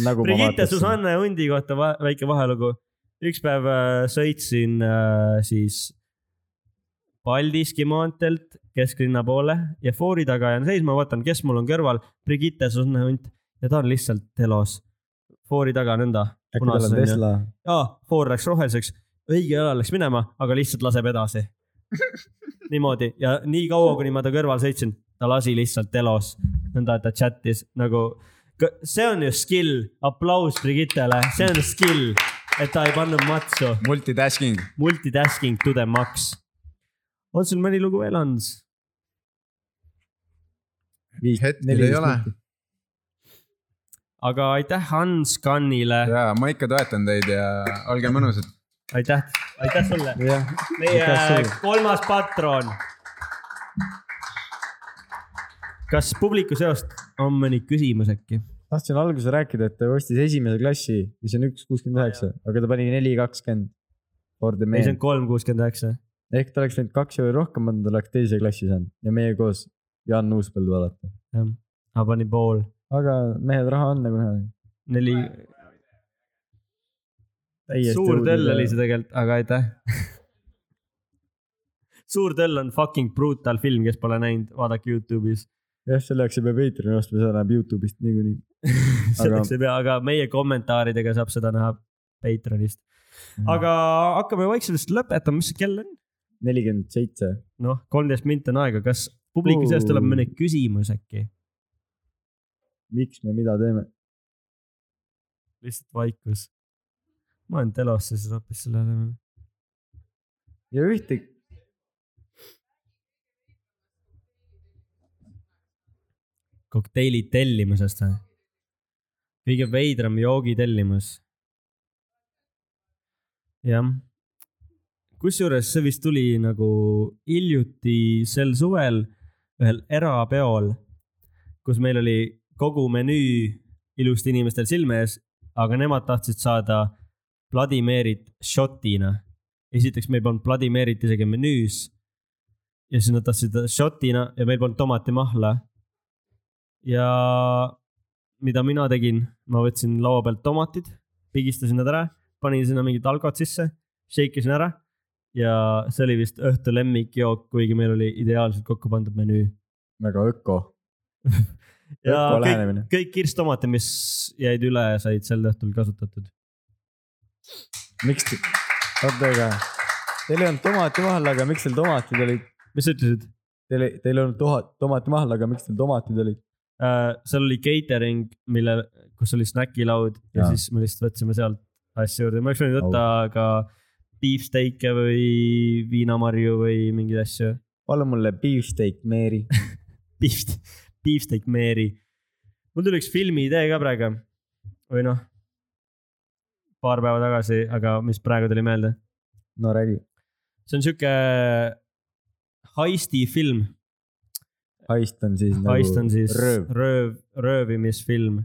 [SPEAKER 1] nagu ma
[SPEAKER 2] Brigitte
[SPEAKER 1] vaatasin .
[SPEAKER 2] Susanne Hundi kohta va väike vahelugu . üks päev äh, sõitsin äh, siis Paldiski maanteelt kesklinna poole ja foori taga jään seisma , vaatan , kes mul on kõrval , Brigitte Susanne Hunt ja ta on lihtsalt telos . foori taga nõnda .
[SPEAKER 1] äkki tal on
[SPEAKER 2] jaa ,
[SPEAKER 1] Tesla ?
[SPEAKER 2] foor läks roheliseks , õige jala läks minema , aga lihtsalt laseb edasi . niimoodi ja nii kaua , kuni ma ta kõrval sõitsin , ta lasi lihtsalt telos , nõnda et ta chat'is nagu Kõ- see on ju skill , aplaus Brigittele , see on skill , et ta ei pannud matsu .
[SPEAKER 4] multitasking .
[SPEAKER 2] Multitasking to the max . on sul mõni lugu veel , Hans ?
[SPEAKER 4] hetkel ei ole .
[SPEAKER 2] aga aitäh Hans Kannile ,
[SPEAKER 4] ja ma ikka toetan teid ja olge mõnusad .
[SPEAKER 2] aitäh , aitäh sulle ,
[SPEAKER 1] jah ,
[SPEAKER 2] meie kolmas patron . kas publiku seost on mõni küsimus äkki ?
[SPEAKER 1] tahtsin alguses rääkida , et ta ostis esimese klassi , mis on üks kuuskümmend üheksa , aga ta pani neli kakskümmend . For the
[SPEAKER 2] ei , see
[SPEAKER 1] man
[SPEAKER 2] on . kolm kuuskümmend üheksa .
[SPEAKER 1] ehk ta oleks läinud kaks euri rohkem andnud , ta oleks teise klassi saanud ja meie koos Jaan Uuspõldu alati .
[SPEAKER 2] ma panin Ah, pool ,
[SPEAKER 1] aga mehed , raha on nagu näha .
[SPEAKER 2] neli , suur töll oli see . tegelikult , aga aitäh . suur töll on fucking brutal film , kes pole näinud , vaadake Youtube'is .
[SPEAKER 1] jah , selle jaoks ei pea Patreoni ostma , seda näeb Youtube'ist niikuinii .
[SPEAKER 2] selleks ei pea , aga meie kommentaaridega saab seda näha Patreonist . aga hakkame vaikselt vist lõpetama , mis see kell on ?
[SPEAKER 1] nelikümmend seitse .
[SPEAKER 2] noh , kolmteist minti on aega , kas publiku seast tuleb mõni küsimus äkki ?
[SPEAKER 1] miks me mida teeme ?
[SPEAKER 2] lihtsalt vaikus . ma olen telosse siis hoopis selle asemel .
[SPEAKER 1] ja ühtegi .
[SPEAKER 2] kokteili tellimusest või ? kõige veidram joogi tellimus . jah . kusjuures see vist tuli nagu hiljuti sel suvel ühel erapeol , kus meil oli kogu menüü ilusti inimestel silme ees , aga nemad tahtsid saada Vladimirit šotina . esiteks meil polnud Vladimirit isegi menüüs . ja siis nad tahtsid seda šotina ja meil polnud tomatimahla ja mida mina tegin , ma võtsin laua pealt tomatid , pigistasin nad ära , panin sinna mingid alkod sisse , shake isin ära ja see oli vist õhtu lemmikjook , kuigi meil oli ideaalselt kokku pandud menüü .
[SPEAKER 1] väga öko . öko
[SPEAKER 2] ja kõik ,
[SPEAKER 1] lähenemine .
[SPEAKER 2] kõik kirstomatid , mis jäid üle , said sel õhtul kasutatud .
[SPEAKER 1] miks te , oota , aga teil ei olnud tomati vahel , aga miks teil tomatid olid ?
[SPEAKER 2] mis sa ütlesid
[SPEAKER 1] Teil , teil ei olnud toha- tomati vahel , aga miks teil tomatid olid ?
[SPEAKER 2] uh, ? seal oli catering , mille , kus oli snäkilaud ja, ja
[SPEAKER 1] Jaa. Oh.
[SPEAKER 2] siis me lihtsalt võtsime sealt asju juurde , ma oleks võinud võtta ka beefsteak'e või viinamarju või mingeid asju
[SPEAKER 1] palun mulle beefsteak , Mary .
[SPEAKER 2] Beef- , Beefsteak Mary . mul tuli üks filmi idee ka praegu või noh , paar päeva tagasi , aga mis praegu tuli meelde .
[SPEAKER 1] no räägi ,
[SPEAKER 2] see on sihuke heisti film ,
[SPEAKER 1] heist on siis nagu .
[SPEAKER 2] heist on siis
[SPEAKER 1] rööv .
[SPEAKER 2] rööv , röövimisfilm ,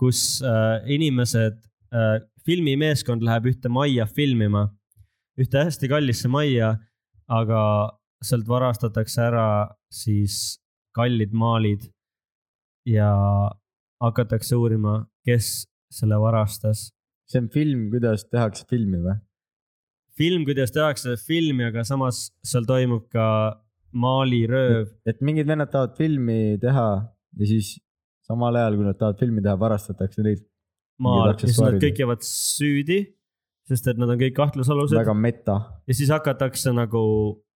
[SPEAKER 2] kus äh, inimesed äh, , filmimeeskond läheb ühte majja filmima , ühte hästi kallisse majja , aga sealt varastatakse ära siis kallid maalid ja hakatakse uurima , kes selle varastas .
[SPEAKER 1] see on film , kuidas tehakse filmi või ?
[SPEAKER 2] film , kuidas tehakse filmi , aga samas seal toimub ka maalirööv
[SPEAKER 1] et mingid vennad tahavad filmi teha ja siis samal ajal , kui nad tahavad filmi teha , varastatakse neid
[SPEAKER 2] maal ja
[SPEAKER 1] Mingid
[SPEAKER 2] siis nad
[SPEAKER 1] aksessuaarid.
[SPEAKER 2] kõik jäävad süüdi , sest et nad on kõik kahtlusalused
[SPEAKER 1] väga meta .
[SPEAKER 2] ja siis hakatakse nagu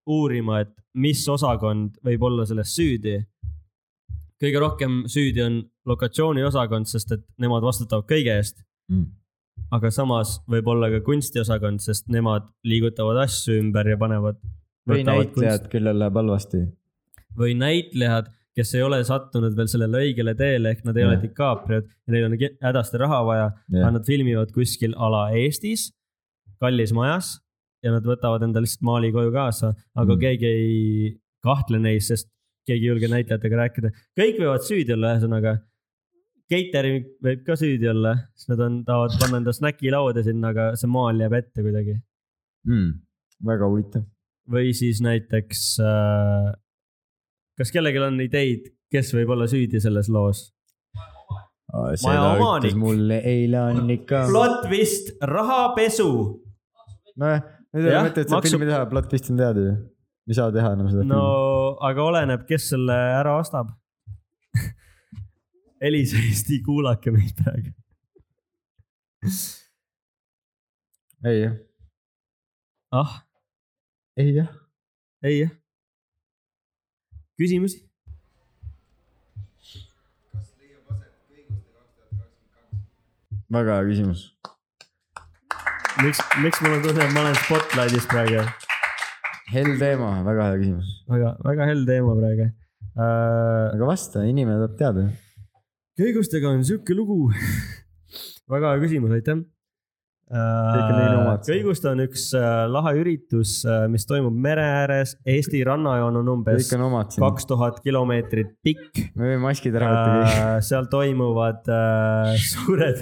[SPEAKER 2] uurima , et mis osakond võib olla selles süüdi . kõige rohkem süüdi on lokatsiooniosakond , sest et nemad vastutavad kõige eest
[SPEAKER 6] Mm. .
[SPEAKER 2] aga samas võib-olla ka kunstiosakond , sest nemad liigutavad asju ümber ja panevad .
[SPEAKER 1] või näitlejad , kellel läheb halvasti .
[SPEAKER 2] või näitlejad , kes ei ole sattunud veel sellele õigele teele , ehk nad ei ole
[SPEAKER 1] Jah.
[SPEAKER 2] DiCapriod ja neil on ki- hädasti raha vaja , aga nad filmivad kuskil ala Eestis , kallis majas ja nad võtavad endale lihtsalt maali koju kaasa , aga
[SPEAKER 6] Mm.
[SPEAKER 2] mm. keegi ei kahtle neis , sest keegi ei julge näitlejatega rääkida . kõik võivad süüdi olla , ühesõnaga . Catering võib ka süüdi olla , sest nad on , tahavad panna enda snäkilauda sinna , aga see maal jääb ette kuidagi .
[SPEAKER 6] mm. .
[SPEAKER 1] väga huvitav .
[SPEAKER 2] või siis näiteks äh, . kas kellelgi on ideid , kes võib olla süüdi selles loos ?
[SPEAKER 1] seda
[SPEAKER 2] omanik.
[SPEAKER 1] ütles mulle eile Annika .
[SPEAKER 2] plot vist rahapesu .
[SPEAKER 1] nojah , nüüd ei ole
[SPEAKER 2] Jah,
[SPEAKER 1] mõtet seda
[SPEAKER 2] maksu-
[SPEAKER 1] filmi teha , plot twist on teada ju . ei saa teha enam seda
[SPEAKER 2] no aga oleneb , kes selle ära ostab . Elis Eesti , kuulake meid praegu .
[SPEAKER 1] filmi . ei jah ,
[SPEAKER 2] ah ,
[SPEAKER 1] ei jah .
[SPEAKER 2] ei jah . küsimusi ?
[SPEAKER 1] väga hea küsimus .
[SPEAKER 2] miks , miks mul on tunne , et ma olen spotlightis praegu ?
[SPEAKER 1] hell teema , väga hea küsimus .
[SPEAKER 2] väga , väga hell teema praegu äh, .
[SPEAKER 1] aga vasta , inimene tahab teada .
[SPEAKER 2] köigustega on sihuke lugu . väga hea küsimus , aitäh .
[SPEAKER 1] Kõik on neile omad.
[SPEAKER 2] kõigust on üks äh, lahe üritus , mis toimub mere ääres , Eesti rannajoon on umbes
[SPEAKER 1] kõik on omad siin .
[SPEAKER 2] kaks tuhat kilomeetrit pikk .
[SPEAKER 1] me võime maskid ära võtta kõik .
[SPEAKER 2] Äh, seal toimuvad äh, suured ,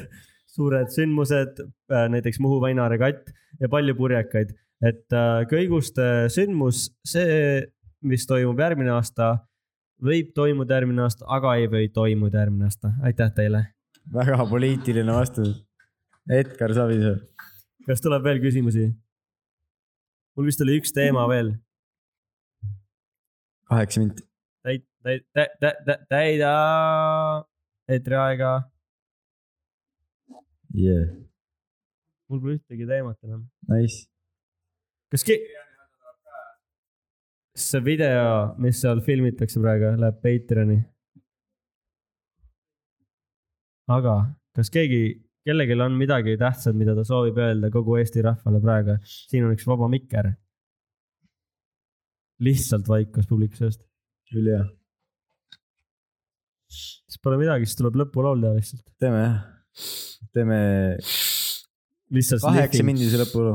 [SPEAKER 2] suured sündmused , näiteks Muhu väina regatt ja palju purjekaid . et äh, kõiguste sündmus , see , mis toimub järgmine aasta , võib toimuda järgmine aasta , aga ei või toimuda järgmine aasta . aitäh teile .
[SPEAKER 1] väga poliitiline vastus . Edgar Savisaar .
[SPEAKER 2] kas tuleb veel küsimusi ? mul vist oli üks teema veel .
[SPEAKER 1] kaheksa minti .
[SPEAKER 2] täit- , täit- , täit- , täit- , täida eetriaega .
[SPEAKER 1] Yeah.
[SPEAKER 2] mul pole ühtegi teemat enam .
[SPEAKER 1] Nice .
[SPEAKER 2] kas ke- ? see video , mis seal filmitakse praegu , läheb Patreoni . aga kas keegi , kellelgi on midagi tähtsat , mida ta soovib öelda kogu Eesti rahvale praegu ? siin on üks vaba mikker . lihtsalt vaikus publiku seast ,
[SPEAKER 1] ülihea .
[SPEAKER 2] siis pole midagi , siis tuleb lõpulaul teha lihtsalt .
[SPEAKER 1] teeme jah , teeme
[SPEAKER 2] lihtsalt
[SPEAKER 1] kaheksa
[SPEAKER 2] sniffing.
[SPEAKER 1] mindise lõpulu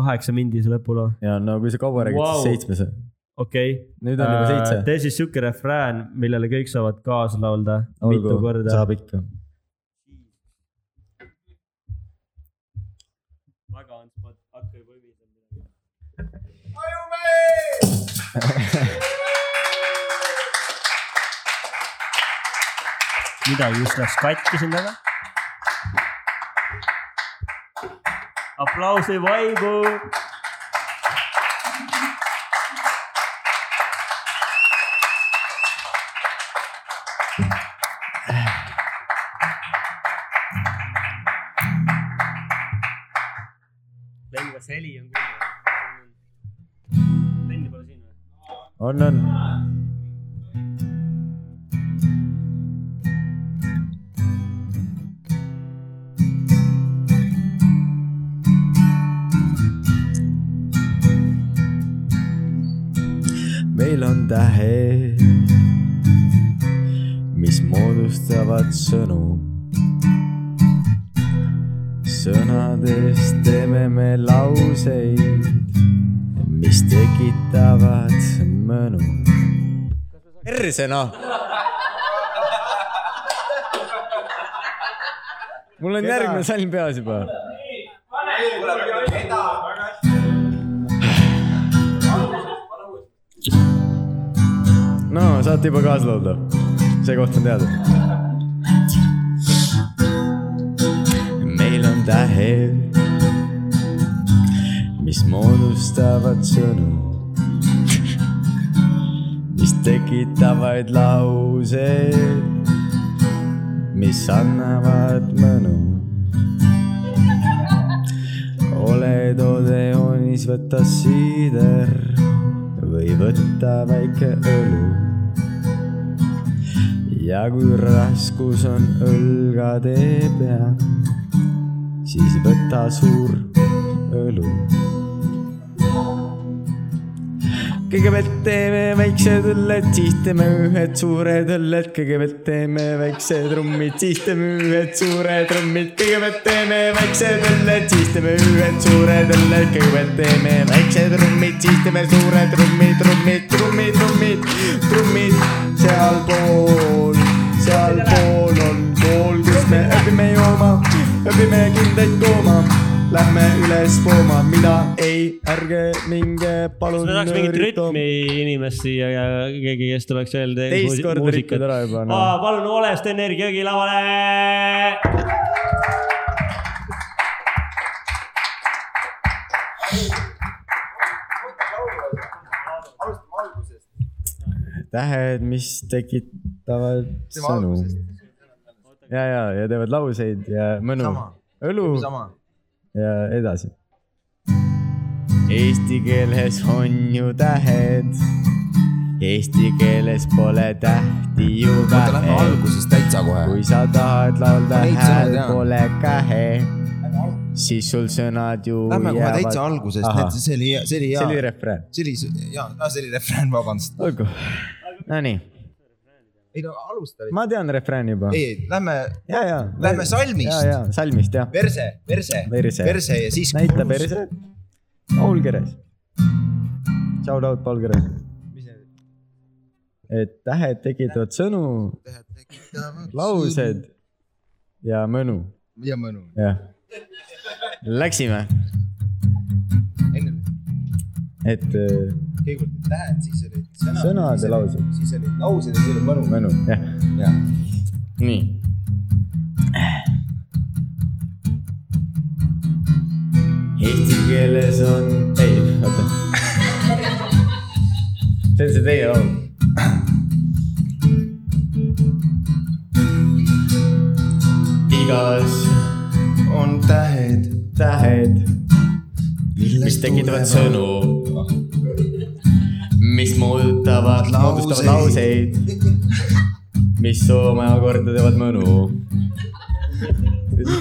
[SPEAKER 2] kaheksa mindi see lõpulaul ,
[SPEAKER 1] ja no kui sa kaua räägid wow. ,
[SPEAKER 2] Vau.
[SPEAKER 1] siis seitsmes .
[SPEAKER 2] okei Äh,
[SPEAKER 1] nüüd on juba seitse .
[SPEAKER 2] tee siis siuke refrään , millele kõik saavad kaasa laulda Olgu, mitu korda .
[SPEAKER 1] saab ikka .
[SPEAKER 2] väga on spot , hakka juba ümisema . midagi just läks katki siin taga . aplaus ei vaibu . Len , kas heli on kuulda ? Lenni pole siin või ?
[SPEAKER 1] on , on . meil on tähed , mis moodustavad sõnu . sõnadest teeme me lauseid , mis tekitavad mõnu . persena . mul on järgmine salm peas juba . no saate juba kaasa laulda , see koht on teada . meil on tähed , mis moodustavad sõnu , mis tekitavad lauseid , mis annavad mõnu . oled Odeonis , võta siider või võta väike õlu . ja kui raskus on õlgade peal , siis võta suur õlu . kõigepealt teeme väiksed õlled , siis teeme ühed suured õlled , kõigepealt teeme väiksed trummid , siis teeme ühed suured trummid , kõigepealt teeme väiksed õlled , siis teeme ühed suured õlled , kõigepealt teeme väiksed trummid , siis teeme suured trummid , trummid , trummid , trummid , trummid sealpool , sealpool on kool , kus me õpime jooma , õpime kindaid tooma . Lähme üles pooma , mida ei , ärge minge
[SPEAKER 2] kas
[SPEAKER 1] palun .
[SPEAKER 2] me tahaks mingit rütmi inimest siia ja keegi , kes tuleks öelda
[SPEAKER 1] teist korda rikkud ära juba noh. no. .
[SPEAKER 2] Aa, palun Olest Energia jõgi lavale .
[SPEAKER 1] tähed , mis tekitavad sõnu . ja , ja , ja teevad lauseid ja mõnu . õlu
[SPEAKER 7] sama .
[SPEAKER 1] ja edasi . Eesti keeles on ju tähed . Eesti keeles pole tähti ju
[SPEAKER 7] oota , lähme
[SPEAKER 1] vähe .
[SPEAKER 7] algusest täitsa kohe .
[SPEAKER 1] kui sa tahad laulda
[SPEAKER 7] Ma neid sõnu
[SPEAKER 1] hääl
[SPEAKER 7] tean.
[SPEAKER 1] pole kähe , siis sul sõnad ju
[SPEAKER 7] Lähme kohe täitsa
[SPEAKER 1] jäävad . Oh, Ahah.
[SPEAKER 7] algusest , see oli , see oli
[SPEAKER 1] see oli
[SPEAKER 7] hea .
[SPEAKER 1] refrään .
[SPEAKER 7] see oli , jaa , see oli refrään , vabandust .
[SPEAKER 1] olgu , nonii ,
[SPEAKER 7] ei no alusta .
[SPEAKER 1] ma tean refrääni juba .
[SPEAKER 7] ei , ei , lähme ,
[SPEAKER 1] ja , ja .
[SPEAKER 7] lähme salmist.
[SPEAKER 1] ja , ja salmist jah ,
[SPEAKER 7] verse , verse ,
[SPEAKER 1] Verse.
[SPEAKER 7] verse ja siis .
[SPEAKER 1] näita . perse . Paul Keres . Shout out Paul Keres . et tähed tekitavad sõnu , laused ja mõnu ,
[SPEAKER 7] ja mõnu .
[SPEAKER 1] jah . Läksime ,
[SPEAKER 7] enne
[SPEAKER 1] et äh,
[SPEAKER 7] kõigepealt olid tähed , siis olid sõnad .
[SPEAKER 1] Sõnad ja laused. .
[SPEAKER 7] siis olid laused ja siis oli mõnu .
[SPEAKER 1] mõnu , jah .
[SPEAKER 7] jah .
[SPEAKER 1] nii . Eesti keeles on , ei , oota . see on see teie laul . igas
[SPEAKER 7] on tähed ,
[SPEAKER 1] tähed , mis tekitavad sõnu , mis muudavad , moodustavad lauseid , mis omakorda teevad mõnu .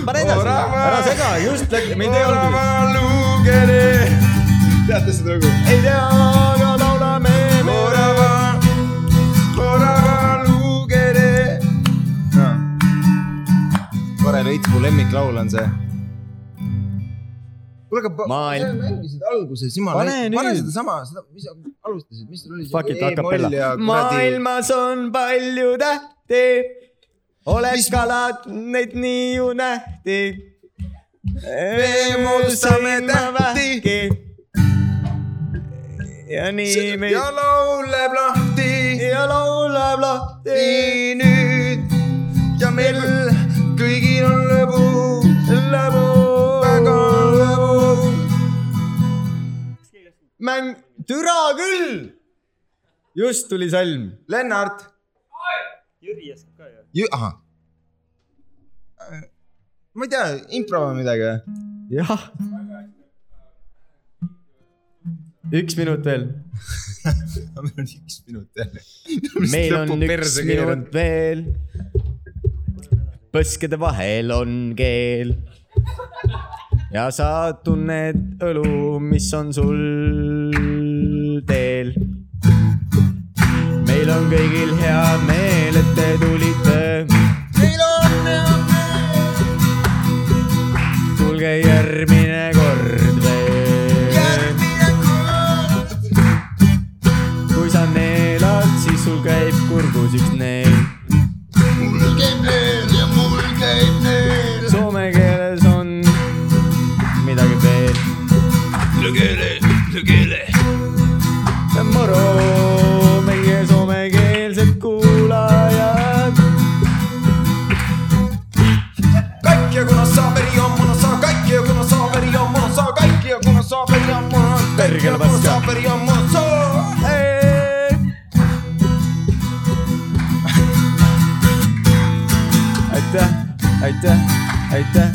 [SPEAKER 1] pane edasi , ära sega , just , me ei tea algusest .
[SPEAKER 7] teate seda lugu ?
[SPEAKER 1] ei tea , aga laulame me .
[SPEAKER 7] tore Noh. veits , mu lemmiklaul on see . kuule , aga
[SPEAKER 1] Ma ei-
[SPEAKER 7] mängisid alguses , jumala
[SPEAKER 1] Pane
[SPEAKER 7] eest , pane
[SPEAKER 1] nüüd.
[SPEAKER 7] sedasama , seda , mis sa alustasid , mis sul oli ?
[SPEAKER 1] Fuck it , akapella . maailmas on palju tähti , oleks kalad , neid nii ju nähti .
[SPEAKER 7] mustame tähti. .
[SPEAKER 1] ja nii me
[SPEAKER 7] ja lauleb lahti
[SPEAKER 1] ja laulab lahti
[SPEAKER 7] nii nüüd ja meil kõigil on lõbu ,
[SPEAKER 1] lõbu
[SPEAKER 7] väga lõbu .
[SPEAKER 1] mäng , türa küll . just tuli salm .
[SPEAKER 7] Lennart . Jüri oskab ka ju . ahah .
[SPEAKER 4] Äh,
[SPEAKER 7] ma ei tea , impro või midagi või ?
[SPEAKER 1] jah . üks minut veel
[SPEAKER 7] meil on üks minut jälle .
[SPEAKER 1] meil on üks minut . veel . põskede vahel on keel . ja sa tunned õlu , mis on sul teel . meil on kõigil hea meel , et te tulite . meil on hea meel . tulge järgmine kord veel . järgmine kord . kui sa neelad , siis sul käib kurgus üks neel . mul käib neel ja mul käib neel . Soome keeles on midagi veel . lugele , lugele . moro , meie soomekeelsed kuulajad .
[SPEAKER 7] kõik ja kuna sa veri on mul , sa kõik ja kuna sa veri on mul , sa kõik ja kuna sa veri on mul , kõik ja kuna sa veri on mul , sa .
[SPEAKER 1] aitäh , aitäh , aitäh .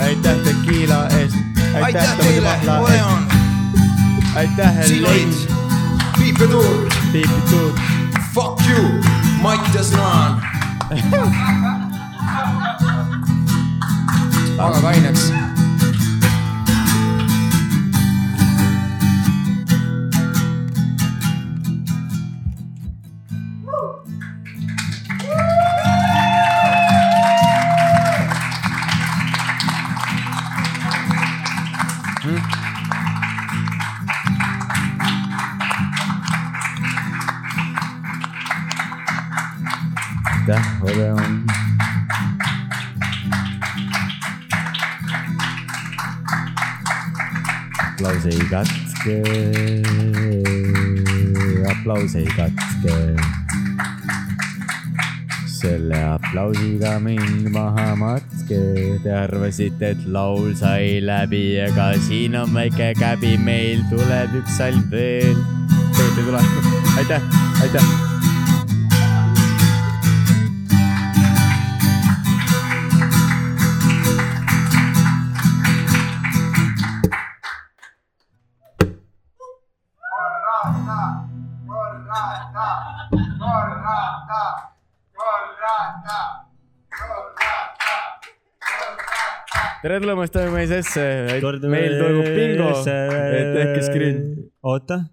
[SPEAKER 1] aitäh tekiila eest .
[SPEAKER 7] aitäh teile , ole on ,
[SPEAKER 1] aitäh ,
[SPEAKER 7] siin olid Piipetuur ,
[SPEAKER 1] Piipitud ,
[SPEAKER 7] fuck you ,
[SPEAKER 8] vaates naan . aga kaineks .
[SPEAKER 1] aitäh , ole on . aplaus ei katke , aplaus ei katke . selle aplausiga mind maha matke , te arvasite , et laul sai läbi , aga siin on väike käbi , meil tuleb üks salm veel . tegelikult ei tule , aitäh , aitäh . tere tulemast Toimemees S-e , meil toimub bingo , et tehke screen .
[SPEAKER 2] oota ,